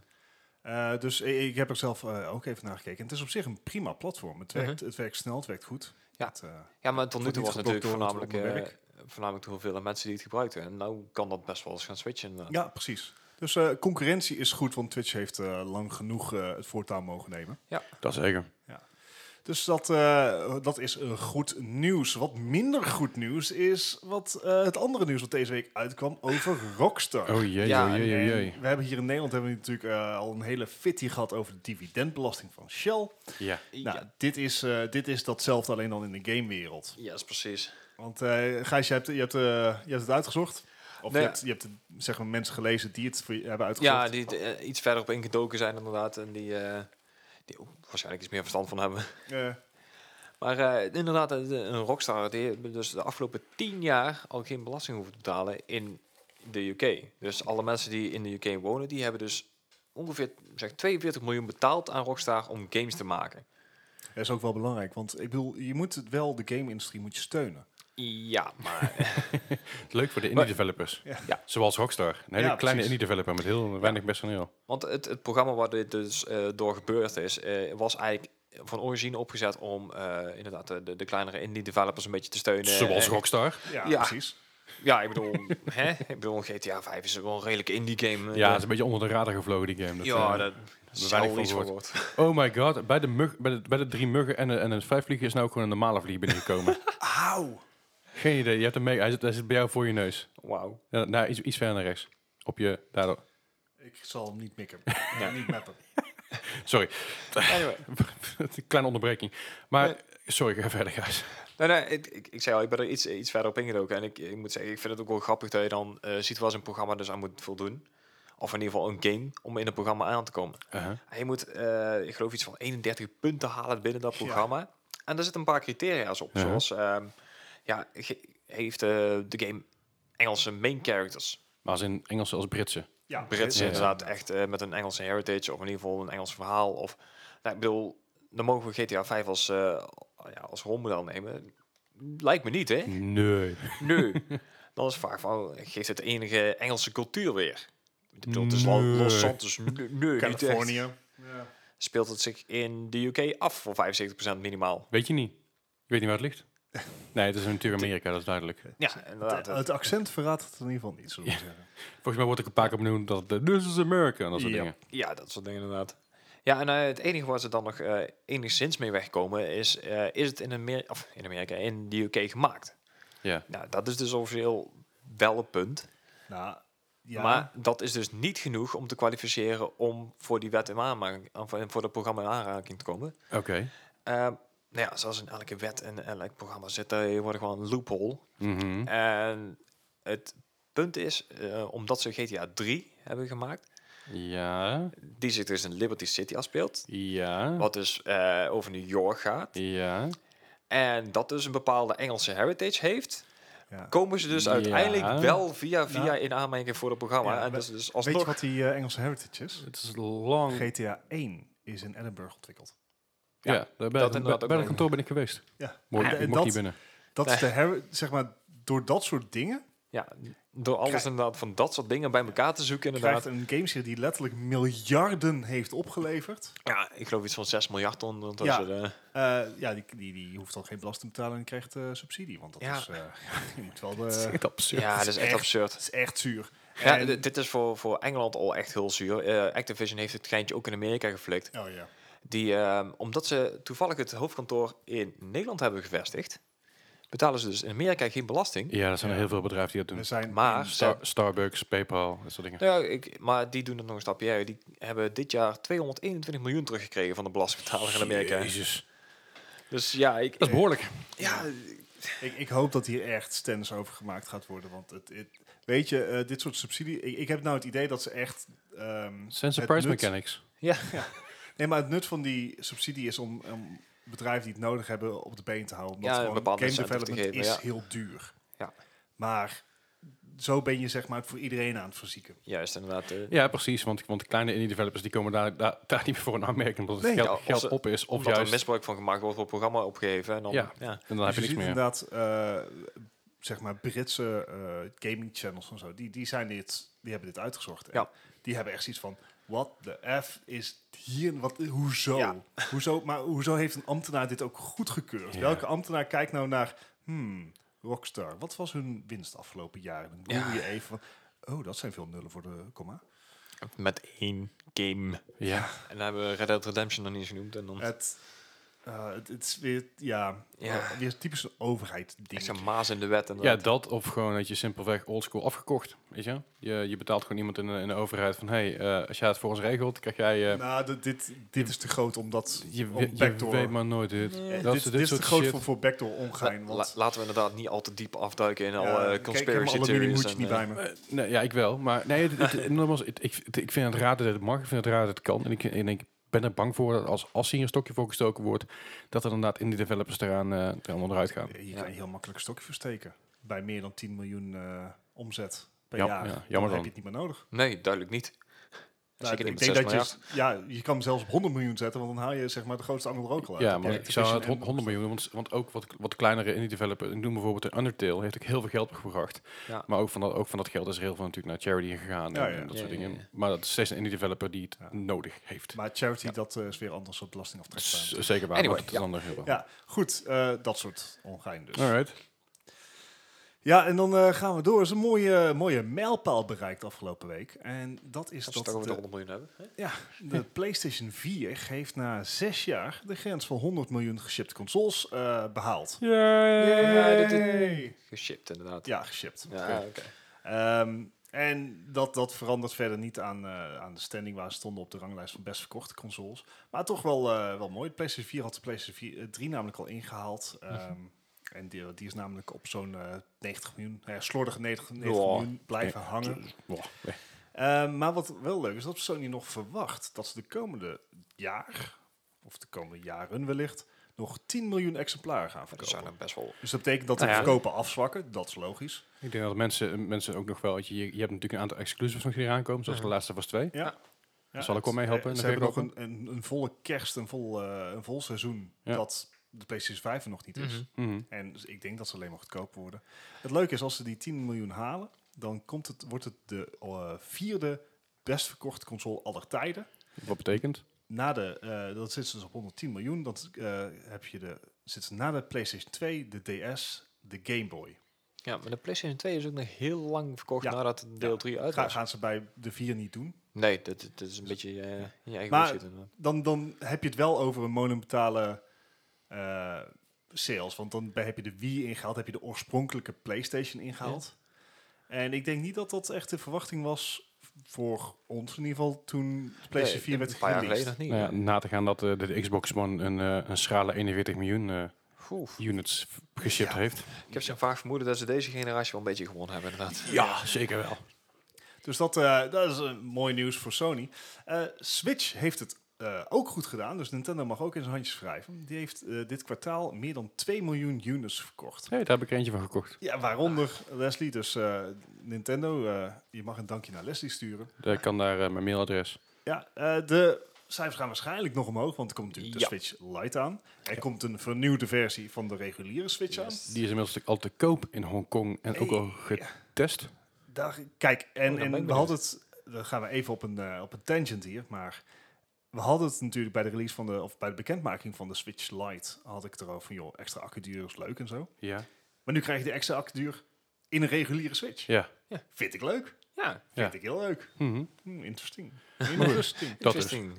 Speaker 3: Eh, dus i- ik heb er zelf eh, ook even naar gekeken. En het is op zich een prima platform. Het werkt, het werkt snel, het werkt goed.
Speaker 2: Mhm. Ja.
Speaker 3: Het, eh,
Speaker 2: ja, maar tot nu
Speaker 3: Wordt
Speaker 2: toe was
Speaker 3: niet
Speaker 2: het natuurlijk
Speaker 3: geblokt door het
Speaker 2: voornamelijk, eh
Speaker 3: onderwerp.
Speaker 2: voornamelijk de hoeveelheid mensen die het gebruikten. En nou kan dat best wel eens gaan switchen. inderdaad.
Speaker 3: ja, precies. Dus eh, concurrentie is goed, want Twitch heeft eh, lang genoeg eh, het voortouw mogen nemen.
Speaker 1: Dat zeker.
Speaker 3: Dus dat, eh, dat is eh, goed nieuws. Wat minder goed nieuws is wat, eh, het andere nieuws wat deze week uitkwam over Rockstar.
Speaker 1: Oh jee,
Speaker 2: Ja,
Speaker 1: oh jee, oh jee.
Speaker 3: En We hebben hier in Nederland hebben we natuurlijk eh, al een hele fitty gehad over de dividendbelasting van Shell.
Speaker 1: Ja.
Speaker 3: Nou, dit is, eh, dit is datzelfde alleen dan in de gamewereld.
Speaker 2: Ja, is precies.
Speaker 3: Want eh Gijs, je hebt, je, hebt, eh, je hebt het uitgezocht? Of
Speaker 2: Nee.
Speaker 3: je hebt, je hebt zeg maar, mensen gelezen die het voor je hebben uitgezocht?
Speaker 2: Ja, die eh, iets verder op ingedoken zijn inderdaad. En die, eh, die ook waarschijnlijk iets meer verstand van hebben.
Speaker 3: Eh,
Speaker 2: Maar eh, inderdaad, eh, de- een rockstar die hebben dus de afgelopen tien jaar al geen belasting hoeven te betalen in de UK. Dus alle mensen die in de UK wonen, die hebben dus ongeveer zeg, 42 miljoen betaald aan Rockstar om games te maken.
Speaker 3: dat is ook wel belangrijk, want ik bedoel, je moet het wel de game-industrie moet je steunen.
Speaker 2: Ja, maar eh,
Speaker 1: Leuk voor de
Speaker 2: Maar-
Speaker 1: indie developers.
Speaker 3: Ja.
Speaker 2: Ja.
Speaker 1: Zoals Rockstar. Een hele
Speaker 3: Ja,
Speaker 1: kleine
Speaker 3: precies.
Speaker 1: indie developer met heel weinig personeel.
Speaker 2: want het, het programma waar dit dus eh, door gebeurd is, eh, was eigenlijk van origine opgezet om eh, inderdaad de, de- de kleinere indie developers een beetje te steunen.
Speaker 1: Zoals
Speaker 2: En-
Speaker 1: Rockstar.
Speaker 3: Ja,
Speaker 2: Ja.
Speaker 3: precies.
Speaker 2: Ja, ik bedoel, hè? ik bedoel, GTA 5 is wel een redelijke indie game. eh,
Speaker 1: Ja, het is een beetje onder de radar gevlogen, die game. Dat,
Speaker 2: ja,
Speaker 1: eh,
Speaker 2: dat
Speaker 1: weinig
Speaker 2: zelden
Speaker 1: van
Speaker 2: iets van
Speaker 1: gehoord.
Speaker 2: wordt.
Speaker 1: Oh my god, bij de, mug, bij de, bij de drie muggen en, een- en een vijfvlieger is nou ook gewoon een normale vlieg binnengekomen.
Speaker 3: Auw!
Speaker 1: Geen idee, je hebt hem mee, hij zit, hij zit bij jou voor je neus.
Speaker 2: Wauw.
Speaker 1: Ja, nou, iets, iets verder naar rechts. Op je, daardoor.
Speaker 3: Ik zal hem niet mikken. Ja, niet mappen.
Speaker 1: Sorry,
Speaker 2: Anyway.
Speaker 1: kleine onderbreking. Maar,
Speaker 2: Nee.
Speaker 1: sorry, ga verder, guys.
Speaker 2: Nee, nee, ik, ik, ik zei al, ik ben er iets, iets verder op ingedoken. En ik, ik moet zeggen, ik vind het ook wel grappig dat je dan eh, ziet waar zo'n programma dus aan moet voldoen. Of in ieder geval een game om in een programma aan te komen.
Speaker 1: Uh-huh.
Speaker 2: En je moet, eh, ik geloof, iets van 31 punten halen binnen dat programma. En daar zitten een paar criteria's op.
Speaker 1: Ja.
Speaker 2: Zoals, ehm, ja, ge- heeft eh, de game Engelse main characters?
Speaker 1: Maar als in Engelse als Britse.
Speaker 3: Ja,
Speaker 2: Brits
Speaker 1: Ja, ja.
Speaker 2: inderdaad echt eh, met een Engelse heritage of in ieder geval een Engels verhaal. Of, nou, ik bedoel, dan mogen we GTA 5 als, eh ja, als rolmodel nemen. Lijkt me niet, hè?
Speaker 1: Nee.
Speaker 2: Nu. Dan is het vaak van, geeft het enige Engelse cultuur weer. Ik bedoel, het is Lo-
Speaker 1: Nee.
Speaker 2: Los Santos, nee, niet echt.
Speaker 3: Californië. Ja.
Speaker 2: Speelt het zich in de UK af voor 75% minimaal.
Speaker 1: Weet je niet. Je weet niet waar het ligt. Nee, het is natuurlijk Amerika, dat is duidelijk.
Speaker 2: Ja, Dus, inderdaad.
Speaker 3: Het, het accent verraadt het in ieder geval niet, zullen we zeggen.
Speaker 1: Volgens mij wordt ik een paar keer benoemd dat het This is America en dat soort
Speaker 3: Ja.
Speaker 1: dingen.
Speaker 2: Ja, dat soort dingen inderdaad. Ja, en eh, het enige waar ze dan nog eh, enigszins mee wegkomen is, eh, is het in Amerika, of in Amerika, in de UK gemaakt.
Speaker 1: Ja.
Speaker 2: Nou, dat is dus officieel wel een punt.
Speaker 3: Nou, ja.
Speaker 2: Maar dat is dus niet genoeg om te kwalificeren om voor die wet in aanmaking, of voor dat programma in aanraking te komen.
Speaker 1: Oké.
Speaker 2: Eh, nou ja, zoals in elke wet en elk programma zit eh, er tegenwoordig gewoon een loophole.
Speaker 3: Hm.
Speaker 1: Mhm.
Speaker 2: En het punt is, eh, omdat ze GTA 3 hebben gemaakt,
Speaker 1: Ja.
Speaker 2: die zich dus in Liberty City afspeelt,
Speaker 3: Hm.
Speaker 1: Ja.
Speaker 2: wat dus eh, over New York gaat,
Speaker 1: Ja.
Speaker 2: en dat dus een bepaalde Engelse heritage heeft,
Speaker 3: ja.
Speaker 2: komen ze dus
Speaker 1: Ja.
Speaker 2: uiteindelijk wel via via
Speaker 3: Nou.
Speaker 2: in aanmerking voor het programma.
Speaker 3: Ja,
Speaker 2: en
Speaker 3: we-
Speaker 2: dus, dus
Speaker 3: Weet je
Speaker 2: alsnog...
Speaker 3: wat die eh, Engelse heritage is?
Speaker 1: Het is lang.
Speaker 3: GTA 1 is in Edinburgh ontwikkeld.
Speaker 1: ja, daar ben,
Speaker 2: dat
Speaker 1: bij,
Speaker 2: inderdaad ook
Speaker 1: bij
Speaker 2: nog.
Speaker 1: dat kantoor ben ik geweest.
Speaker 3: Ja.
Speaker 1: Mooi,
Speaker 3: En-
Speaker 1: ik
Speaker 3: en
Speaker 1: mocht
Speaker 3: dat-
Speaker 1: niet binnen.
Speaker 3: Dat is de her zeg maar, door dat soort dingen
Speaker 2: Ja, door alles
Speaker 3: Krijg-
Speaker 2: inderdaad van dat soort dingen bij elkaar te zoeken inderdaad.
Speaker 3: krijgt een gameserie die letterlijk miljarden heeft opgeleverd.
Speaker 2: Ja, ik geloof iets van 6 miljard ton.
Speaker 3: Ja.
Speaker 2: ondertussen, eh.
Speaker 3: Eh, ja, die, die, die hoeft dan geen belasting te betalen en krijgt eh, subsidie. Want dat
Speaker 2: Ja.
Speaker 3: is, eh, je moet wel de,
Speaker 1: absurd.
Speaker 2: ja, dat is echt
Speaker 3: echt-
Speaker 2: absurd.
Speaker 3: dat is echt zuur.
Speaker 2: Ja,
Speaker 3: En-
Speaker 2: d- dit is voor, voor Engeland al echt heel zuur. Eh, Activision heeft het geintje ook in Amerika geflikt.
Speaker 3: oh ja.
Speaker 2: Die, ehm, omdat ze toevallig het hoofdkantoor in Nederland hebben gevestigd, betalen ze dus in Amerika geen belasting.
Speaker 1: Ja, er zijn er heel veel bedrijven die dat
Speaker 3: We
Speaker 1: doen.
Speaker 3: zijn
Speaker 2: Maar,
Speaker 3: in-
Speaker 1: Star- Starbucks, Paypal, dat soort dingen.
Speaker 2: Nou ja, ik, maar die doen het nog een stapje. erger. Die hebben dit jaar 221 miljoen teruggekregen van de belastingbetaler in Amerika.
Speaker 1: Jezus.
Speaker 2: Dus ja, ik,
Speaker 1: Dat is behoorlijk.
Speaker 2: ja,
Speaker 3: ik, ik hoop dat hier echt stennis over gemaakt gaat worden. Want het, het- weet je, eh, dit soort subsidie... Ik, ik heb nou het idee dat ze echt... ehm,
Speaker 1: Sensor
Speaker 3: het
Speaker 1: price
Speaker 3: nut-
Speaker 1: mechanics.
Speaker 3: Nee, maar het nut van die subsidie is om, om bedrijven die het nodig hebben op de been te houden. Omdat
Speaker 2: Ja,
Speaker 3: gewoon
Speaker 2: een bepaalde
Speaker 3: game
Speaker 2: incentive te
Speaker 3: development
Speaker 2: geven,
Speaker 3: is
Speaker 2: ja.
Speaker 3: heel duur.
Speaker 2: Ja.
Speaker 3: Maar zo ben je zeg maar voor iedereen aan het verzieken.
Speaker 2: Juist, inderdaad. eh,
Speaker 1: Ja, precies. Want, want de kleine indie developers die komen daar, daar, daar niet meer voor een aanmerking. Omdat het
Speaker 3: Nee,
Speaker 1: geld,
Speaker 2: ja, of
Speaker 1: geld
Speaker 2: ze-
Speaker 1: op is. Of
Speaker 2: omdat er
Speaker 1: juist.
Speaker 2: misbruik van gemaakt wordt, wordt het programma opgegeven. En dan,
Speaker 1: Ja.
Speaker 2: ja.
Speaker 1: En dan heb je
Speaker 3: Dus
Speaker 1: niks
Speaker 3: je ziet
Speaker 1: meer.
Speaker 3: inderdaad, eh, zeg maar, Britse eh, gaming channels en zo, die, die, zijn dit, die hebben dit uitgezocht. En
Speaker 2: Ja.
Speaker 3: Die hebben echt zoiets van, what the F is hier, wat, hoezo?
Speaker 2: Ja.
Speaker 3: hoezo? Maar hoezo heeft een ambtenaar dit ook goedgekeurd?
Speaker 1: Ja.
Speaker 3: Welke ambtenaar kijkt nou naar, hmm, Rockstar, wat was hun winst afgelopen jaar? En Dan
Speaker 2: Ja.
Speaker 3: doe je even van, oh, dat zijn veel nullen voor de komma.
Speaker 2: Met één game.
Speaker 1: Ja.
Speaker 2: En dan hebben we Red Dead Redemption nog niet eens genoemd. En dan
Speaker 3: Het, eh, het, het is weer, ja,
Speaker 2: Ja.
Speaker 3: eh, weer typisch een overheid ding.
Speaker 2: echt zo'n maas in de wet. En
Speaker 1: ja, dat of gewoon dat je simpelweg oldschool afgekocht. Weet je? je? Je betaalt gewoon iemand in de, in de overheid van... Hé, hey, eh, als jij het voor ons regelt, krijg jij... eh,
Speaker 3: Nou, dit- dit, dit is te groot omdat
Speaker 1: je,
Speaker 3: om
Speaker 1: we- je
Speaker 3: backdoor-
Speaker 1: weet maar nooit dit.
Speaker 3: Eh,
Speaker 1: Dat
Speaker 3: dit,
Speaker 1: ze
Speaker 3: dit is te
Speaker 1: soort
Speaker 3: groot
Speaker 1: shit-
Speaker 3: voor, voor backdoor omgein.
Speaker 2: La-
Speaker 3: Want
Speaker 2: laten we inderdaad niet al te diep afduiken in alle eh,
Speaker 3: kijk,
Speaker 2: conspiracy
Speaker 3: helemaal aluminium
Speaker 2: theories.
Speaker 3: moet je
Speaker 2: en, eh,
Speaker 3: niet bij me.
Speaker 1: Eh, nee, ja, ik wel. Maar nee, het, het- het- nogmaals, het- ik, het- ik vind het raar dat het mag. Ik vind het raar dat het kan. En ik, en ik ben er bang voor dat als, als hier een stokje voor gestoken wordt... dat er inderdaad indie developers eraan, eh eraan onderuit gaan.
Speaker 3: Je kan je heel makkelijk een stokje versteken. Bij meer dan 10 miljoen eh, omzet per
Speaker 1: Ja,
Speaker 3: jaar.
Speaker 1: ja, jammer
Speaker 3: dan.
Speaker 1: dan.
Speaker 3: heb je het niet meer nodig.
Speaker 2: Nee, duidelijk niet.
Speaker 3: Nou,
Speaker 2: Zeker niet
Speaker 3: ik
Speaker 2: met
Speaker 3: denk
Speaker 2: 6
Speaker 3: dat
Speaker 2: miljard.
Speaker 3: je, ja, je kan hem zelfs op 100 miljoen zetten, want dan haal je zeg maar de grootste angel er ook al uit.
Speaker 1: Ja,
Speaker 3: Dan
Speaker 1: maar
Speaker 3: heb
Speaker 1: ik
Speaker 3: je
Speaker 1: zou het
Speaker 3: Activision
Speaker 1: hond-
Speaker 3: en-
Speaker 1: 100 miljoen, want, want ook wat, wat kleinere indie developers, ik noem bijvoorbeeld de Undertale, heeft ook heel veel geld opgebracht.
Speaker 2: Ja.
Speaker 1: Maar ook van, dat, ook van dat geld is er heel veel natuurlijk naar charity gegaan
Speaker 3: Ja,
Speaker 1: en,
Speaker 3: ja.
Speaker 1: en dat
Speaker 2: Ja,
Speaker 1: soort
Speaker 2: ja,
Speaker 1: dingen.
Speaker 2: ja.
Speaker 1: Maar dat is steeds een indie developer die het
Speaker 3: Ja.
Speaker 1: nodig heeft.
Speaker 3: Maar charity, dat eh, is weer anders op belastingaftrek.
Speaker 1: Z- Zeker waar,
Speaker 2: Anyway,
Speaker 1: maar dat is een ander heel
Speaker 3: Ja, goed. eh, dat soort ongein dus.
Speaker 1: Alright.
Speaker 3: Ja, en dan eh, gaan we door. Er is een mooie, mooie mijlpaal bereikt afgelopen week. En dat is
Speaker 2: Als we het toch
Speaker 3: dat
Speaker 2: over de
Speaker 3: de-
Speaker 2: 100 miljoen hebben. hè?
Speaker 3: Ja, de PlayStation 4 heeft na zes jaar de grens van 100 miljoen geshipte consoles eh, behaald.
Speaker 2: Ja, dit Geshipped, inderdaad.
Speaker 3: Ja, geshipped.
Speaker 2: Ja, oké.
Speaker 3: Ehm, en dat, dat verandert verder niet aan, eh, aan de standing waar ze stonden op de ranglijst van best verkochte consoles. Maar toch wel, eh, wel mooi. De PlayStation 4 had de PlayStation 4, eh, 3 namelijk al ingehaald. Ehm,
Speaker 2: Mhm.
Speaker 3: en die, die is namelijk op zo'n eh, 90 miljoen, eh, slordige 90, 90
Speaker 2: Ja.
Speaker 3: miljoen blijven hangen.
Speaker 1: Wow. Eh,
Speaker 3: Eh, maar wat wel leuk is, dat Sony nog verwacht dat ze de komende jaar, of de komende jaren wellicht, nog 10 miljoen exemplaren gaan
Speaker 2: Dat zijn
Speaker 3: verkopen.
Speaker 2: er nou best wel...
Speaker 3: Dus dat betekent dat de
Speaker 2: Nou ja.
Speaker 3: verkopen afzwakken, dat is logisch.
Speaker 1: Ik denk dat mensen, mensen ook nog wel, weet je, je je hebt natuurlijk een aantal exclusives nog die eraan komen, zoals de laatste was twee.
Speaker 3: Ja. Ja,
Speaker 1: Zal ik wel
Speaker 3: het-
Speaker 1: mee helpen
Speaker 3: eh,
Speaker 1: in
Speaker 3: Ze
Speaker 1: de
Speaker 3: hebben nog een,
Speaker 1: verkopen?
Speaker 3: een, een volle kerst, een vol, eh, een vol seizoen
Speaker 1: Ja.
Speaker 3: dat de PlayStation 5 er nog niet is.
Speaker 1: Mhm.
Speaker 3: En dus ik denk dat ze alleen maar goedkoop worden. Het leuke is, als ze die 10 miljoen halen, dan komt het, wordt het de eh, vierde best verkochte console aller tijden.
Speaker 1: Wat betekent?
Speaker 3: na de, eh, dat zit ze dus op 110 miljoen. Dat eh, heb je de, zit ze na de PlayStation 2, de DS, de Game Boy.
Speaker 2: Ja, maar de PlayStation 2 is ook nog heel lang verkocht
Speaker 3: Ja.
Speaker 2: nadat deel 3 uit
Speaker 3: Ga,
Speaker 2: was.
Speaker 3: gaan ze bij de 4 niet doen.
Speaker 2: Nee, dat, dat is een beetje eh in je eigen
Speaker 3: Maar-
Speaker 2: bullshit, inderdaad.
Speaker 3: Dan, dan heb je het wel over een monumentale eh, sales. Want dan heb je de Wii ingehaald, heb je de oorspronkelijke PlayStation ingehaald. En ik denk niet dat dat echt de verwachting was voor ons in ieder geval toen de PlayStation 4 werd
Speaker 2: Een paar jaar geleden
Speaker 3: gereleased.
Speaker 2: nog niet.
Speaker 1: Nou ja, na te gaan dat eh, de, de Xbox One een, eh, een schrale 41 miljoen eh,
Speaker 2: Oef.
Speaker 1: units v- geshipped
Speaker 3: Ja.
Speaker 1: heeft.
Speaker 2: Ik heb zo'n vaag vermoeden dat ze deze generatie wel een beetje gewonnen hebben, inderdaad.
Speaker 1: Ja, zeker wel.
Speaker 3: Dus dat, eh, dat is een mooi nieuws voor Sony. Eh, Switch heeft het eh, ook goed gedaan, dus Nintendo mag ook in zijn handjes wrijven. Die heeft eh, dit kwartaal meer dan 2 miljoen units verkocht.
Speaker 1: Nee, daar heb ik er eentje van gekocht.
Speaker 3: Ja, waaronder Leslie. Dus eh, Nintendo, eh, je mag een dankje naar Leslie sturen.
Speaker 1: Ik kan daar eh, mijn mailadres.
Speaker 3: Ja, eh, de cijfers gaan waarschijnlijk nog omhoog, want er komt natuurlijk
Speaker 2: Ja.
Speaker 3: de Switch Lite aan. Er komt een vernieuwde versie van de reguliere Switch aan.
Speaker 2: Yes.
Speaker 1: Die is inmiddels natuurlijk al te koop in Hongkong en ook al getest.
Speaker 3: Daar, kijk, en,
Speaker 2: Oh, dan ben
Speaker 3: en
Speaker 2: ik
Speaker 3: we hadden het, dan gaan we even op een, eh, op een tangent hier, maar we hadden het natuurlijk bij de release van de, of bij de bekendmaking van de Switch Lite, had ik het erover van, joh, extra accuduur is leuk en zo.
Speaker 1: Ja.
Speaker 3: Maar nu krijg je de extra accuduur in een reguliere Switch.
Speaker 1: Ja.
Speaker 3: Vind ik leuk.
Speaker 2: Ja,
Speaker 1: Ja.
Speaker 3: Vind ik heel leuk.
Speaker 1: Mhm.
Speaker 3: Hmm, interesting. Interesting.
Speaker 1: Dat is.
Speaker 2: interesting.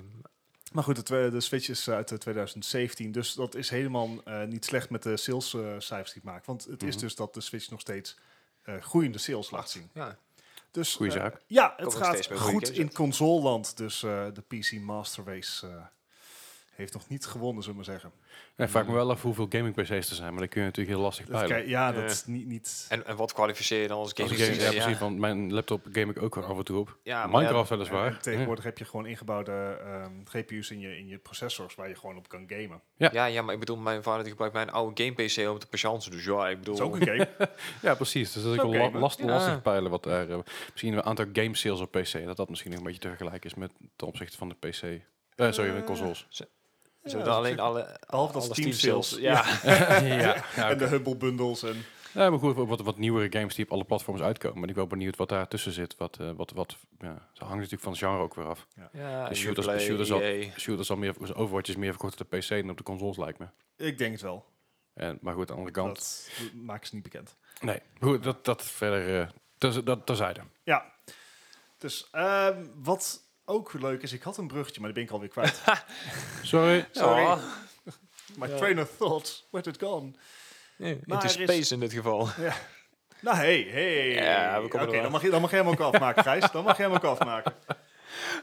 Speaker 3: maar goed, de, twe- de Switch is uit eh, 2017, dus dat is helemaal eh, niet slecht met de salescijfers die het maakt. Want het is
Speaker 1: Mhm.
Speaker 3: dus dat de Switch nog steeds eh, goeiende sales laat zien.
Speaker 2: Ja.
Speaker 3: Dus,
Speaker 1: Goeie
Speaker 3: eh,
Speaker 1: zaak.
Speaker 3: Ja, het
Speaker 2: nog
Speaker 3: gaat
Speaker 2: steeds bij goede
Speaker 3: goed
Speaker 2: games
Speaker 3: in
Speaker 2: uit.
Speaker 3: consoleland. Dus eh, de PC Master Race eh, heeft nog niet gewonnen, zullen we maar zeggen.
Speaker 1: Ik vraag me wel af hoeveel gaming PC's er zijn, maar dat kun je natuurlijk heel lastig
Speaker 3: Dat
Speaker 1: peilen.
Speaker 3: Dus kijk- ja, dat
Speaker 2: Ja.
Speaker 3: is niet... niet
Speaker 2: En, en wat kwalificeer je dan als
Speaker 1: Als
Speaker 2: game?
Speaker 1: ik game, ja,
Speaker 2: designer?
Speaker 1: precies, want mijn laptop game ik ook wel af en toe op.
Speaker 2: Ja, maar
Speaker 1: Minecraft
Speaker 3: en
Speaker 1: weliswaar. Ja.
Speaker 3: tegenwoordig heb je gewoon ingebouwde ehm, GPU's in je, in je processors waar je gewoon op kan gamen.
Speaker 2: Ja, ja, ja, maar ik bedoel, mijn vader die gebruikt mijn oude game PC om te patiënten. Dus ja, ik
Speaker 3: Dat
Speaker 2: bedoel...
Speaker 3: is ook een game.
Speaker 1: ja, precies. Dus dat is
Speaker 3: Zo
Speaker 1: ook wel la-
Speaker 3: gamen.
Speaker 1: last,
Speaker 2: Ja.
Speaker 1: lastig peilen wat daar... eh, misschien een aantal game sales op PC, dat dat misschien nog een beetje te vergelijken is met ten opzichte van de PC. Eh sorry, de consoles.
Speaker 2: Zo,
Speaker 3: Ja,
Speaker 2: dan
Speaker 3: dat
Speaker 2: alleen
Speaker 3: is-
Speaker 2: alle,
Speaker 3: behalve dat
Speaker 2: alle
Speaker 3: Steam
Speaker 2: sales.
Speaker 3: sales.
Speaker 2: Ja.
Speaker 1: ja, ja,
Speaker 3: En de Humble bundles en...
Speaker 1: Ja, maar goed, wat, wat nieuwere games die op alle platforms uitkomen. Ben ik wel benieuwd wat daar tussen zit. Wat, eh, wat, wat, ja, dat hangt natuurlijk van het genre ook weer af.
Speaker 2: ja E
Speaker 1: De shooters- de
Speaker 2: Uplay,
Speaker 1: shooters al-
Speaker 2: EA.
Speaker 1: Shooters al meer, dus Overwatch is meer verkocht op de PC dan op de consoles lijkt me.
Speaker 3: Ik denk het wel.
Speaker 1: En, maar goed, aan de andere kant.
Speaker 3: Dat maken ze niet bekend.
Speaker 1: Nee, Maar goed, dat, dat verder. eh ters- dat terzijde.
Speaker 3: Ja. Dus ehm, wat ook leuk is, ik had een bruggetje, maar die ben ik alweer kwijt.
Speaker 1: Sorry.
Speaker 2: Sorry.
Speaker 3: Sorry. My
Speaker 2: Ja.
Speaker 3: train of thought, where'd it gone?
Speaker 2: Nee,
Speaker 3: Maar
Speaker 2: into
Speaker 3: er is-
Speaker 2: space in dit geval.
Speaker 3: Nou, hey, hey.
Speaker 2: Ja, we komen
Speaker 3: Oké,
Speaker 2: er wel.
Speaker 3: dan, mag je- dan mag jij hem ook afmaken, Gijs. Dan mag jij hem ook afmaken.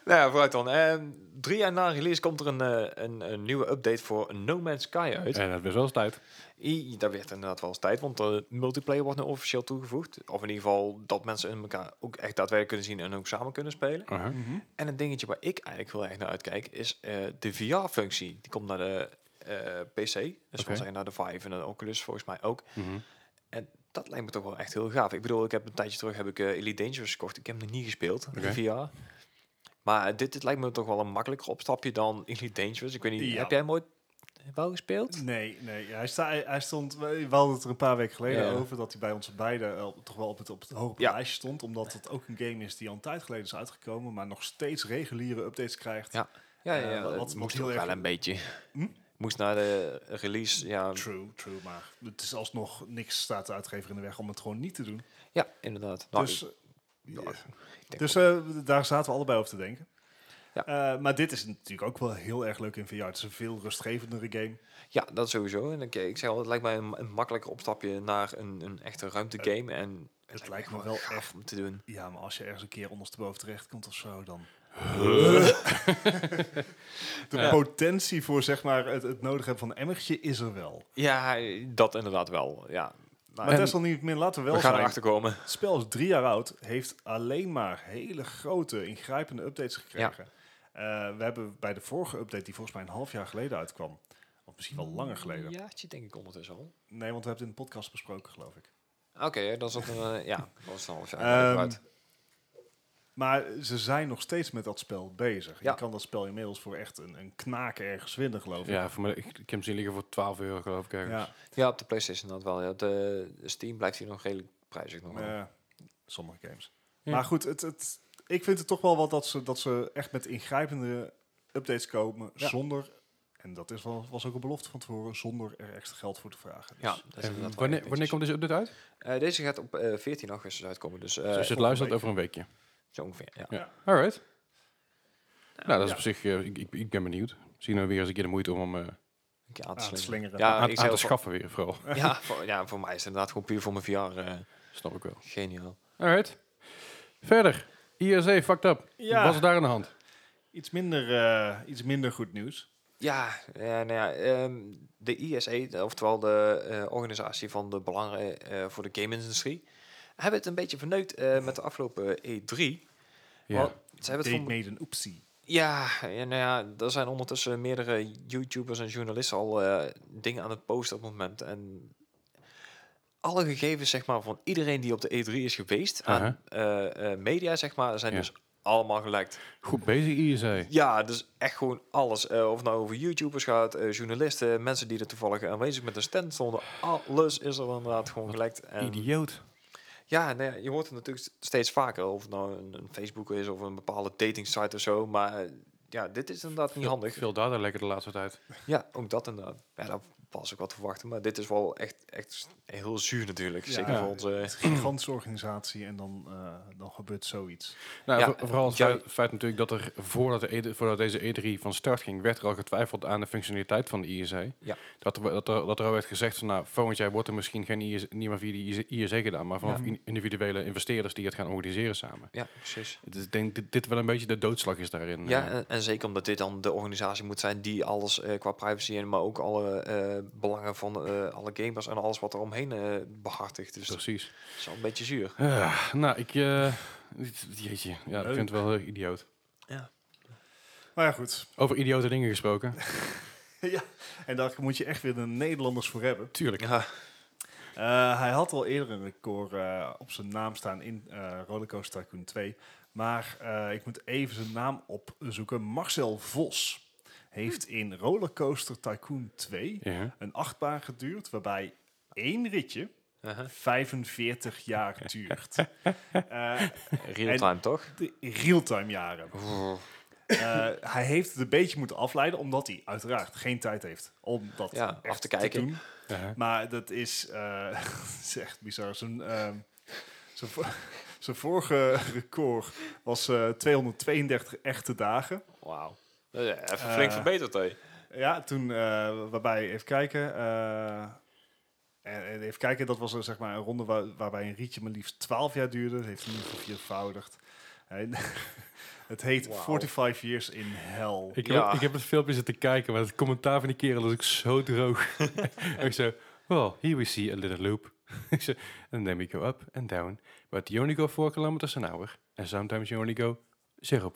Speaker 2: Nou ja, vooruit dan. Ehm, drie jaar na release komt er een, eh, een, een nieuwe update voor No Man's Sky uit.
Speaker 1: En dat is wel eens tijd.
Speaker 2: I, daar werd inderdaad wel eens tijd, want de multiplayer wordt nu officieel toegevoegd. Of in ieder geval dat mensen in elkaar ook echt daadwerkelijk kunnen zien en ook samen kunnen spelen.
Speaker 1: Uh-huh.
Speaker 2: En een dingetje waar ik eigenlijk heel erg naar uitkijk is eh, de VR-functie. Die komt naar de eh, PC, dus
Speaker 1: Oké.
Speaker 2: we zijn naar de Vive en de Oculus volgens mij ook.
Speaker 1: Mhm.
Speaker 2: En dat lijkt me toch wel echt heel gaaf. Ik bedoel, ik heb een tijdje terug heb ik eh, Elite Dangerous gekocht. Ik heb hem nog niet gespeeld,
Speaker 1: Oké.
Speaker 2: de VR. Maar eh, dit, dit lijkt me toch wel een makkelijker opstapje dan Elite Dangerous. Ik weet niet,
Speaker 3: Ja.
Speaker 2: heb jij hem ooit wel gespeeld?
Speaker 3: Nee, nee. ja, Hij, sta, hij, hij stond, we we hadden het er een paar weken geleden
Speaker 2: Ja.
Speaker 3: over... dat hij bij ons beiden eh, op- toch wel op het, op het hoge op het
Speaker 2: Ja.
Speaker 3: lijstje stond. Omdat het ook een game is die al een tijd geleden is uitgekomen... maar nog steeds reguliere updates krijgt.
Speaker 2: Ja. Ja, ja,
Speaker 3: Eh,
Speaker 2: ja
Speaker 3: wat-
Speaker 2: dat
Speaker 3: wat
Speaker 2: moest
Speaker 3: heel
Speaker 2: ook
Speaker 3: erg-
Speaker 2: wel een beetje.
Speaker 3: Hm?
Speaker 2: Moest naar de release, ja,
Speaker 3: True, true. Maar het is alsnog niks staat de uitgever in de weg om het gewoon niet te doen.
Speaker 2: ja inderdaad. Nou,
Speaker 3: dus
Speaker 2: ik-
Speaker 3: eh,
Speaker 2: nou, ik denk
Speaker 3: dus
Speaker 2: wel.
Speaker 3: eh, daar zaten we allebei over te denken.
Speaker 2: Ja.
Speaker 3: Eh, maar dit is natuurlijk ook wel heel erg leuk in VR. Het is een veel rustgevendere game.
Speaker 2: ja, dat sowieso. En ik, ik zeg al, het lijkt mij een, een makkelijker opstapje naar een, een echte ruimtegame. En
Speaker 3: Het lijkt me wel echt
Speaker 2: gaaf om te doen.
Speaker 3: Ja, maar als je ergens een keer ondersteboven terecht komt of zo, dan... de potentie voor zeg maar, het, het nodig hebben van een emmertje is er wel.
Speaker 2: Ja, dat inderdaad wel. Ja. Maar
Speaker 3: Maar desalniettemin laten we wel
Speaker 2: we gaan
Speaker 3: zijn,
Speaker 2: erachter komen.
Speaker 3: het spel is drie jaar oud, heeft alleen maar hele grote, ingrijpende updates gekregen. Eh, we hebben bij de vorige update, die volgens mij een half jaar geleden uitkwam, of misschien wel langer geleden.
Speaker 2: Ja, het zit denk ik ondertussen al.
Speaker 3: Nee, want we hebben het in de podcast besproken, geloof ik.
Speaker 2: Oké, dan zat een, eh, ja, dat is een half jaar
Speaker 3: Ehm,
Speaker 2: vooruit.
Speaker 3: Maar ze zijn nog steeds met dat spel bezig.
Speaker 2: Ja.
Speaker 3: Je kan dat spel inmiddels voor echt een, een knaken ergens vinden, geloof ik.
Speaker 1: Ja, voor mij, ik, ik heb hem zien liggen voor 12 euro, geloof ik. Ergens.
Speaker 3: Ja.
Speaker 2: Ja, op de PlayStation dat wel. Ja. De Steam blijft hier nog redelijk prijzig nog. wel.
Speaker 3: Ja, eh, sommige games.
Speaker 1: Ja.
Speaker 3: Maar goed, het, het, ik vind het toch wel wat dat ze, dat ze echt met ingrijpende updates komen
Speaker 2: Ja.
Speaker 3: zonder, en dat is wel, was ook een belofte van tevoren, zonder er extra geld voor te vragen. Dus
Speaker 2: Ja, dat is
Speaker 1: En
Speaker 2: inderdaad wel
Speaker 1: wanneer,
Speaker 2: echt
Speaker 1: wanneer komt deze update uit?
Speaker 2: netjes. Eh, deze gaat op eh, 14 augustus uitkomen, dus eh,
Speaker 1: Dus als je het
Speaker 3: volgende
Speaker 1: luistert
Speaker 3: week.
Speaker 1: over een weekje.
Speaker 2: zo ongeveer. Ja.
Speaker 1: Ja. Alright. Nou, dat is
Speaker 3: ja.
Speaker 1: op zich. eh, ik, ik, ik ben benieuwd. Zien we weer eens een keer de moeite om hem eh,
Speaker 2: Een keer aan te
Speaker 3: aan het
Speaker 2: slingeren.
Speaker 3: slingeren.
Speaker 2: Ja,
Speaker 1: aan,
Speaker 2: ik
Speaker 1: aan
Speaker 2: zei
Speaker 1: te
Speaker 2: al van-
Speaker 1: schaffen weer, vooral.
Speaker 2: Ja, voor, ja, voor mij is het inderdaad gewoon puur voor mijn VR eh,
Speaker 1: Snap ik wel.
Speaker 2: geniaal.
Speaker 1: Alright. Verder. ISA fucked up.
Speaker 3: Ja.
Speaker 1: Wat was er daar aan de hand?
Speaker 3: Iets, minder, eh, iets minder goed nieuws.
Speaker 2: Ja, eh, nou ja ehm, de ISE, de- oftewel de eh, organisatie van de belangen eh, voor de game-industrie, hebben het een beetje verneukt eh, met de afgelopen E3. Want ze hebben het
Speaker 3: They
Speaker 2: voor
Speaker 3: made an oopsie.
Speaker 2: Ja, en nou ja, er zijn ondertussen meerdere YouTubers en journalisten al eh, dingen aan het posten op het moment. En alle gegevens zeg maar, van iedereen die op de E3 is geweest aan eh, eh, media, zeg maar, zijn
Speaker 1: Ja.
Speaker 2: dus allemaal gelekt.
Speaker 1: Goed bezig, ISA.
Speaker 2: Ja, dus echt gewoon alles. Eh, of het nou over YouTubers gaat, eh, journalisten, mensen die er toevallig aanwezig met een stand stonden. Alles is er inderdaad gewoon gelekt. En
Speaker 1: Idioot.
Speaker 2: ja, nou ja, je hoort het natuurlijk st- steeds vaker. Of het nou een, een Facebook is of een bepaalde dating site of zo. Maar eh, ja, dit is inderdaad niet handig.
Speaker 1: Veel data lekker de laatste tijd.
Speaker 2: Ja, ook dat inderdaad. Ja, daar was ook wat te verwachten. Maar dit is wel echt, echt heel zuur natuurlijk.
Speaker 3: Ja.
Speaker 2: Zeker
Speaker 1: Ja.
Speaker 2: voor onze...
Speaker 3: Het is een gigantische organisatie en dan, eh, dan gebeurt zoiets.
Speaker 1: Nou,
Speaker 2: Ja,
Speaker 1: voor- vooral het
Speaker 2: jij-
Speaker 1: feit, feit natuurlijk dat er voordat, de E3 voordat deze E3 van start ging, werd er al getwijfeld aan de functionaliteit van de ISA.
Speaker 2: Ja.
Speaker 1: Dat, er, dat, er, dat er al werd gezegd van nou, volgend jaar wordt er misschien geen ISA, niet meer via de ISA, gedaan, maar vanaf
Speaker 3: Ja.
Speaker 1: in- individuele investeerders die het gaan organiseren samen.
Speaker 2: Ja, precies.
Speaker 1: Dus ik denk dit, dit wel een beetje de doodslag is daarin.
Speaker 2: Ja,
Speaker 1: eh.
Speaker 2: en, en zeker omdat dit dan de organisatie moet zijn die alles eh, qua privacy en maar ook alle eh, belangen van eh, alle gamers en alles wat er omheen eh, behartigt. Dus dat
Speaker 1: precies.
Speaker 2: is al een beetje zuur.
Speaker 1: Ah, nou, ik... eh, jeetje, ja, ik
Speaker 3: Leuk.
Speaker 1: vind het wel heel idioot.
Speaker 3: Maar ja, goed.
Speaker 1: Over idiote dingen gesproken.
Speaker 3: En daar moet je echt weer de Nederlanders voor hebben.
Speaker 1: Tuurlijk.
Speaker 2: Ja,
Speaker 3: Eh, hij had al eerder een record eh, op zijn naam staan in eh Rollercoaster Tycoon 2. Maar eh, ik moet even zijn naam opzoeken. Marcel Vos heeft in Rollercoaster Tycoon 2
Speaker 1: Ja.
Speaker 3: een achtbaan geduurd... waarbij één ritje
Speaker 2: Aha.
Speaker 3: 45 jaar duurt. Eh,
Speaker 2: Real-time toch?
Speaker 3: de real-time jaren. Eh, hij heeft het een beetje moeten afleiden... omdat hij uiteraard geen tijd heeft om dat
Speaker 2: Ja, af
Speaker 3: echt
Speaker 2: te kijken.
Speaker 3: doen.
Speaker 1: Ja.
Speaker 3: Maar dat is, eh, dat is echt bizar. Zijn, ehm, zijn, vo- zijn vorige record was eh, 232 echte dagen.
Speaker 2: Wauw. Dat is Even
Speaker 3: Eh,
Speaker 2: flink verbeterd, hè?
Speaker 3: Ja, toen, eh, waarbij, even kijken. eh, en, en even kijken, dat was eh, zeg maar een ronde waar- waarbij een rietje maar liefst 12 jaar duurde. Dat heeft hij nu verviervoudigd. En het heet
Speaker 2: Wauw.
Speaker 3: 45 Years in Hell.
Speaker 1: Ik,
Speaker 2: Ja.
Speaker 1: heb, ik heb het filmpje zitten kijken, maar het commentaar van die kerel is ook zo droog. en ik zo, well, here we see a little loop. Ik zo, and then we go up and down, but you only go 4 kilometers an hour. And sometimes you only go 0.4.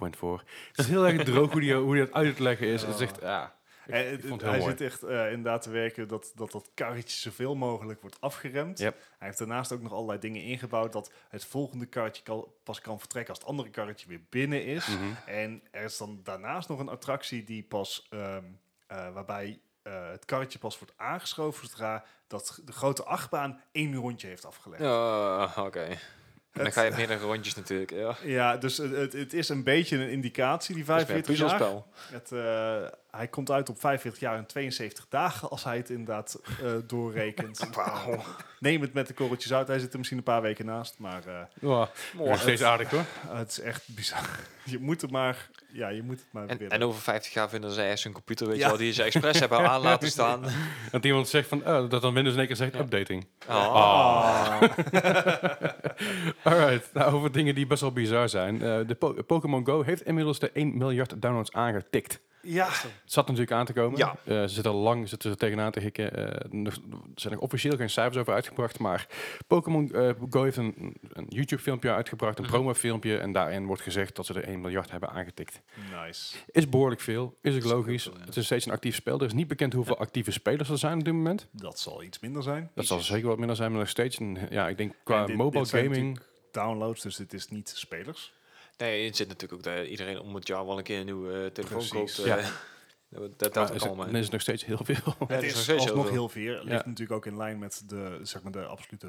Speaker 1: Het is heel erg droog hoe die, hoe die dat uit te leggen is. Het is echt, ah, ik, ik
Speaker 3: Eh, het-
Speaker 1: vond het
Speaker 3: hij
Speaker 1: heel mooi.
Speaker 3: zit echt eh, inderdaad te werken dat, dat dat karretje zoveel mogelijk wordt afgeremd.
Speaker 1: Yep.
Speaker 3: Hij heeft daarnaast ook nog allerlei dingen ingebouwd dat het volgende karretje kan, pas kan vertrekken als het andere karretje weer binnen is.
Speaker 1: Mhm.
Speaker 3: En er is dan daarnaast nog een attractie die pas, ehm, eh, waarbij eh, het karretje pas wordt aangeschoven zodra dat de grote achtbaan één rondje heeft afgelegd. Ja,
Speaker 2: Ja, oké. En dan ga je meerdere rondjes natuurlijk. Ja. Het
Speaker 3: dus het, het, het is een beetje een indicatie, die
Speaker 2: is meer een
Speaker 3: 45 jaar.
Speaker 2: puzzelspel.
Speaker 3: Het, eh, hij komt uit op 45 jaar en 72 dagen als hij het inderdaad eh, doorrekent.
Speaker 2: Wauw.
Speaker 3: Neem het met de korreltjes uit. Hij zit er misschien een paar weken naast, maar eh,
Speaker 1: Ja, nog steeds aardig hoor.
Speaker 3: het is echt bizar. Je moet het maar, ja, je moet het maar
Speaker 2: En,
Speaker 3: willen.
Speaker 2: en over 50 jaar vinden ze ergens een computer, weet
Speaker 3: Ja.
Speaker 2: je wel, die ze expres hebben aan laten staan.
Speaker 1: Dat iemand zegt van, oh, dat dan Windows in één keer zegt, updating.
Speaker 2: Oh.
Speaker 3: Ah.
Speaker 1: Alright, nou, over dingen die best wel bizar zijn. Eh, de Po- Pokémon Go heeft inmiddels de 1 miljard downloads aangetikt.
Speaker 3: ja,
Speaker 1: Het zat natuurlijk aan te komen.
Speaker 2: Ja.
Speaker 1: Eh, ze zitten al lang zitten ze tegenaan te hikken. Eh, nog- er zijn er officieel geen cijfers over uitgebracht. Maar Pokémon eh, Go heeft een, een YouTube-filmpje uitgebracht, een
Speaker 2: Mhm.
Speaker 1: promo-filmpje. En daarin wordt gezegd dat ze er 1 miljard hebben aangetikt.
Speaker 3: nice.
Speaker 1: Is behoorlijk veel, is ook
Speaker 2: is
Speaker 1: logisch.
Speaker 2: heel veel, ja.
Speaker 1: Het is steeds een actief spel. Er is niet bekend hoeveel actieve spelers er zijn op dit moment.
Speaker 3: Dat zal iets minder zijn.
Speaker 1: Dat zal zeker wat minder zijn, maar nog steeds. Een, ja, ik denk qua
Speaker 3: En dit-
Speaker 1: mobile
Speaker 3: dit zijn
Speaker 1: gaming.
Speaker 3: Downloads, dus dit is niet spelers.
Speaker 2: Nee, het zit natuurlijk ook dat iedereen om het jaar wel een keer een nieuwe eh, telefoon
Speaker 3: Precies.
Speaker 2: koopt. eh.
Speaker 1: Ja.
Speaker 2: dat
Speaker 1: Maar
Speaker 2: dat helpt
Speaker 1: is
Speaker 2: ook
Speaker 1: het,
Speaker 2: allemaal.
Speaker 1: dan is het nog steeds heel veel.
Speaker 2: het
Speaker 3: het
Speaker 2: is nog
Speaker 3: is
Speaker 2: steeds heel
Speaker 3: alsnog
Speaker 2: veel.
Speaker 3: heel veel. Ligt
Speaker 1: Ja.
Speaker 3: natuurlijk ook in lijn met de, zeg maar, de absolute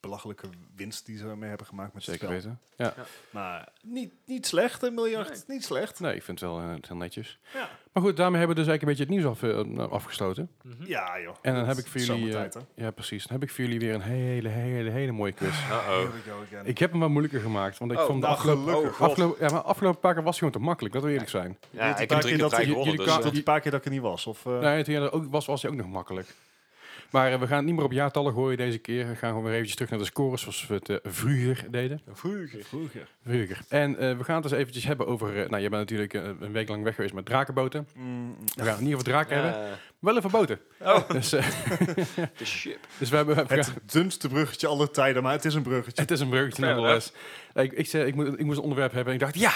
Speaker 3: belachelijke winst die ze ermee hebben gemaakt met het
Speaker 1: Zeker
Speaker 3: spel.
Speaker 1: weten. Ja.
Speaker 3: Maar niet, niet slecht, een miljard. Niet slecht.
Speaker 1: Nee, ik vind het wel eh, heel netjes.
Speaker 3: Ja.
Speaker 1: Maar goed, daarmee hebben we dus eigenlijk een beetje het nieuws af, eh, nou, afgesloten.
Speaker 3: Ja, joh.
Speaker 1: En dan
Speaker 3: Dat
Speaker 1: heb
Speaker 3: is
Speaker 1: ik voor jullie...
Speaker 3: zomertijd,
Speaker 1: eh,
Speaker 3: hè?
Speaker 1: ja, precies. Dan heb ik voor jullie weer een hele, hele, hele mooie quiz.
Speaker 2: Uh-oh.
Speaker 3: Here we go again.
Speaker 1: Oh. Ik heb hem wat moeilijker gemaakt, want ik
Speaker 2: Oh,
Speaker 1: vond de
Speaker 3: nou,
Speaker 1: afgelopen...
Speaker 3: gelukkig.
Speaker 2: Oh, God.
Speaker 1: afgelopen, ja, maar afgelopen paar keer was hij gewoon te makkelijk, laten we eerlijk zijn.
Speaker 3: Weet
Speaker 2: Ja,
Speaker 3: je
Speaker 2: ik
Speaker 3: een
Speaker 2: heb drie
Speaker 3: paar keer
Speaker 2: keer
Speaker 3: dat
Speaker 2: vrij
Speaker 3: die-
Speaker 2: gewonnen,
Speaker 1: jullie
Speaker 2: dus...
Speaker 1: kaart-
Speaker 3: tot
Speaker 2: eh,
Speaker 3: die paar keer dat ik er niet was. Of, eh,
Speaker 1: Nee, toen jij er ook was, was hij ook nog makkelijk. Maar eh, we gaan het niet meer op jaartallen gooien deze keer. We gaan gewoon weer eventjes terug naar de scores, zoals we het eh, vroeger deden.
Speaker 3: vroeger.
Speaker 1: Vroeger. En eh, we gaan het eens eventjes hebben over... eh, nou, je bent natuurlijk eh, een week lang weg geweest met drakenboten.
Speaker 3: Mm,
Speaker 1: We gaan het niet over draken hebben,
Speaker 2: Ja,
Speaker 1: wel even boten. Dus, eh,
Speaker 2: de ship.
Speaker 1: dus we hebben... we gaan-
Speaker 3: Het dunste bruggetje aller tijden, maar het is een bruggetje.
Speaker 1: Het is een bruggetje
Speaker 2: Fair
Speaker 1: nonetheless. Ik, ik, zei, ik, moet, ik moest een onderwerp hebben en ik dacht, ja,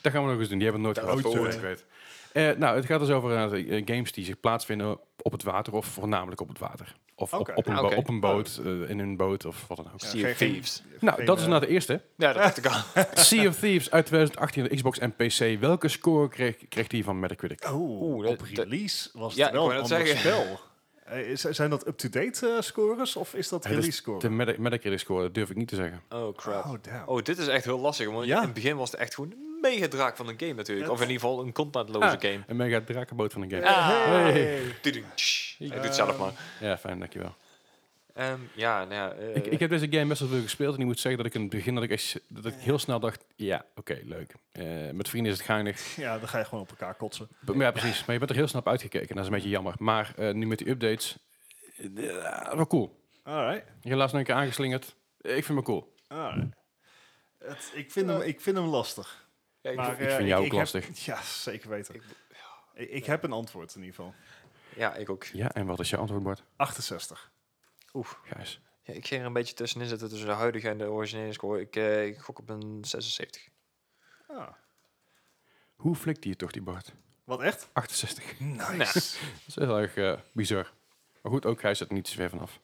Speaker 1: dat gaan we nog eens doen. Die hebben het nooit
Speaker 2: Dat
Speaker 1: gehad.
Speaker 2: is
Speaker 1: Ooit, ik weet. Eh, nou, het gaat dus over eh, games die zich plaatsvinden op het water of voornamelijk op het water. Of
Speaker 3: Oké.
Speaker 1: op, op, een, bo-
Speaker 2: Oké.
Speaker 1: op een boot, eh, in een boot of wat dan ook.
Speaker 2: Sea of
Speaker 3: geen-
Speaker 2: Thieves.
Speaker 1: Nou,
Speaker 3: geen,
Speaker 1: dat is
Speaker 3: eh,
Speaker 1: nou de eerste.
Speaker 2: Ja, dat dacht ik al.
Speaker 1: sea of Thieves uit 2018 op de Xbox en PC. Welke score kreeg, kreeg die van Metacritic?
Speaker 3: Oh,
Speaker 2: Oeh, dat-
Speaker 3: op release was
Speaker 2: Ja,
Speaker 3: het wel
Speaker 2: ik wou
Speaker 3: een
Speaker 2: net
Speaker 3: ander spel. Eh, is- zijn dat up-to-date eh, scores of is dat
Speaker 1: Het is
Speaker 3: release score?
Speaker 1: De Meta- Metacritic score, dat durf ik niet te zeggen.
Speaker 2: Oh, crap.
Speaker 3: Oh, damn.
Speaker 2: Oh, dit is echt heel lastig, want
Speaker 3: Ja.
Speaker 2: in het begin was het echt gewoon een mega draak van een game natuurlijk.
Speaker 3: Ja.
Speaker 1: Ah,
Speaker 2: Of in ieder geval een contentloze game.
Speaker 1: Een mega drakenboot van een game.
Speaker 2: Ah.
Speaker 1: Hey.
Speaker 2: Tudum, tsch. Ik doe het zelf maar.
Speaker 1: Ja, fijn, dankjewel.
Speaker 2: Ehm, ja, nou ja. eh,
Speaker 1: ik, ik heb deze game best wel veel gespeeld en ik moet zeggen dat ik in het begin dat ik, echt, dat ik heel snel dacht, ja, oké, leuk. Eh, met vrienden is het geinig.
Speaker 3: Ja, dan ga je gewoon op elkaar kotsen.
Speaker 1: B- Ja, precies. Maar je bent er heel snel op uitgekeken. Dat is een beetje jammer. Maar eh, nu met die updates, eh, wel cool.
Speaker 3: Alright.
Speaker 1: Helaas nog een keer aangeslingerd. Eh, Ik vind me cool.
Speaker 3: alright. Het, ik, vind hem, ik vind hem lastig.
Speaker 2: ja, ik-
Speaker 3: Maar,
Speaker 1: vind
Speaker 3: eh,
Speaker 1: jou ook
Speaker 3: heb-
Speaker 1: lastig.
Speaker 3: ja, zeker weten. Ik, ik heb een antwoord in ieder geval. eh,
Speaker 2: ja, ik ook.
Speaker 1: Ja, en wat is je antwoord, Bart?
Speaker 3: 68.
Speaker 1: Gijs.
Speaker 2: Ja, ik ging er een beetje tussenin zitten tussen de huidige en de originele score. Ik, eh, ik gok op een 76.
Speaker 3: Ah,
Speaker 1: Hoe flikt die je toch, die Bart?
Speaker 3: wat echt?
Speaker 1: 68.
Speaker 3: Nice.
Speaker 1: Dat is heel erg eh, bizar. Maar goed, ook Gijs zit er niet zo ver vanaf.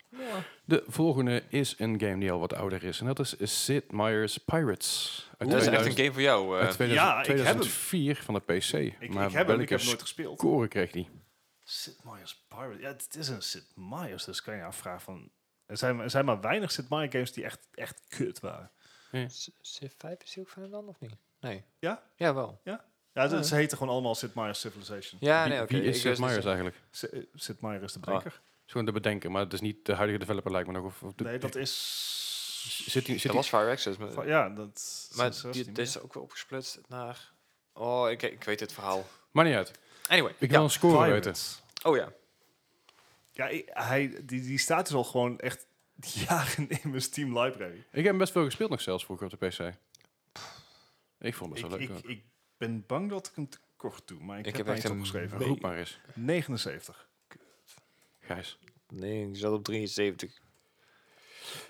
Speaker 1: De volgende is een game die al wat ouder is. En dat is Sid Meier's Pirates. Uit
Speaker 2: dat is echt
Speaker 1: 2000
Speaker 2: een game voor jou. eh.
Speaker 1: uit 2000
Speaker 3: Ja, ik heb hem.
Speaker 1: 2004 van de PC.
Speaker 3: Ik,
Speaker 1: maar
Speaker 3: ik heb hem, ik
Speaker 1: welke
Speaker 3: heb hem nooit gespeeld.
Speaker 1: score kreeg die?
Speaker 2: Ah,
Speaker 3: Sid Meier's Pirate. Ja, het is een Sid Meier's, dus kan je afvragen van... Er zijn, er zijn maar weinig Sid Meier games die echt, echt kut waren.
Speaker 2: C- C5 is die ook van hem dan, of niet? Nee.
Speaker 3: Ja?
Speaker 2: Ja, wel.
Speaker 3: Ja, ze,
Speaker 2: Ah.
Speaker 3: ze heten gewoon allemaal Sid Meier's Civilization.
Speaker 2: Ja,
Speaker 1: Wie-
Speaker 2: nee, oké.
Speaker 1: Wie
Speaker 2: ik
Speaker 1: is
Speaker 2: wist
Speaker 1: Sid
Speaker 2: niet-
Speaker 1: Meier's eigenlijk?
Speaker 3: S- eh, Sid Meier
Speaker 1: Ah,
Speaker 3: is de bedenker.
Speaker 1: Het is gewoon te bedenken, maar het is niet de huidige developer lijkt me nog. Of, of de-
Speaker 3: Nee, dat is...
Speaker 1: Zit die, zit
Speaker 2: Dat
Speaker 1: die,
Speaker 2: was Fire Access. Maar,
Speaker 3: Van- Ja, dat...
Speaker 2: maar
Speaker 3: dat is
Speaker 2: die,
Speaker 3: niet
Speaker 2: dit is ook weer opgesplitst naar... Oh, ik, ik weet dit verhaal.
Speaker 1: maar niet uit.
Speaker 2: Anyway.
Speaker 1: Ik wil
Speaker 2: ja.
Speaker 1: een score
Speaker 3: Pirates.
Speaker 1: weten.
Speaker 2: Oh ja.
Speaker 3: Ja, i- hij, die, die staat dus al gewoon echt jaren in mijn Steam library.
Speaker 1: Ik heb hem best veel gespeeld nog zelfs vroeger op de PC. Ik vond
Speaker 3: Ik,
Speaker 1: het wel leuk.
Speaker 3: ik,
Speaker 1: hoor.
Speaker 3: ik ben bang dat ik hem te kort doe, maar ik,
Speaker 2: Ik heb
Speaker 3: heb mij
Speaker 2: echt
Speaker 3: niet
Speaker 2: een
Speaker 3: opgeschreven.
Speaker 1: Roep maar eens.
Speaker 3: 79.
Speaker 1: Gijs.
Speaker 2: Nee, ik zat op 73.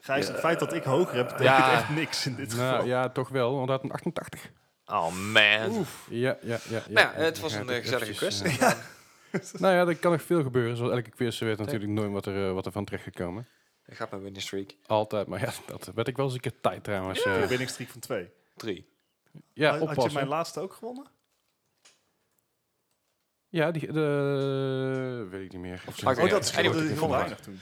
Speaker 3: Gijs, het feit dat ik hoger heb, betekent
Speaker 2: Ja.
Speaker 3: echt niks in dit geval.
Speaker 1: Nou ja, toch wel, want hij had een 88.
Speaker 2: Oh man.
Speaker 1: Ja, ja, ja.
Speaker 2: Nou ja, het was een eh,
Speaker 1: ja,
Speaker 2: gezellige
Speaker 1: precies,
Speaker 2: quest.
Speaker 1: ja. Nou ja, er kan nog veel gebeuren. Zoals elke quiz weet natuurlijk nooit wat er, eh, wat er van terecht gekomen.
Speaker 2: Ik ga op mijn winning streak.
Speaker 1: Altijd, maar ja, dat werd ik wel eens een keer tijd trouwens. eh.
Speaker 3: Ik
Speaker 1: Ja,
Speaker 3: ben ik streak van twee.
Speaker 2: 3.
Speaker 3: Had- had je
Speaker 1: oppassen.
Speaker 3: mijn laatste ook gewonnen?
Speaker 1: Ja, die, de, weet ik niet meer.
Speaker 2: sla ik
Speaker 3: Oh,
Speaker 2: Ja,
Speaker 3: dat is
Speaker 2: anyway,
Speaker 3: dat
Speaker 1: ik
Speaker 3: ik
Speaker 1: vond
Speaker 3: gewoon
Speaker 1: het
Speaker 3: weinig toen.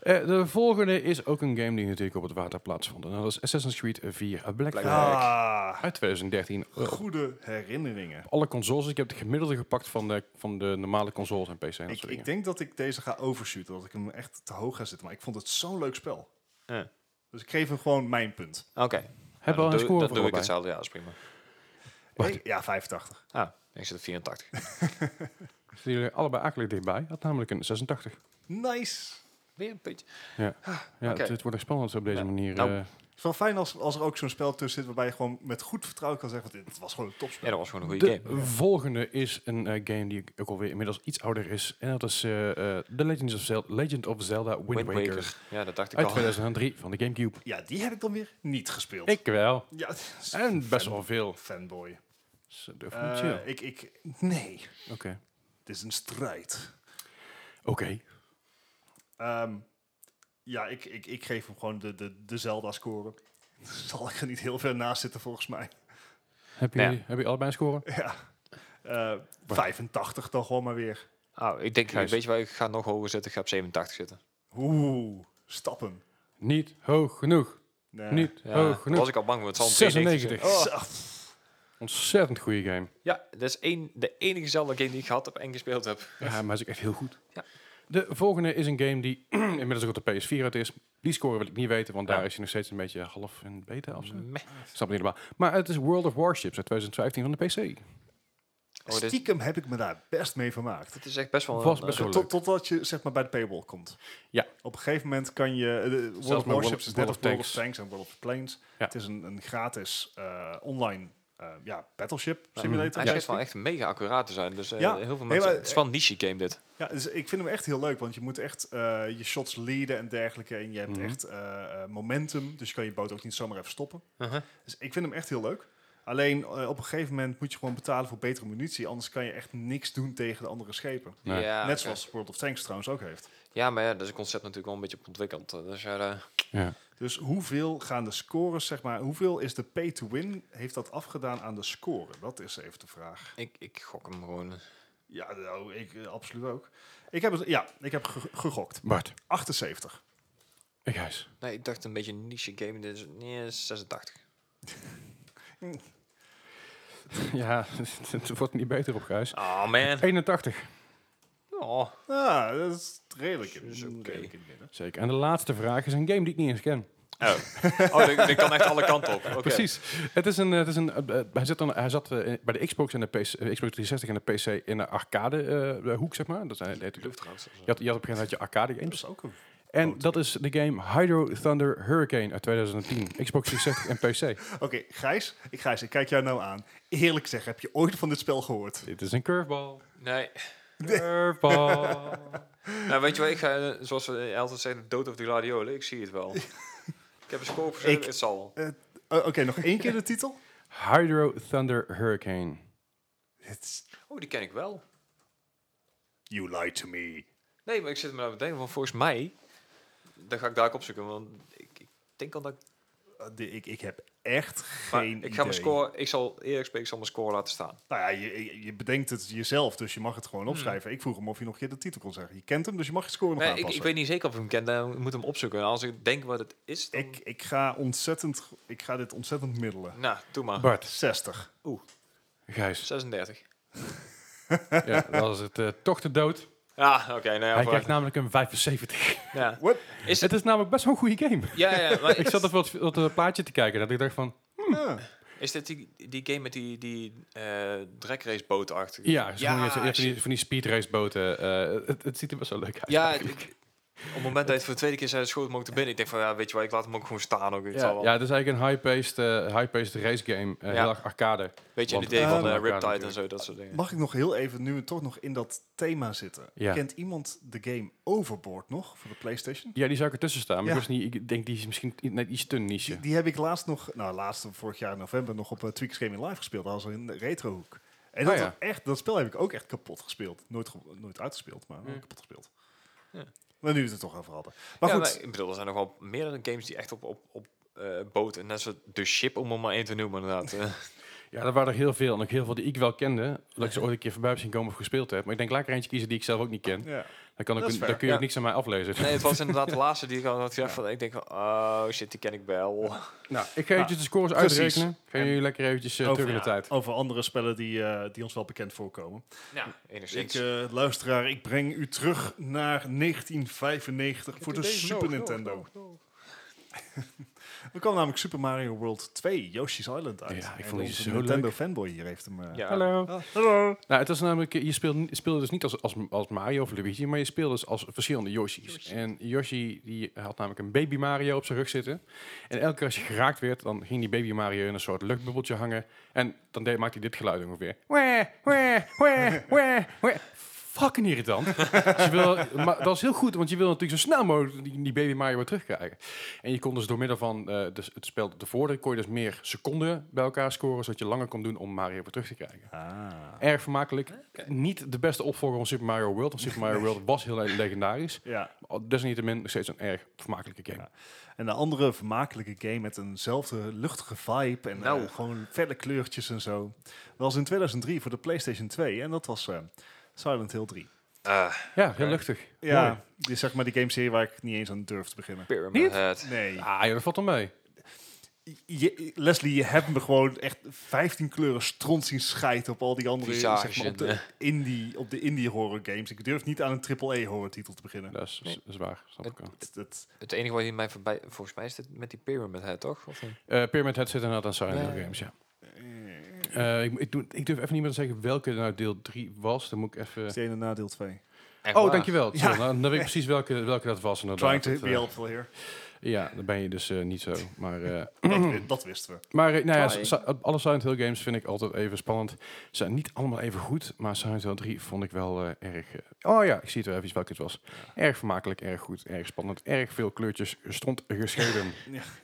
Speaker 1: Eh, de volgende is ook een game die natuurlijk op het water plaatsvond. En dat is Assassin's Creed 4 A Black
Speaker 2: Black
Speaker 1: Flag.
Speaker 2: Flag.
Speaker 3: Ah,
Speaker 1: Uit 2013. Eh, op
Speaker 3: goede herinneringen.
Speaker 1: alle consoles. Ik heb de gemiddelde gepakt van de, van de normale consoles en PC. En dat
Speaker 3: Ik,
Speaker 1: soort
Speaker 3: ik
Speaker 1: dingen.
Speaker 3: denk dat ik deze ga overshooten, dat ik hem echt te hoog ga zitten. Maar ik vond het zo'n leuk spel.
Speaker 2: Ja.
Speaker 3: Dus ik geef hem gewoon mijn punt.
Speaker 2: Oké.
Speaker 1: Hebben we al
Speaker 2: dan
Speaker 1: een
Speaker 2: doe-
Speaker 1: score
Speaker 2: Dan
Speaker 1: voor
Speaker 2: doe ik
Speaker 1: allebei?
Speaker 2: hetzelfde. Ja, dat is prima.
Speaker 1: Wacht.
Speaker 3: Ik- ja, 85.
Speaker 2: Ah, ik zit op 84.
Speaker 1: Zitten jullie allebei akelig dichtbij. Had namelijk een 86.
Speaker 3: Nice.
Speaker 2: Weer een puntje.
Speaker 1: Ja,
Speaker 2: Oké.
Speaker 1: het, het wordt echt spannend op deze
Speaker 2: Ja.
Speaker 1: manier.
Speaker 2: Nou.
Speaker 1: eh.
Speaker 3: Het is wel fijn als, als er ook zo'n spel tussen zit waarbij je gewoon met goed vertrouwen kan zeggen, want dit was gewoon een topspel.
Speaker 2: Ja, dat was gewoon een goede
Speaker 1: de
Speaker 2: game.
Speaker 1: volgende is een eh, game die ook alweer inmiddels iets ouder is. En dat is eh, eh, The Legends of Zelda, Legend of Zelda Wind,
Speaker 2: Wind
Speaker 1: Waker.
Speaker 2: Waker. Ja, dat dacht ik
Speaker 1: Uit
Speaker 2: al.
Speaker 1: 2003 van de Gamecube.
Speaker 3: Ja, die heb ik dan weer niet gespeeld.
Speaker 1: Ik wel.
Speaker 3: Ja, het is
Speaker 1: En best wel veel.
Speaker 3: fanboy.
Speaker 1: Zo, durf ik niet, chill.
Speaker 3: Eh, ik, ik, nee,
Speaker 1: Oké.
Speaker 3: het is een strijd.
Speaker 1: Oké.
Speaker 3: Ehm, ja, ik, ik, ik geef hem gewoon de, de, de Zelda-score. Zal ik er niet heel ver naast zitten volgens mij.
Speaker 1: Heb je,
Speaker 2: Nou ja.
Speaker 1: heb je allebei een score?
Speaker 3: Ja. Eh, 85 dan gewoon maar weer.
Speaker 2: Oh, ik denk,
Speaker 1: Gijs.
Speaker 2: weet je waar, ik ga nog hoger zitten. Ik ga op 87 zitten.
Speaker 3: Oeh, stappen.
Speaker 1: Niet hoog genoeg.
Speaker 3: Nee. Oh,
Speaker 1: Niet
Speaker 2: Ja,
Speaker 1: hoog
Speaker 2: daar was
Speaker 1: Oh, genoeg.
Speaker 2: ik al bang voor. Het zal een
Speaker 1: 96.
Speaker 2: 92 zijn.
Speaker 3: Zo.
Speaker 1: Ontzettend goede game.
Speaker 2: Oh, Ja, dat is één, de enige Zelda game die ik gehad heb en gespeeld heb.
Speaker 1: Ja, maar hij is ook echt heel goed.
Speaker 2: Ja.
Speaker 1: De volgende is een game die inmiddels ook op de PS4 uit is. Die score wil ik niet weten, want
Speaker 2: Ja.
Speaker 1: daar is hij nog steeds een beetje half en beta of zo.
Speaker 2: Meh.
Speaker 1: Snap het niet helemaal. Maar het is World of Warships uit 2015 van de PC.
Speaker 2: Oh, dit,
Speaker 3: Stiekem heb ik me daar best mee vermaakt.
Speaker 2: dit is echt best wel
Speaker 1: Was
Speaker 2: een...
Speaker 1: best
Speaker 2: eh,
Speaker 1: wel leuk.
Speaker 3: Tot, totdat je zeg maar bij de paywall komt.
Speaker 1: Ja.
Speaker 3: Op een gegeven moment kan je... eh, de World
Speaker 1: met
Speaker 3: of
Speaker 1: World-
Speaker 3: Warships is net
Speaker 1: World
Speaker 3: als
Speaker 1: of
Speaker 3: World of
Speaker 1: Tanks.
Speaker 3: Tanks en World of Planes.
Speaker 1: Ja.
Speaker 3: Het is een, een gratis eh, online eh, ja, battleship simulator.
Speaker 2: Hij
Speaker 3: Ja,
Speaker 2: schijnt wel echt mega accuraat te zijn. Dus eh,
Speaker 3: Ja.
Speaker 2: heel veel
Speaker 3: Nee,
Speaker 2: mensen...
Speaker 3: maar-
Speaker 2: het is wel een niche game dit.
Speaker 3: dus ik vind hem echt heel leuk, want je moet echt eh, je shots leaden en dergelijke. En je hebt
Speaker 1: Mhm.
Speaker 3: echt eh, eh, momentum, dus je kan je boot ook niet zomaar even stoppen.
Speaker 2: Uh-huh.
Speaker 3: Dus ik vind hem echt heel leuk. Alleen eh, op een gegeven moment moet je gewoon betalen voor betere munitie. Anders kan je echt niks doen tegen de andere schepen.
Speaker 1: Nee.
Speaker 2: Ja,
Speaker 3: Net
Speaker 2: oké.
Speaker 3: zoals World of Tanks trouwens ook heeft.
Speaker 2: Ja, maar ja, dat is een concept natuurlijk wel een beetje op ontwikkeld. eh, Dus ja, eh,
Speaker 1: Ja.
Speaker 3: Dus hoeveel gaan de scores, zeg maar, hoeveel is de pay to win, heeft dat afgedaan aan de score? Dat is even de vraag.
Speaker 2: ik, ik gok hem gewoon.
Speaker 3: Ja, nou, ik eh, absoluut ook. Ik heb, het- ja, ik heb ge- gegokt.
Speaker 1: Bart,
Speaker 3: 78.
Speaker 1: ik huis.
Speaker 2: Nee, ik dacht een beetje een niche game. Dit is nee, 86.
Speaker 1: ja, het wordt niet beter op, Gijs.
Speaker 2: Oh man.
Speaker 1: 81.
Speaker 2: Oh,
Speaker 3: Ja, Ah, dat is redelijk in,
Speaker 2: Is oké.
Speaker 3: redelijk in het midden.
Speaker 1: Zeker. En de laatste vraag is een game die ik niet eens ken.
Speaker 2: oh. oh die, die kan echt alle kanten op. Oké.
Speaker 1: Precies. Het is een, het is een, eh, eh, hij, zit dan, hij zat eh, bij de Xbox en de PC, eh, Xbox 360 en de PC in de arcade eh, hoek, zeg maar. Dat zijn, dat heet- je,
Speaker 2: Luftruimte.
Speaker 1: had, je had op een gegeven moment had je arcade
Speaker 3: Dat
Speaker 1: games.
Speaker 3: is ook een...
Speaker 1: En dat is de game Hydro Thunder Hurricane uit 2010. Xbox 360 en PC.
Speaker 3: Oké, Gijs, ik, Gijs, ik kijk jou nou aan. Eerlijk gezegd, heb je ooit van dit spel gehoord?
Speaker 1: Dit is een curveball.
Speaker 2: Nee.
Speaker 1: Curveball.
Speaker 2: Nou, weet je wel, ik ga, eh, zoals we eh, altijd zeggen, dood of de gladiolen. Ik zie het wel. ik heb een scope gezet,
Speaker 3: Ik-
Speaker 2: het zal wel.
Speaker 3: Eh, Oké, nog één keer de titel?
Speaker 1: Hydro Thunder Hurricane.
Speaker 3: Het is-
Speaker 2: Oh, die ken ik wel.
Speaker 3: You lied to me.
Speaker 2: Nee, maar ik zit me nou te denken, want volgens mij... Dan ga ik daar ook opzoeken, want ik, ik denk al dat ik...
Speaker 3: Eh, de- ik, ik heb echt
Speaker 2: maar
Speaker 3: geen
Speaker 2: ik ga mijn
Speaker 3: idee.
Speaker 2: score... Ik zal eerlijk spreken, ik zal mijn score laten staan.
Speaker 3: Nou ja, je- je, je bedenkt het jezelf, dus je mag het gewoon opschrijven. Ik vroeg hem of je nog een keer de titel kon zeggen. Je kent hem, dus je mag je score nog
Speaker 2: Hmm. Nee, ik,
Speaker 3: aanpassen.
Speaker 2: ik weet niet zeker of ik hem ken, dan moet ik hem opzoeken. Als ik denk wat het is, dan...
Speaker 3: ik, ik, ga ontzettend, ik ga dit ontzettend middelen.
Speaker 2: Nou, doe maar.
Speaker 1: Bart,
Speaker 3: 60.
Speaker 1: Gijs.
Speaker 2: 36.
Speaker 1: Ja, dat is het eh, toch de dood.
Speaker 2: Ja, oké. nou ja,
Speaker 1: Hij
Speaker 2: vooruit.
Speaker 1: krijgt namelijk een 75.
Speaker 2: ja.
Speaker 3: What?
Speaker 2: Is het,
Speaker 1: Het is namelijk best wel een goede game.
Speaker 2: ja, ja, maar
Speaker 1: Ik
Speaker 2: is,
Speaker 1: zat even wat, wat eh, plaatje te kijken dat ik dacht van...
Speaker 3: Ja.
Speaker 2: is dit die, die game met die, die eh dragrace boot achter?
Speaker 1: Ja, zo
Speaker 2: Ja,
Speaker 1: moet je het zeggen. Je hebt van,
Speaker 2: shit.
Speaker 1: die, van die speedraceboten. eh, het, het ziet er best wel leuk uit.
Speaker 2: Ja, ik-
Speaker 1: eigenlijk.
Speaker 2: op het moment dat je het voor de tweede keer zei, schoot me ook te binnen. Ik denk van, ja, weet je wel, ik laat hem ook gewoon staan. Ook, het
Speaker 1: ja,
Speaker 2: zal wel.
Speaker 1: ja, het is eigenlijk een high-paced eh, high-paced race game. eh,
Speaker 2: Ja.
Speaker 1: Heel erg arcade.
Speaker 2: Weet je, in
Speaker 1: Want-
Speaker 2: de idee
Speaker 3: Eh,
Speaker 2: van
Speaker 3: maar-
Speaker 2: eh,
Speaker 1: elkaar
Speaker 2: Riptide en
Speaker 1: natuurlijk.
Speaker 2: zo, dat soort dingen.
Speaker 3: Mag ik nog heel even, nu we toch nog in dat thema zitten.
Speaker 1: Ja.
Speaker 3: Kent iemand de game Overboard nog voor de PlayStation?
Speaker 1: Ja, die zou ik ertussen staan. Maar
Speaker 3: Ja.
Speaker 1: ik, wist niet, ik denk die is misschien net iets te niche.
Speaker 3: Die, die heb ik laatst nog, nou laatst vorig jaar in november nog op uh, Tweaks Gaming Live gespeeld. Dat was in de retrohoek. En dat,
Speaker 1: Oh ja.
Speaker 3: was echt, dat spel heb ik ook echt kapot gespeeld. Nooit, ge- nooit uitgespeeld, maar wel
Speaker 1: Hmm.
Speaker 3: kapot gespeeld.
Speaker 2: Ja.
Speaker 3: Maar nu we het er toch over hadden. Maar
Speaker 2: Ja,
Speaker 3: goed,
Speaker 2: maar ik bedoel, er zijn nog wel meerdere games die echt op, op, op eh, boten, net zoals The Ship, om er maar één te noemen inderdaad. eh.
Speaker 1: Ja, er waren er heel veel. En ook heel veel die ik wel kende. Dat ik ze ooit een keer voorbij heb zien komen of gespeeld heb. Maar ik denk, laat ik er eentje kiezen die ik zelf ook niet ken.
Speaker 3: ja.
Speaker 1: Dan, kan ik,
Speaker 3: Dat is
Speaker 1: dan
Speaker 3: fair,
Speaker 1: kun je
Speaker 2: ja.
Speaker 1: ook niks aan mij aflezen.
Speaker 2: nee, het was inderdaad de laatste die ik al had gedacht van, ik denk van, oh shit, die ken ik wel.
Speaker 1: Nou, ik ga eventjes de scores
Speaker 3: precies.
Speaker 1: uitrekenen. Gaan jullie lekker eventjes eh,
Speaker 3: Over-
Speaker 1: terug in de tijd.
Speaker 3: over andere spellen die, eh, die ons wel bekend voorkomen.
Speaker 2: Nou,
Speaker 3: Ik,
Speaker 2: enigszins.
Speaker 3: eh, luisteraar, ik breng u terug naar 1995 voor de Super Nintendo. Er kwam namelijk Super Mario World 2, Yoshi's Island uit.
Speaker 1: Ja, ik
Speaker 3: En
Speaker 1: vond die
Speaker 3: onze
Speaker 1: zo
Speaker 3: Nintendo
Speaker 1: leuk.
Speaker 3: fanboy hier heeft hem... eh,
Speaker 2: Ja.
Speaker 1: Hallo.
Speaker 3: Ah, hallo.
Speaker 1: Nou, het was namelijk, je speelde, niet- speelde dus niet als, als, als Mario of Luigi, maar je speelde dus als verschillende Yoshi's. En Yoshi die had namelijk een baby Mario op zijn rug zitten. En elke keer als je geraakt werd, dan ging die baby Mario in een soort luchtbubbeltje hangen. En dan deed, maakte hij dit geluid ongeveer. Wee, wee, wee, wee, wee. Fucking irritant. Dus je wil, maar dat is heel goed, want je wil natuurlijk zo snel mogelijk die, die baby Mario weer terugkrijgen. En je kon dus door middel van eh, dus het spel tevoren, kon je dus meer seconden bij elkaar scoren, zodat je langer kon doen om Mario weer terug te krijgen.
Speaker 3: Ah.
Speaker 1: Erg vermakelijk. Niet de beste opvolger van Super Mario World. Want Super Mario World was heel le- legendarisch.
Speaker 3: Ja,
Speaker 1: Al- Desalniettemin nog steeds een erg vermakelijke game.
Speaker 3: en de andere vermakelijke game met eenzelfde luchtige vibe en eh,
Speaker 2: Nou.
Speaker 3: gewoon felle kleurtjes en zo. Was in 2003 voor de PlayStation 2 en dat was eh, Silent Hill 3.
Speaker 2: Eh,
Speaker 1: Ja, heel
Speaker 2: Oké.
Speaker 1: luchtig. Mooi.
Speaker 3: Ja, die is zeg maar die gameserie waar ik niet eens aan durf te beginnen.
Speaker 2: Pyramid Head.
Speaker 3: Nee.
Speaker 1: Ah, ja, dat valt dan mee.
Speaker 3: Je- Leslie, je hebt me gewoon echt 15 kleuren stront zien schijten op al die andere
Speaker 2: Visage
Speaker 3: zeg maar, op,
Speaker 2: en,
Speaker 3: de indie, op de indie horror games. Ik durf niet aan een triple A horror titel te beginnen.
Speaker 1: Dat is, is- is waar. Snap ik wel.
Speaker 3: Dat, dat-
Speaker 2: Het enige wat je mij voorbij... Volgens mij is dit met die Pyramid Head, toch? Of niet?
Speaker 1: Eh, Pyramid Head zit inderdaad aan Silent Hill
Speaker 2: Ja.
Speaker 1: Games, ja. Eh, ik, ik, doe- ik durf even niet meer te zeggen welke nou deel 3 was. Dan moet ik even...
Speaker 3: is de ene nadeel 2.
Speaker 2: Echt
Speaker 1: Oh,
Speaker 2: waar.
Speaker 1: dankjewel.
Speaker 3: Ja.
Speaker 1: Sorry, nou, dan weet ik precies welke, welke dat was inderdaad.
Speaker 3: Trying to
Speaker 1: Dat,
Speaker 3: be
Speaker 1: eh,
Speaker 3: helpful here.
Speaker 1: ja, dan ben je dus eh, niet zo. Maar eh,
Speaker 3: Dat, dat wisten we.
Speaker 1: Maar eh, nou ja,
Speaker 2: Try.
Speaker 1: si- alle Silent Hill games vind ik altijd even spannend. Ze zijn niet allemaal even goed, maar Silent Hill 3 vond ik wel eh, erg... eh, oh ja, ik zie het wel even welke het was. Erg vermakelijk, erg goed, erg spannend. Erg veel kleurtjes, stond gescheiden.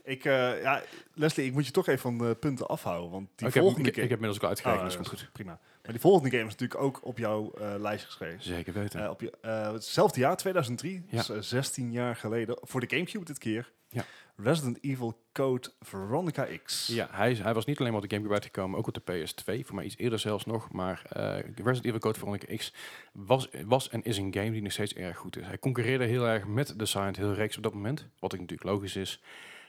Speaker 3: Ik, eh, ja, Leslie, ik moet je toch even van de punten afhouden. Want die
Speaker 1: Oh, ik, heb, ik,
Speaker 3: volgende
Speaker 1: ik heb
Speaker 3: game...
Speaker 1: inmiddels ook al
Speaker 3: Ah,
Speaker 1: uitgerekend, dus
Speaker 3: dat
Speaker 1: komt
Speaker 3: is
Speaker 1: goed.
Speaker 3: goed, prima. Maar die volgende game is natuurlijk ook op jouw eh, lijst geschreven.
Speaker 1: Zeker weten.
Speaker 3: Eh, op je, eh, hetzelfde jaar, 2003,
Speaker 1: Ja.
Speaker 3: dus eh, 16 jaar geleden, voor de Gamecube dit keer.
Speaker 1: Ja.
Speaker 3: Resident Evil Code Veronica X.
Speaker 1: ja, hij, is- hij was niet alleen maar op de Gamecube uitgekomen, ook op de PS2, voor mij iets eerder zelfs nog. Maar eh, Resident Evil Code Veronica X was, was en is een game die nog steeds erg goed is. Hij concurreerde heel erg met de Silent Hill reeks op dat moment, wat natuurlijk logisch is.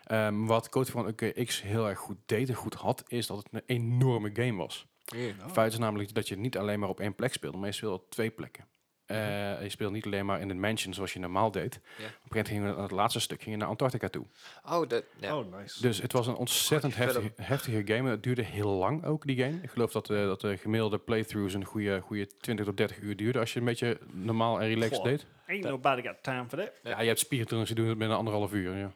Speaker 1: Ehm, wat Code Veronica X heel erg goed deed en goed had, is dat het een enorme game was.
Speaker 2: Hier.
Speaker 3: nou.
Speaker 1: Het feit is namelijk dat je niet alleen maar op één plek speelde, maar je speelde op twee plekken. Eh, Eh, je speelt niet alleen maar in een mansion zoals je normaal deed. Op een gegeven moment gingen we aan het laatste stuk gingen we naar Antarctica toe.
Speaker 2: Oh, dat, ja.
Speaker 3: Oh, nice.
Speaker 1: Dus het was een ontzettend
Speaker 2: Goeie
Speaker 1: heftige, heftige game. Het duurde heel lang ook, die game. Ik geloof dat, eh, dat de gemiddelde playthroughs een goede, goede 20 tot 30 uur duurden als je een beetje normaal en relaxed
Speaker 3: Goh.
Speaker 1: deed.
Speaker 3: Ain't nobody got time for that.
Speaker 1: Ja, je hebt speedruns die doen het binnen anderhalf uur. Ja.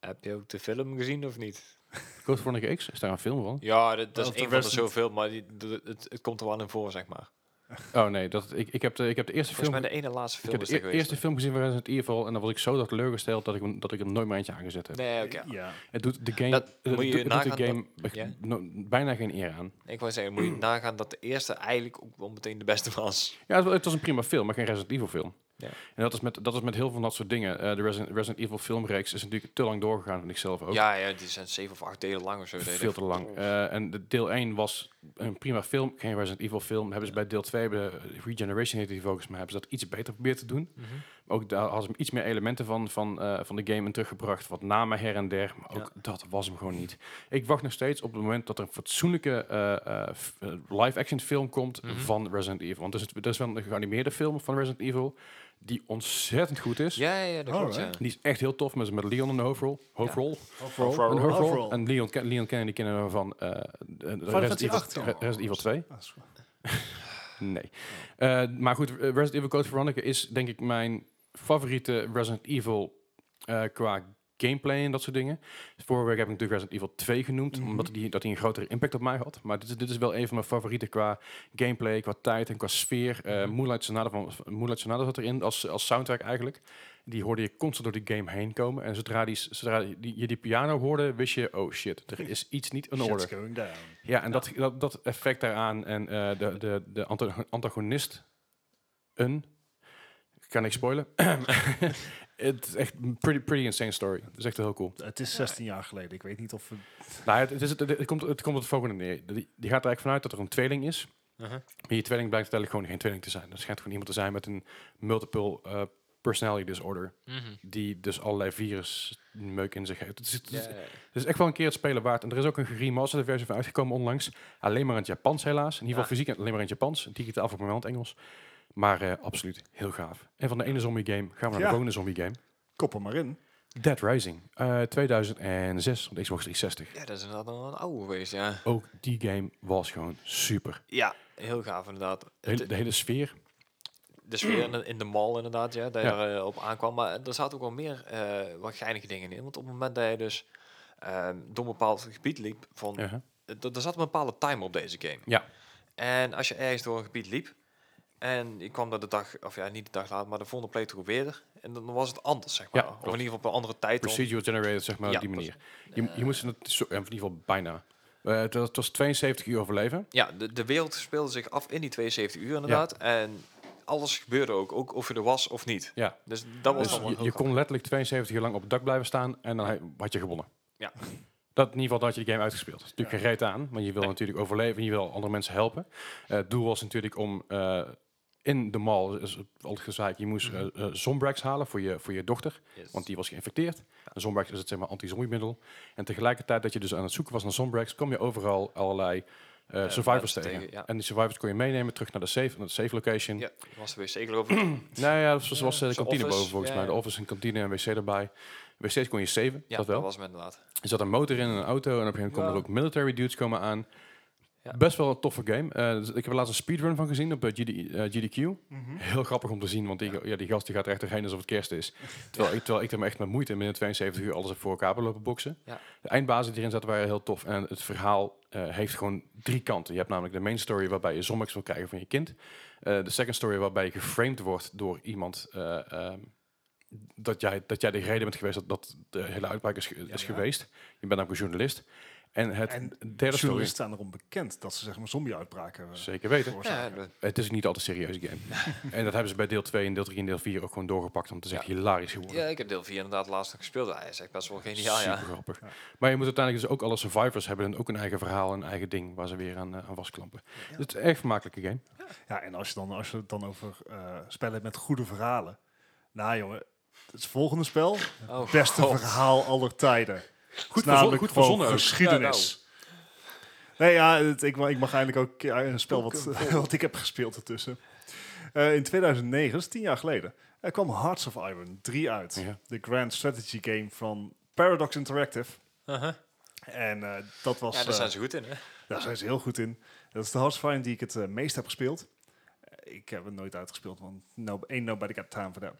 Speaker 2: Heb je ook de film gezien of niet?
Speaker 1: Code Veronica X, is daar een film van?
Speaker 2: Ja, dat, dat
Speaker 3: Wel,
Speaker 2: is een
Speaker 3: de
Speaker 2: van de
Speaker 3: rest-
Speaker 2: zoveel, maar die, de- het, het komt er wel in voor, zeg maar.
Speaker 1: Oh nee, dat, ik, ik, heb de, ik heb de eerste
Speaker 2: Volgens
Speaker 1: film...
Speaker 2: mij de ene laatste
Speaker 1: Ik
Speaker 2: film
Speaker 1: heb
Speaker 2: is
Speaker 1: de
Speaker 2: dat
Speaker 1: e-
Speaker 2: geweest.
Speaker 1: eerste film gezien van Resident Evil en dan was ik zo dat teleurgesteld dat ik, hem- dat ik er nooit meer eentje aangezet heb.
Speaker 2: Nee, oké.
Speaker 3: Ja.
Speaker 1: Het doet de game,
Speaker 2: Dat
Speaker 1: het
Speaker 2: moet je
Speaker 1: doet- het doet de
Speaker 2: nagaan
Speaker 1: game
Speaker 2: dat- ja.
Speaker 1: no- bijna geen eer aan.
Speaker 2: Ik wou zeggen, moet je nagaan dat de eerste eigenlijk ook wel meteen de beste was.
Speaker 1: Ja, het wa- het was een prima film, maar geen Resident Evil film.
Speaker 2: Ja.
Speaker 1: En dat is, met, dat is met heel veel van dat soort dingen. Eh, de Resident, Resident Evil filmreeks is natuurlijk te lang doorgegaan, vind ik zelf ook.
Speaker 2: Ja, ja, die zijn zeven of acht delen lang of zo. deden.
Speaker 1: Veel te lang.
Speaker 2: Oh.
Speaker 1: Eh, en de deel 1 was een prima film, geen Resident Evil film. Hebben ze bij deel 2, bij de Regeneration heet die volgens mij, hebben ze dat iets beter geprobeerd te doen.
Speaker 2: Mhm.
Speaker 1: Ook daar hadden ze iets meer elementen van, van, eh, van de game in teruggebracht. Wat namen her en der. Maar ook dat was hem gewoon niet. Ik wacht nog steeds op het moment dat er een fatsoenlijke eh, eh, f- eh, live-action film komt
Speaker 2: Mhm.
Speaker 1: van Resident Evil. Want er is, er is wel een geanimeerde film van Resident Evil die ontzettend goed is.
Speaker 2: Ja, ja, ja,
Speaker 1: Oh,
Speaker 2: dat klopt, ja.
Speaker 3: Alright.
Speaker 1: Die is echt heel tof met, met Leon in de hoofdrol. hoofdrol.
Speaker 3: Overall.
Speaker 1: Een hoofdrol.
Speaker 3: Overall.
Speaker 1: En Leon, ken- Leon kennen die kennen we van eh, de- de Resident,
Speaker 3: Fantasy
Speaker 1: Evil,
Speaker 3: 8.
Speaker 1: Re- Resident Evil 2.
Speaker 3: Ah, is goed.
Speaker 1: Nee. Eh, maar goed, eh, Resident Evil Code Veronica is denk ik mijn favoriete Resident Evil eh, qua gameplay en dat soort dingen. Vorige week heb ik natuurlijk Resident Evil 2 genoemd,
Speaker 3: Mhm.
Speaker 1: omdat die, dat die een grotere impact op mij had. Maar dit is, dit is wel een van mijn favorieten qua gameplay, qua tijd en qua sfeer. Eh Moonlight, Sonata van, Moonlight Sonata zat erin als, als soundtrack eigenlijk. Die hoorde je constant door die game heen komen. En zodra, die, zodra die, je die piano hoorde, wist je, oh shit, er is iets niet in orde.
Speaker 3: Shit's going down.
Speaker 1: Ja, en dat, dat, dat effect daaraan en eh, de, de, de anta- antagonist, een, kan ik spoilen. Het is echt een pretty, pretty insane story. Dat is echt heel cool.
Speaker 3: Het is 16 jaar geleden. Ik weet niet of... we-
Speaker 1: Nou, het, het, is, het, het komt, het komt op het volgende neer. Die, die gaat er eigenlijk vanuit dat er een tweeling is.
Speaker 2: Mhm.
Speaker 1: Maar die tweeling blijkt uiteindelijk gewoon geen tweeling te zijn. Dat schijnt gewoon iemand te zijn met een multiple eh, personality disorder.
Speaker 2: Mhm.
Speaker 1: Die dus allerlei virusmeuk in zich heeft. Het is, het is-
Speaker 2: Ja, ja, ja.
Speaker 1: Het is echt wel een keer het spelen waard. En er is ook een geremasterde versie van uitgekomen onlangs. Alleen maar in het Japans helaas. In ieder geval fysiek alleen maar in het Japans. Digitaal voor het moment Engels. Maar eh, absoluut heel gaaf. En van de ene zombie game gaan we naar
Speaker 3: Ja.
Speaker 1: de volgende zombie game.
Speaker 3: Kop er maar in.
Speaker 1: Dead Rising. eh, 2006 op de Xbox 360.
Speaker 2: Ja, dat is inderdaad nog wel een oude geweest, ja.
Speaker 1: Ook die game was gewoon super.
Speaker 2: Ja, heel gaaf inderdaad.
Speaker 1: De hele,
Speaker 2: Het-
Speaker 1: de hele sfeer.
Speaker 2: de sfeer in de, in de mall inderdaad, ja, dat je
Speaker 1: Ja.
Speaker 2: er eh, op aankwam. Maar er zaten ook wel meer eh, wat geinige dingen in. Want op het moment dat je dus ehm, door een bepaald gebied liep, van,
Speaker 1: Ja, hè?
Speaker 2: d- er zat een bepaalde timer op deze game.
Speaker 1: Ja.
Speaker 2: En als je ergens door een gebied liep, en je kwam dat de dag, of ja, niet de dag later, maar de volgende playthrough weer. En dan was het anders, zeg maar. of in
Speaker 1: klopt.
Speaker 2: ieder geval op een andere tijd. dan-
Speaker 1: Procedural generated, zeg maar,
Speaker 2: Ja, Eh.
Speaker 1: op die manier. Je, je moest het, zo- in ieder geval bijna. Eh, het, was- het was 72 uur overleven.
Speaker 2: Ja, de, de wereld speelde zich af in die 72 uur inderdaad. En alles gebeurde ook, ook of je er was of niet.
Speaker 1: Ja.
Speaker 2: Dus dat was
Speaker 1: Dus
Speaker 2: allemaal
Speaker 1: je,
Speaker 2: heel
Speaker 1: je
Speaker 2: gaaf.
Speaker 1: kon letterlijk 72 uur lang op het dak blijven staan en dan he- had je gewonnen.
Speaker 2: Ja.
Speaker 1: Dat in ieder geval dat je de game uitgespeeld. Dat is natuurlijk geen reet aan, want je wil
Speaker 2: Nee. natuurlijk
Speaker 1: natuurlijk overleven en je wil andere mensen helpen. Eh, het doel was natuurlijk om eh, in de mall, is al gezegd, je moest eh
Speaker 2: Mhm.
Speaker 1: eh, Zombrax halen voor je, voor je dochter,
Speaker 2: Yes.
Speaker 1: want die was geïnfecteerd. En Zombrax is het zeg maar anti-zombiemiddel. En tegelijkertijd dat je dus aan het zoeken was naar Zombrax, kom je overal allerlei eh, survivors
Speaker 2: mensen
Speaker 1: tegen.
Speaker 2: tegen, ja.
Speaker 1: En die survivors kon je meenemen terug naar de safe, naar de safe location.
Speaker 2: Ja, was er weer zeker over.
Speaker 1: Nou ja, zoals was eh, de kantine
Speaker 2: Zo'n office,
Speaker 1: boven volgens
Speaker 2: ja,
Speaker 1: mij.
Speaker 2: ja.
Speaker 1: De office, een kantine en een wc erbij. Wc's kon je saven,
Speaker 2: Ja,
Speaker 1: dat wel.
Speaker 2: was hem inderdaad.
Speaker 1: Er zat een motor in, en een auto. En op een gegeven moment komen
Speaker 2: Ja.
Speaker 1: er ook military dudes komen aan.
Speaker 2: Ja.
Speaker 1: Best wel een toffe game. Eh, dus ik heb er laatst een speedrun van gezien op eh, GD, eh, GDQ.
Speaker 3: Mhm.
Speaker 1: Heel grappig om te zien, want die, ja. die gast die gaat er echt doorheen alsof het kerst is. Terwijl, ik, terwijl ik er me echt met moeite in binnen 72 uur alles heb voor elkaar heb lopen boksen.
Speaker 2: Ja.
Speaker 1: De eindbazen die erin zaten waren heel tof. En het verhaal eh, heeft gewoon drie kanten. Je hebt namelijk de main story waarbij je zombies wil krijgen van je kind. Eh, de second story waarbij je geframed wordt door iemand... eh, ehm, dat jij, dat jij de reden bent geweest dat, dat de hele uitbraak is, ge- is
Speaker 3: ja.
Speaker 1: geweest. Je bent namelijk een journalist. En het
Speaker 3: En
Speaker 1: derde story...
Speaker 3: Journalisten staan erom bekend dat ze zeg maar zombie-uitbraken hebben
Speaker 1: Zeker weten.
Speaker 2: Ja,
Speaker 3: veroorzaken.
Speaker 2: de-
Speaker 1: Het is niet altijd een serieuze game. en dat hebben ze bij deel 2 en deel 3 en deel 4 ook gewoon doorgepakt. Om te zeggen, hilarisch geworden.
Speaker 2: ja, ik heb deel 4 inderdaad laatst nog gespeeld. Hij is echt best wel geniaal,
Speaker 1: Super
Speaker 2: ja.
Speaker 1: grappig. Maar je moet uiteindelijk dus ook alle survivors hebben. En ook een eigen verhaal en eigen ding waar ze weer aan, eh, aan vastklampen. Het is een erg vermakelijke game.
Speaker 3: Ja, en als je, dan, als je het dan over eh, spellen hebt met goede verhalen. Nou jongen, het is volgende spel.
Speaker 2: Oh,
Speaker 3: Beste
Speaker 2: God.
Speaker 3: verhaal aller tijden. Het is
Speaker 1: verzo-
Speaker 3: namelijk
Speaker 1: goed
Speaker 3: gewoon
Speaker 1: verzonnen ook.
Speaker 3: geschiedenis. Nee, ja, het- ik, mag- ik mag eindelijk ook eh, een spel wat, wat ik heb gespeeld ertussen. Eh, in 2009, dat is tien jaar geleden, er kwam Hearts of Iron 3 uit.
Speaker 1: Ja.
Speaker 3: De grand strategy game van Paradox Interactive. En eh, dat was...
Speaker 2: Uh-huh. Ja, daar
Speaker 3: eh,
Speaker 2: zijn ze goed in, hè?
Speaker 3: daar zijn ze heel goed in. Dat is de Hearts of Iron die ik het eh, meest heb gespeeld. Eh, Ik heb het nooit uitgespeeld, want no, ain't nobody got time for that.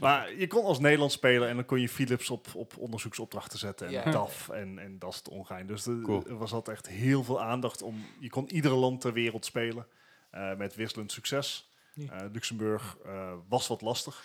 Speaker 3: Maar je kon als Nederlands spelen en dan kon je Philips op, op onderzoeksopdrachten zetten. En
Speaker 2: Ja.
Speaker 3: DAF en, en dat is het ongein. Dus de-
Speaker 1: Cool.
Speaker 3: er was altijd echt heel veel aandacht om... Je kon iedere land ter wereld spelen eh, met wisselend succes.
Speaker 2: Ja.
Speaker 3: Eh, Luxemburg eh, was wat lastig.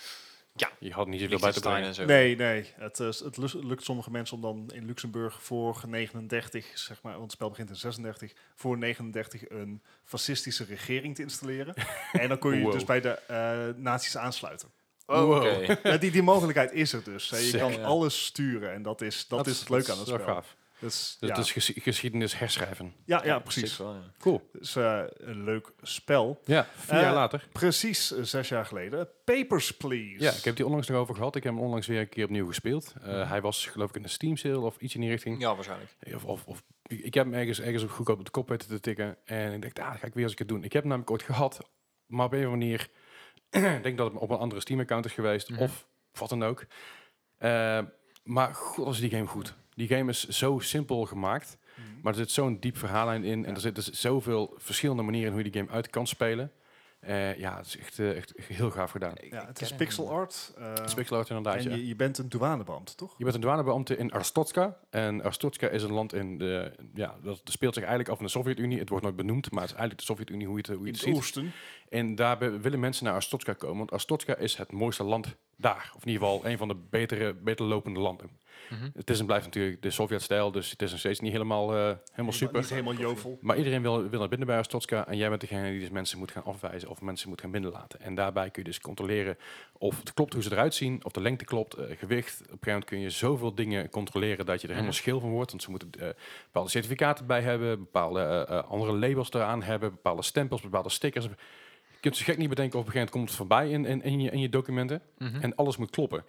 Speaker 1: Je had niet zoveel bij te
Speaker 2: Liechtenstein
Speaker 1: brengen.
Speaker 2: en zo.
Speaker 3: Nee, nee. Het, eh, s- het lus- lukt sommige mensen om dan in Luxemburg voor 39, zeg maar, want het spel begint in 36, voor 39 een fascistische regering te installeren. en dan kon je
Speaker 1: Wow.
Speaker 3: dus bij de eh nazi's aansluiten.
Speaker 2: Oh,
Speaker 1: Wow.
Speaker 2: oké.
Speaker 3: Ja, die, die mogelijkheid is er dus. hè. Je
Speaker 1: Sick.
Speaker 3: kan
Speaker 2: Ja.
Speaker 3: alles sturen en dat is, dat is het leuke aan het
Speaker 1: wel
Speaker 3: spel.
Speaker 1: gaaf.
Speaker 3: Dus,
Speaker 1: Dat
Speaker 3: ja.
Speaker 1: is ges- geschiedenis herschrijven.
Speaker 3: ja, ja, precies.
Speaker 2: Wel, ja.
Speaker 1: Cool.
Speaker 3: Dus eh, een leuk spel.
Speaker 1: Ja, vier
Speaker 3: Eh,
Speaker 1: jaar later.
Speaker 3: Precies eh, zes jaar geleden. Papers, Please.
Speaker 1: Ja, ik heb die onlangs nog over gehad. Ik heb hem onlangs weer een keer opnieuw gespeeld. Eh, hij was geloof ik in een Steam sale of iets in die richting.
Speaker 2: ja, waarschijnlijk.
Speaker 1: Of, of, of- ik heb hem ergens, ergens op goedkoop op de kop weten te tikken. En ik dacht, ah, dat ga ik weer eens een keer doen. Ik heb hem namelijk ooit gehad, maar op een of andere manier... ik denk dat het op een andere Steam-account is geweest.
Speaker 2: Mhm.
Speaker 1: Of wat dan ook. Eh, maar god, is die game goed. Die game is zo simpel gemaakt.
Speaker 3: Mhm.
Speaker 1: Maar er zit zo'n diep verhaallijn in. En er zitten z- zoveel verschillende manieren in hoe je die game uit kan spelen. Eh, ja, het is echt, eh, echt heel gaaf gedaan. Het
Speaker 3: Ja, het is pixel art. eh,
Speaker 1: is pixel art inderdaad,
Speaker 3: en
Speaker 1: ja.
Speaker 3: je, je bent een douanebeamte, toch?
Speaker 1: Je bent een douanebeambte in Arstotska. En Arstotska is een land in de... Ja, dat speelt zich eigenlijk af in de Sovjet-Unie. Het wordt nooit benoemd, maar het is eigenlijk de Sovjet-Unie hoe je het, hoe je
Speaker 3: In
Speaker 1: het
Speaker 3: het
Speaker 1: ziet.
Speaker 3: oosten.
Speaker 1: En daar be- willen mensen naar Arstotska komen. Want Arstotska is het mooiste land daar. Of in ieder geval een van de betere, beter lopende landen.
Speaker 2: Mhm.
Speaker 1: Het is en blijft natuurlijk de Sovjet-stijl. Dus het is nog steeds niet helemaal, eh, helemaal super.
Speaker 3: Niet helemaal jovel.
Speaker 1: Maar iedereen wil, wil naar binnen bij Arstotska. En jij bent degene die dus mensen moet gaan afwijzen of mensen moet gaan binnenlaten. En daarbij kun je dus controleren of het klopt hoe ze eruit zien, of de lengte klopt, eh, gewicht. Op een gegeven moment kun je zoveel dingen controleren dat je er helemaal scheel van wordt. Want ze moeten eh, bepaalde certificaten bij hebben, bepaalde eh, eh, andere labels eraan hebben, bepaalde stempels, bepaalde stickers. Je kunt ze gek niet bedenken of op een gegeven moment komt het voorbij in, in, in, je, in je documenten.
Speaker 2: Mhm. Hm?
Speaker 1: En alles moet kloppen.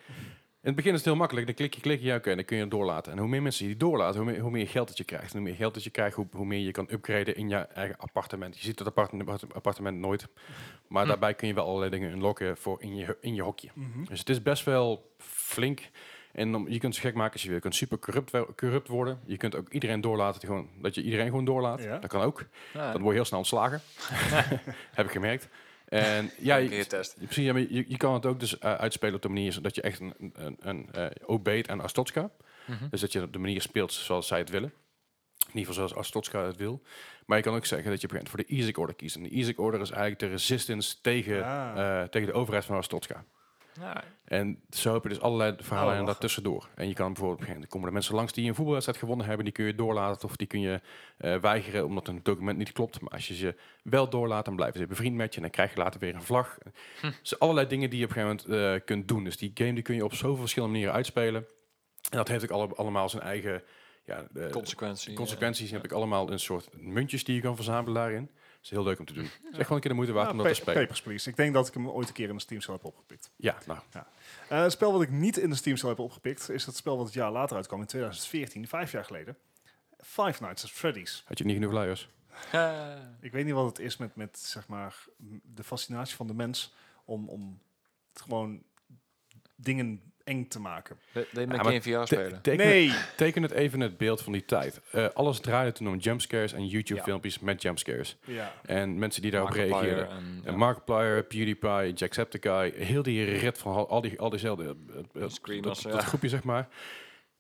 Speaker 1: In het begin is het heel makkelijk. Dan klik je, klik je, ja, oké, en dan kun je het doorlaten. En hoe meer mensen je die doorlaten, hoe meer, hoe meer geld dat je krijgt. En hoe meer geld dat je krijgt, hoe, hoe meer je kan upgraden in je eigen appartement. Je ziet het appartement, appartement nooit. Maar daarbij kun je wel allerlei dingen unlocken voor in je, in je hokje. Dus het is best wel flink. En om- je kunt ze gek maken als je wil. Je kunt super corrupt, wel- corrupt worden. Je kunt ook iedereen doorlaten. die Gewoon, dat je iedereen gewoon doorlaat.
Speaker 3: Ja.
Speaker 1: Dat kan ook.
Speaker 2: Ja,
Speaker 1: Dan word je heel snel ontslagen. Heb ik gemerkt. En ja,
Speaker 2: een
Speaker 1: je-
Speaker 2: keer getest.
Speaker 1: ja, Precies, ja, maar je, je kan het ook dus eh, uitspelen op de manier dat je echt een, een, een eh, obeet aan Astotska.
Speaker 2: Mhm.
Speaker 1: Dus dat je op de manier speelt zoals zij het willen. In ieder geval zoals Astotska het wil. Maar je kan ook zeggen dat je begint voor de Isaac Order kiest. En de Isaac Order is eigenlijk de resistance tegen,
Speaker 3: Ah.
Speaker 1: eh, tegen de overheid van Astotska.
Speaker 2: Ja,
Speaker 1: En zo heb je dus allerlei verhalen
Speaker 3: Oh,
Speaker 1: en
Speaker 3: lachen.
Speaker 1: daartussendoor. En je kan bijvoorbeeld beginnen. Er komen er mensen langs die een voetbalwedstrijd gewonnen hebben. Die kun je doorlaten of die kun je eh, weigeren omdat een document niet klopt. Maar als je ze wel doorlaat, dan blijven ze bevriend met je. En dan krijg je later weer een vlag. Dus allerlei dingen die je op een gegeven moment eh, kunt doen. Dus die game die kun je op zoveel verschillende manieren uitspelen. En dat heeft ook alle- allemaal zijn eigen ja, eh,
Speaker 2: consequentie.
Speaker 1: consequenties. heb ik allemaal een soort muntjes die je kan verzamelen daarin. Dat is heel leuk om te doen. Het is echt gewoon een keer de moeite waard
Speaker 3: Ja,
Speaker 1: om dat te
Speaker 3: Pa-
Speaker 1: spelen.
Speaker 3: Papers, Please. Ik denk dat ik hem ooit een keer in de Steam Sale heb opgepikt.
Speaker 1: Ja, nou,
Speaker 3: Eh, het spel wat ik niet in de Steam Sale heb opgepikt, is het spel wat het jaar later uitkwam, in 2014, vijf jaar geleden. Five Nights at Freddy's.
Speaker 1: had je niet genoeg luiers?
Speaker 2: eh. Ja.
Speaker 3: Ik weet niet wat het is met, met zeg maar, m- de fascinatie van de mens om, om het gewoon dingen eng te maken.
Speaker 2: Dat deed
Speaker 1: maar
Speaker 2: met geen VR spelen.
Speaker 1: Te- tekenen-
Speaker 3: Nee!
Speaker 1: Teken het even het beeld van die tijd. Eh, alles draaide toen om jumpscares en
Speaker 2: Ja.
Speaker 1: YouTube-filmpjes met jumpscares.
Speaker 3: Ja.
Speaker 1: En mensen die daarop
Speaker 2: Markiplier eh,
Speaker 1: reageerden.
Speaker 2: en,
Speaker 1: En Markiplier, PewDiePie, Jacksepticeye, heel die rit van al- al, die, al diezelfde eh, eh, dat-
Speaker 2: Screamers,
Speaker 1: dat,
Speaker 2: ja.
Speaker 1: groepje, zeg maar.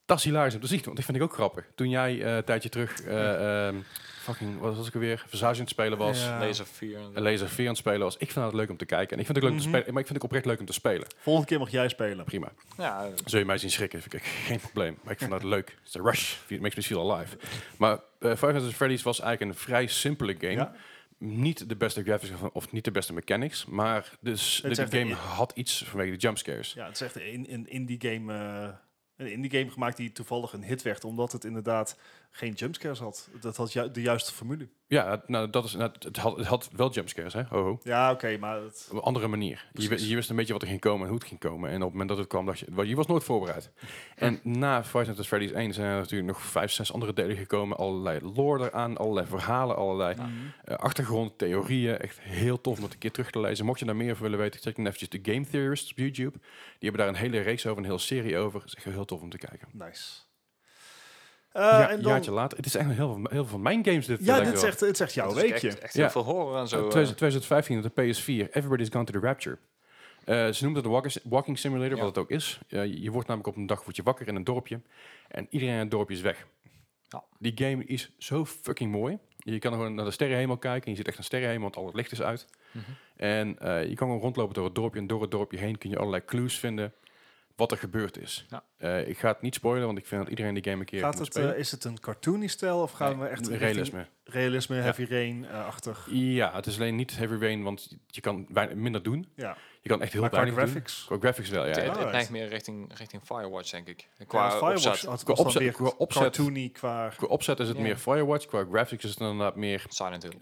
Speaker 1: Dat is hilarisch om te zien, want die vind ik ook grappig. Toen jij eh, een tijdje terug, eh, ehm, fucking, wat was ik alweer, Versage aan het spelen was,
Speaker 3: Ja.
Speaker 2: Laser 4. en zo.
Speaker 1: een Laser 4 aan het spelen was, ik vind het leuk om te kijken. En ik vind het ook leuk om
Speaker 3: Mhm.
Speaker 1: te spelen, maar ik vind het ook oprecht leuk om te spelen.
Speaker 3: Volgende keer mag jij spelen.
Speaker 1: Prima.
Speaker 2: Ja,
Speaker 1: Zul je mij zien schrikken? Vind ik echt geen probleem. Maar ik vond dat leuk. Het is een rush. It makes me feel alive. Maar eh Five Nights at Freddy's was eigenlijk een vrij simpele game.
Speaker 3: Ja?
Speaker 1: Niet de beste graphics of, of niet de beste mechanics. Maar dus de,
Speaker 3: is
Speaker 1: die
Speaker 3: echt een-
Speaker 1: game had iets vanwege de jumpscares.
Speaker 3: Ja, het is echt een, een indie game. eh, een indie game gemaakt die toevallig een hit werd, omdat het inderdaad geen jumpscares had. Dat had ju- de juiste formule.
Speaker 1: Ja, nou, dat is, nou, het, had, het had wel jumpscares, hè? Ho, ho.
Speaker 3: Ja, oké, maar het,
Speaker 1: Op een andere manier. Je, wi-
Speaker 3: Precies.
Speaker 1: je wist een beetje wat er ging komen en hoe het ging komen. En op het moment dat het kwam, dacht je... wel, Je was nooit voorbereid. En na Five Nights at Freddy's 1 zijn er natuurlijk nog vijf, zes andere delen gekomen. Allerlei lore eraan, allerlei verhalen, allerlei eh, achtergrond, theorieën. Echt heel tof om dat een keer terug te lezen. Mocht je daar meer over willen weten, check dan eventjes de Game Theorists op YouTube. Die hebben daar een hele reeks over, een hele serie over. Het is echt heel tof om te kijken.
Speaker 3: nice.
Speaker 1: ja,
Speaker 3: ja,
Speaker 1: een
Speaker 3: Eh, en dan,
Speaker 1: jaartje later. Het is eigenlijk heel veel, heel veel van mijn games dit.
Speaker 3: ja,
Speaker 1: lijkt
Speaker 3: dit
Speaker 1: wel.
Speaker 3: is echt, dit is echt jouw
Speaker 2: Dat is echt-
Speaker 3: weekje.
Speaker 2: Echt,
Speaker 1: Ja.
Speaker 2: heel veel horror en zo.
Speaker 1: 2000-
Speaker 2: eh.
Speaker 1: 2015 op de PS4, Everybody's Gone to the Rapture. Eh, ze noemt het de walk- Walking Simulator,
Speaker 2: Ja.
Speaker 1: wat het ook is. Eh, je- je wordt namelijk op een dag word je wakker in een dorpje en iedereen in het dorpje is weg.
Speaker 2: Ja.
Speaker 1: Die game is zo fucking mooi. Je kan gewoon naar de sterrenhemel kijken en je ziet echt een sterrenhemel, want al het licht is uit.
Speaker 2: Mhm.
Speaker 1: En eh, je kan gewoon rondlopen door het dorpje en door het dorpje heen kun je allerlei clues vinden wat er gebeurd is.
Speaker 2: Ja.
Speaker 1: Eh, ik ga het niet spoilen, want ik vind dat iedereen die game een keer
Speaker 3: Gaat
Speaker 1: moet
Speaker 3: het,
Speaker 1: spelen.
Speaker 3: eh, is het een cartoony stijl of gaan we echt
Speaker 1: Nee,
Speaker 3: richting
Speaker 1: realisme.
Speaker 3: realisme heavy eh, rain-achtig?
Speaker 1: Ja, het is alleen niet heavy rain, want je kan wein- minder doen.
Speaker 3: ja,
Speaker 1: Je kan echt heel
Speaker 3: maar qua
Speaker 1: weinig doen.
Speaker 3: graphics.
Speaker 1: Qua graphics wel, ja.
Speaker 2: Het- het,
Speaker 1: ja.
Speaker 2: het
Speaker 3: Alright.
Speaker 2: neigt meer richting, richting Firewatch, denk ik.
Speaker 3: Qua
Speaker 2: Qua
Speaker 3: ja, Firewatch
Speaker 2: opzet.
Speaker 3: had
Speaker 1: Qua
Speaker 3: was dan
Speaker 1: opzet-
Speaker 3: weer
Speaker 1: qua opzet.
Speaker 3: cartoony qua...
Speaker 1: Qua opzet is het
Speaker 2: Ja.
Speaker 1: meer Firewatch, qua graphics is het inderdaad meer...
Speaker 2: Silent Hill.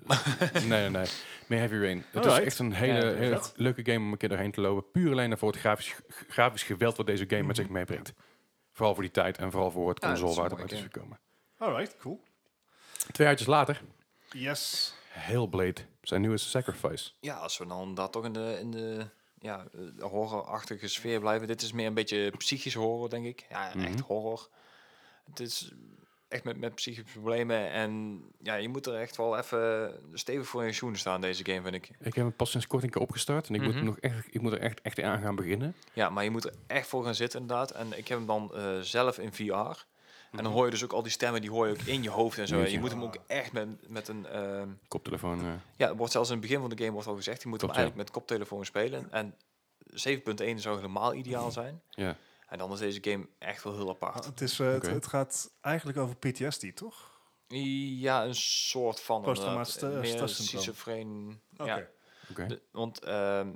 Speaker 1: nee, nee, nee. Meer Heavy Rain. Het
Speaker 3: Alright.
Speaker 1: is echt een hele,
Speaker 2: Ja, dat is
Speaker 1: hele
Speaker 3: vet.
Speaker 1: leuke game om een keer doorheen te lopen. Puur alleen voor het grafisch, grafisch geweld wat deze game met zich meebrengt. Vooral voor die tijd en vooral voor het
Speaker 2: Ja, Mhm. Ah, dat is
Speaker 1: console waar
Speaker 2: een
Speaker 1: het uit is
Speaker 2: mooie
Speaker 1: gekomen.
Speaker 3: Alright, cool.
Speaker 1: Twee jaartjes later,
Speaker 3: Yes.
Speaker 1: Hellblade, zijn nieuwe Sacrifice.
Speaker 2: Ja, als we dan daar toch in de, in de ja, eh, horrorachtige sfeer blijven. Dit is meer een beetje psychisch horror, denk ik. Ja, echt
Speaker 1: Mhm.
Speaker 2: horror. Het is echt met, met psychische problemen. En ja, je moet er echt wel even stevig voor in je schoenen staan, deze game, vind ik.
Speaker 1: Ik heb hem pas sinds kort een keer opgestart en ik, moet,
Speaker 2: Mhm.
Speaker 1: hem nog echt, ik moet er echt, echt aan gaan beginnen.
Speaker 2: Ja, maar je moet er echt voor gaan zitten, inderdaad. En ik heb hem dan eh, zelf in VR. En dan hoor je dus ook al die stemmen, die hoor je ook in je hoofd en zo. En
Speaker 1: Mhm. Jeetje.
Speaker 2: je moet hem ook echt met, met een... ehm,
Speaker 1: Koptelefoon. eh,
Speaker 2: Ja, er wordt zelfs in het begin van de game wordt al gezegd, je moet hem
Speaker 1: Klopt, ja.
Speaker 2: eigenlijk met koptelefoon spelen. En 7.1 zou helemaal
Speaker 1: Mhm.
Speaker 2: ideaal zijn.
Speaker 1: ja.
Speaker 2: En dan is deze game echt wel heel
Speaker 3: Ah,
Speaker 2: apart.
Speaker 3: het, is, eh, het-
Speaker 1: Oké.
Speaker 3: het gaat eigenlijk over PTSD, toch?
Speaker 2: Ja, een soort van...
Speaker 3: Posttraumatisch
Speaker 2: inderdaad.
Speaker 3: st-
Speaker 2: Meer
Speaker 3: stresssyndroom.
Speaker 2: schizofreen.
Speaker 3: Oké.
Speaker 2: Ja,
Speaker 1: Oké.
Speaker 2: de- want ehm,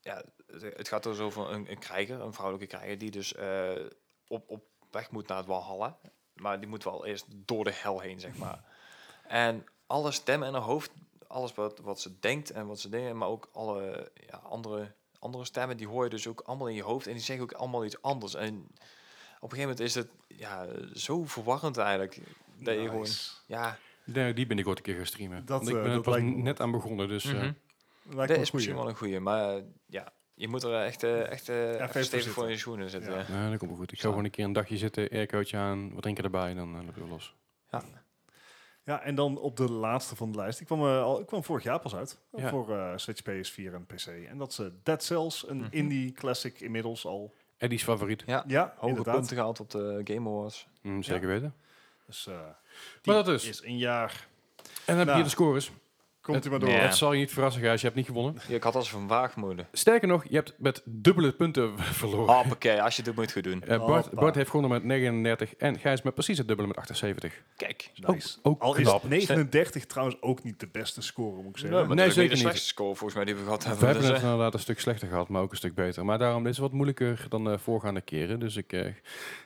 Speaker 2: ja, het, het gaat dus over een, een krijger, een vrouwelijke krijger, die dus eh, op, op weg moet naar het Walhalla. Maar die moet wel eerst door de hel heen, zeg maar. en alle stemmen in haar hoofd, alles wat, wat ze denkt en wat ze dingen, maar ook alle ja, andere, andere stemmen, die hoor je dus ook allemaal in je hoofd. En die zeggen ook allemaal iets anders. En op een gegeven moment is het ja, zo verwarrend eigenlijk. Dat je gewoon,
Speaker 3: Nice.
Speaker 2: ja,
Speaker 1: Nee, die ben ik ooit een keer gaan streamen.
Speaker 3: Dat,
Speaker 1: Want ik
Speaker 3: eh,
Speaker 1: ben er
Speaker 3: dat
Speaker 1: pas
Speaker 3: lijkt me
Speaker 1: net aan begonnen, dus... eh,
Speaker 2: Mhm.
Speaker 3: Lijkt
Speaker 2: dat is
Speaker 3: me een goeie.
Speaker 2: misschien wel een goeie. Maar eh, ja, je moet er eh, echt, eh, echt eh, even
Speaker 3: even voor
Speaker 2: stevig voor
Speaker 3: zitten.
Speaker 2: in je schoenen zitten.
Speaker 3: Ja.
Speaker 2: Ja.
Speaker 1: Nee, dat komt wel goed. Ik ga
Speaker 2: Zo.
Speaker 1: gewoon een keer een dagje zitten, aircootje aan, wat drinken erbij en dan eh, lopen we los.
Speaker 3: Ja, en dan op de laatste van de lijst. Ik kwam, eh, al, ik kwam vorig jaar pas uit.
Speaker 1: Ja.
Speaker 3: Voor eh, Switch, PS4 en PC. En dat is eh, Dead Cells, een
Speaker 2: Mhm.
Speaker 3: indie classic inmiddels al.
Speaker 1: Eddie's favoriet,
Speaker 3: Ja,
Speaker 2: Hoge
Speaker 3: inderdaad.
Speaker 2: punten gehaald op de Game Awards.
Speaker 1: Mm, zeker weten.
Speaker 3: Dus, eh, die
Speaker 1: Maar dat dus.
Speaker 3: is een jaar.
Speaker 1: En dan heb je
Speaker 3: Nou,
Speaker 1: hier de scores.
Speaker 3: Komt u maar door.
Speaker 2: Ja.
Speaker 1: Oh, Het zal je niet verrassen, Gijs. Je hebt niet gewonnen.
Speaker 2: Ja, ik had als een waagmoede.
Speaker 1: Sterker nog, je hebt met dubbele punten verloren.
Speaker 2: Hoppakee, als je dit moet goed doen.
Speaker 1: Eh, Bart,
Speaker 3: Hoppa.
Speaker 1: Bart heeft gewonnen met 39 en Gijs met precies het dubbele met 78.
Speaker 2: Kijk.
Speaker 3: Nice.
Speaker 1: Ook, ook
Speaker 3: Al is
Speaker 1: Oh, knap.
Speaker 3: 39 trouwens ook niet de beste score, moet ik zeggen.
Speaker 1: maar-
Speaker 2: nee,
Speaker 1: Nee,
Speaker 2: dat is ook
Speaker 1: zeker
Speaker 2: niet de
Speaker 1: niet.
Speaker 2: slechtste score volgens mij die we gehad
Speaker 1: We
Speaker 2: hebben.
Speaker 1: hebben
Speaker 2: Dus,
Speaker 1: het
Speaker 2: eh,
Speaker 1: inderdaad een stuk slechter gehad, maar ook een stuk beter. Maar daarom, dit is wat moeilijker dan de voorgaande keren. Dus ik eh,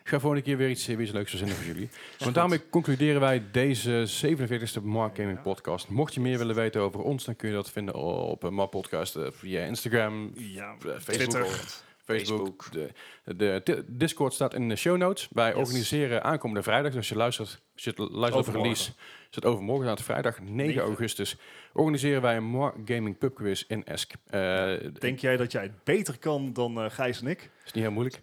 Speaker 1: ga volgende keer weer iets, eh, weer iets leuks verzinnen voor jullie. Want daarmee concluderen wij deze 47e Mark Gaming Podcast. Mocht je meer willen weten over ons, dan kun je dat vinden op eh, Mark Podcast eh, via Instagram,
Speaker 3: Ja,
Speaker 1: Facebook.
Speaker 3: Twitter.
Speaker 1: Facebook. De, de ti- Discord staat in de show notes. Wij
Speaker 3: Yes.
Speaker 1: organiseren aankomende vrijdag. Dus als je luistert, als je het luistert op
Speaker 3: Overmorgen.
Speaker 1: release, is het overmorgen, aan vrijdag 9
Speaker 3: 9.
Speaker 1: augustus, organiseren wij een Mark Gaming Pub Quiz in Esk. Eh,
Speaker 3: Denk jij dat jij het beter kan dan eh, Gijs en ik?
Speaker 1: is niet heel moeilijk.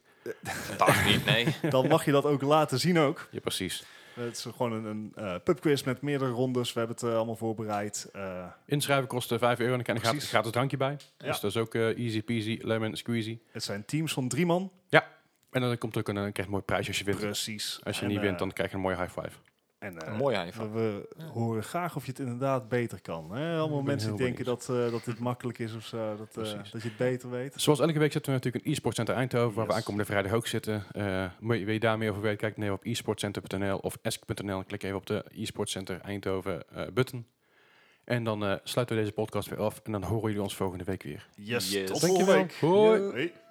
Speaker 2: dat eh, niet, nee.
Speaker 3: Dan mag je dat ook laten zien ook.
Speaker 1: Ja, precies.
Speaker 3: Het is gewoon een, een eh, pubquiz met meerdere rondes. We hebben het eh, allemaal voorbereid. Eh,
Speaker 1: Inschrijven kost eh, 5 euro en dan krijg je een
Speaker 3: Precies.
Speaker 1: gratis- gratis drankje bij.
Speaker 3: Ja.
Speaker 1: Dus dat is ook eh, easy peasy, lemon squeezy.
Speaker 3: het zijn teams van drie man.
Speaker 1: En dan komt er ook een, eh, krijg je een mooi prijsje als je wint.
Speaker 3: Precies.
Speaker 1: Als je
Speaker 3: En,
Speaker 1: niet
Speaker 3: eh,
Speaker 1: wint, dan krijg je een mooie high five.
Speaker 3: En, eh,
Speaker 2: Een mooie iPhone.
Speaker 3: we, we horen graag of je het inderdaad beter kan. Hè? Allemaal
Speaker 1: ben
Speaker 3: mensen die
Speaker 1: heel
Speaker 3: denken dat, eh, dat dit makkelijk is of zo. Dat, eh,
Speaker 1: Precies.
Speaker 3: dat je het beter weet.
Speaker 1: Zoals elke week zitten we natuurlijk in e-sportcenter Eindhoven, waar we
Speaker 3: Yes.
Speaker 1: aankomende vrijdag ook zitten. Eh, wil je- wil je daar meer over weten, kijk dan even op e-sportcenter.nl of esk.nl. Klik even op de e-sportcenter Eindhoven eh, button. En dan eh, sluiten we deze podcast weer af en dan horen jullie ons volgende week weer.
Speaker 3: Yes,
Speaker 2: Yes.
Speaker 3: tot
Speaker 2: Dankjewel.
Speaker 3: volgende week.
Speaker 1: Hoi.
Speaker 3: Hoi.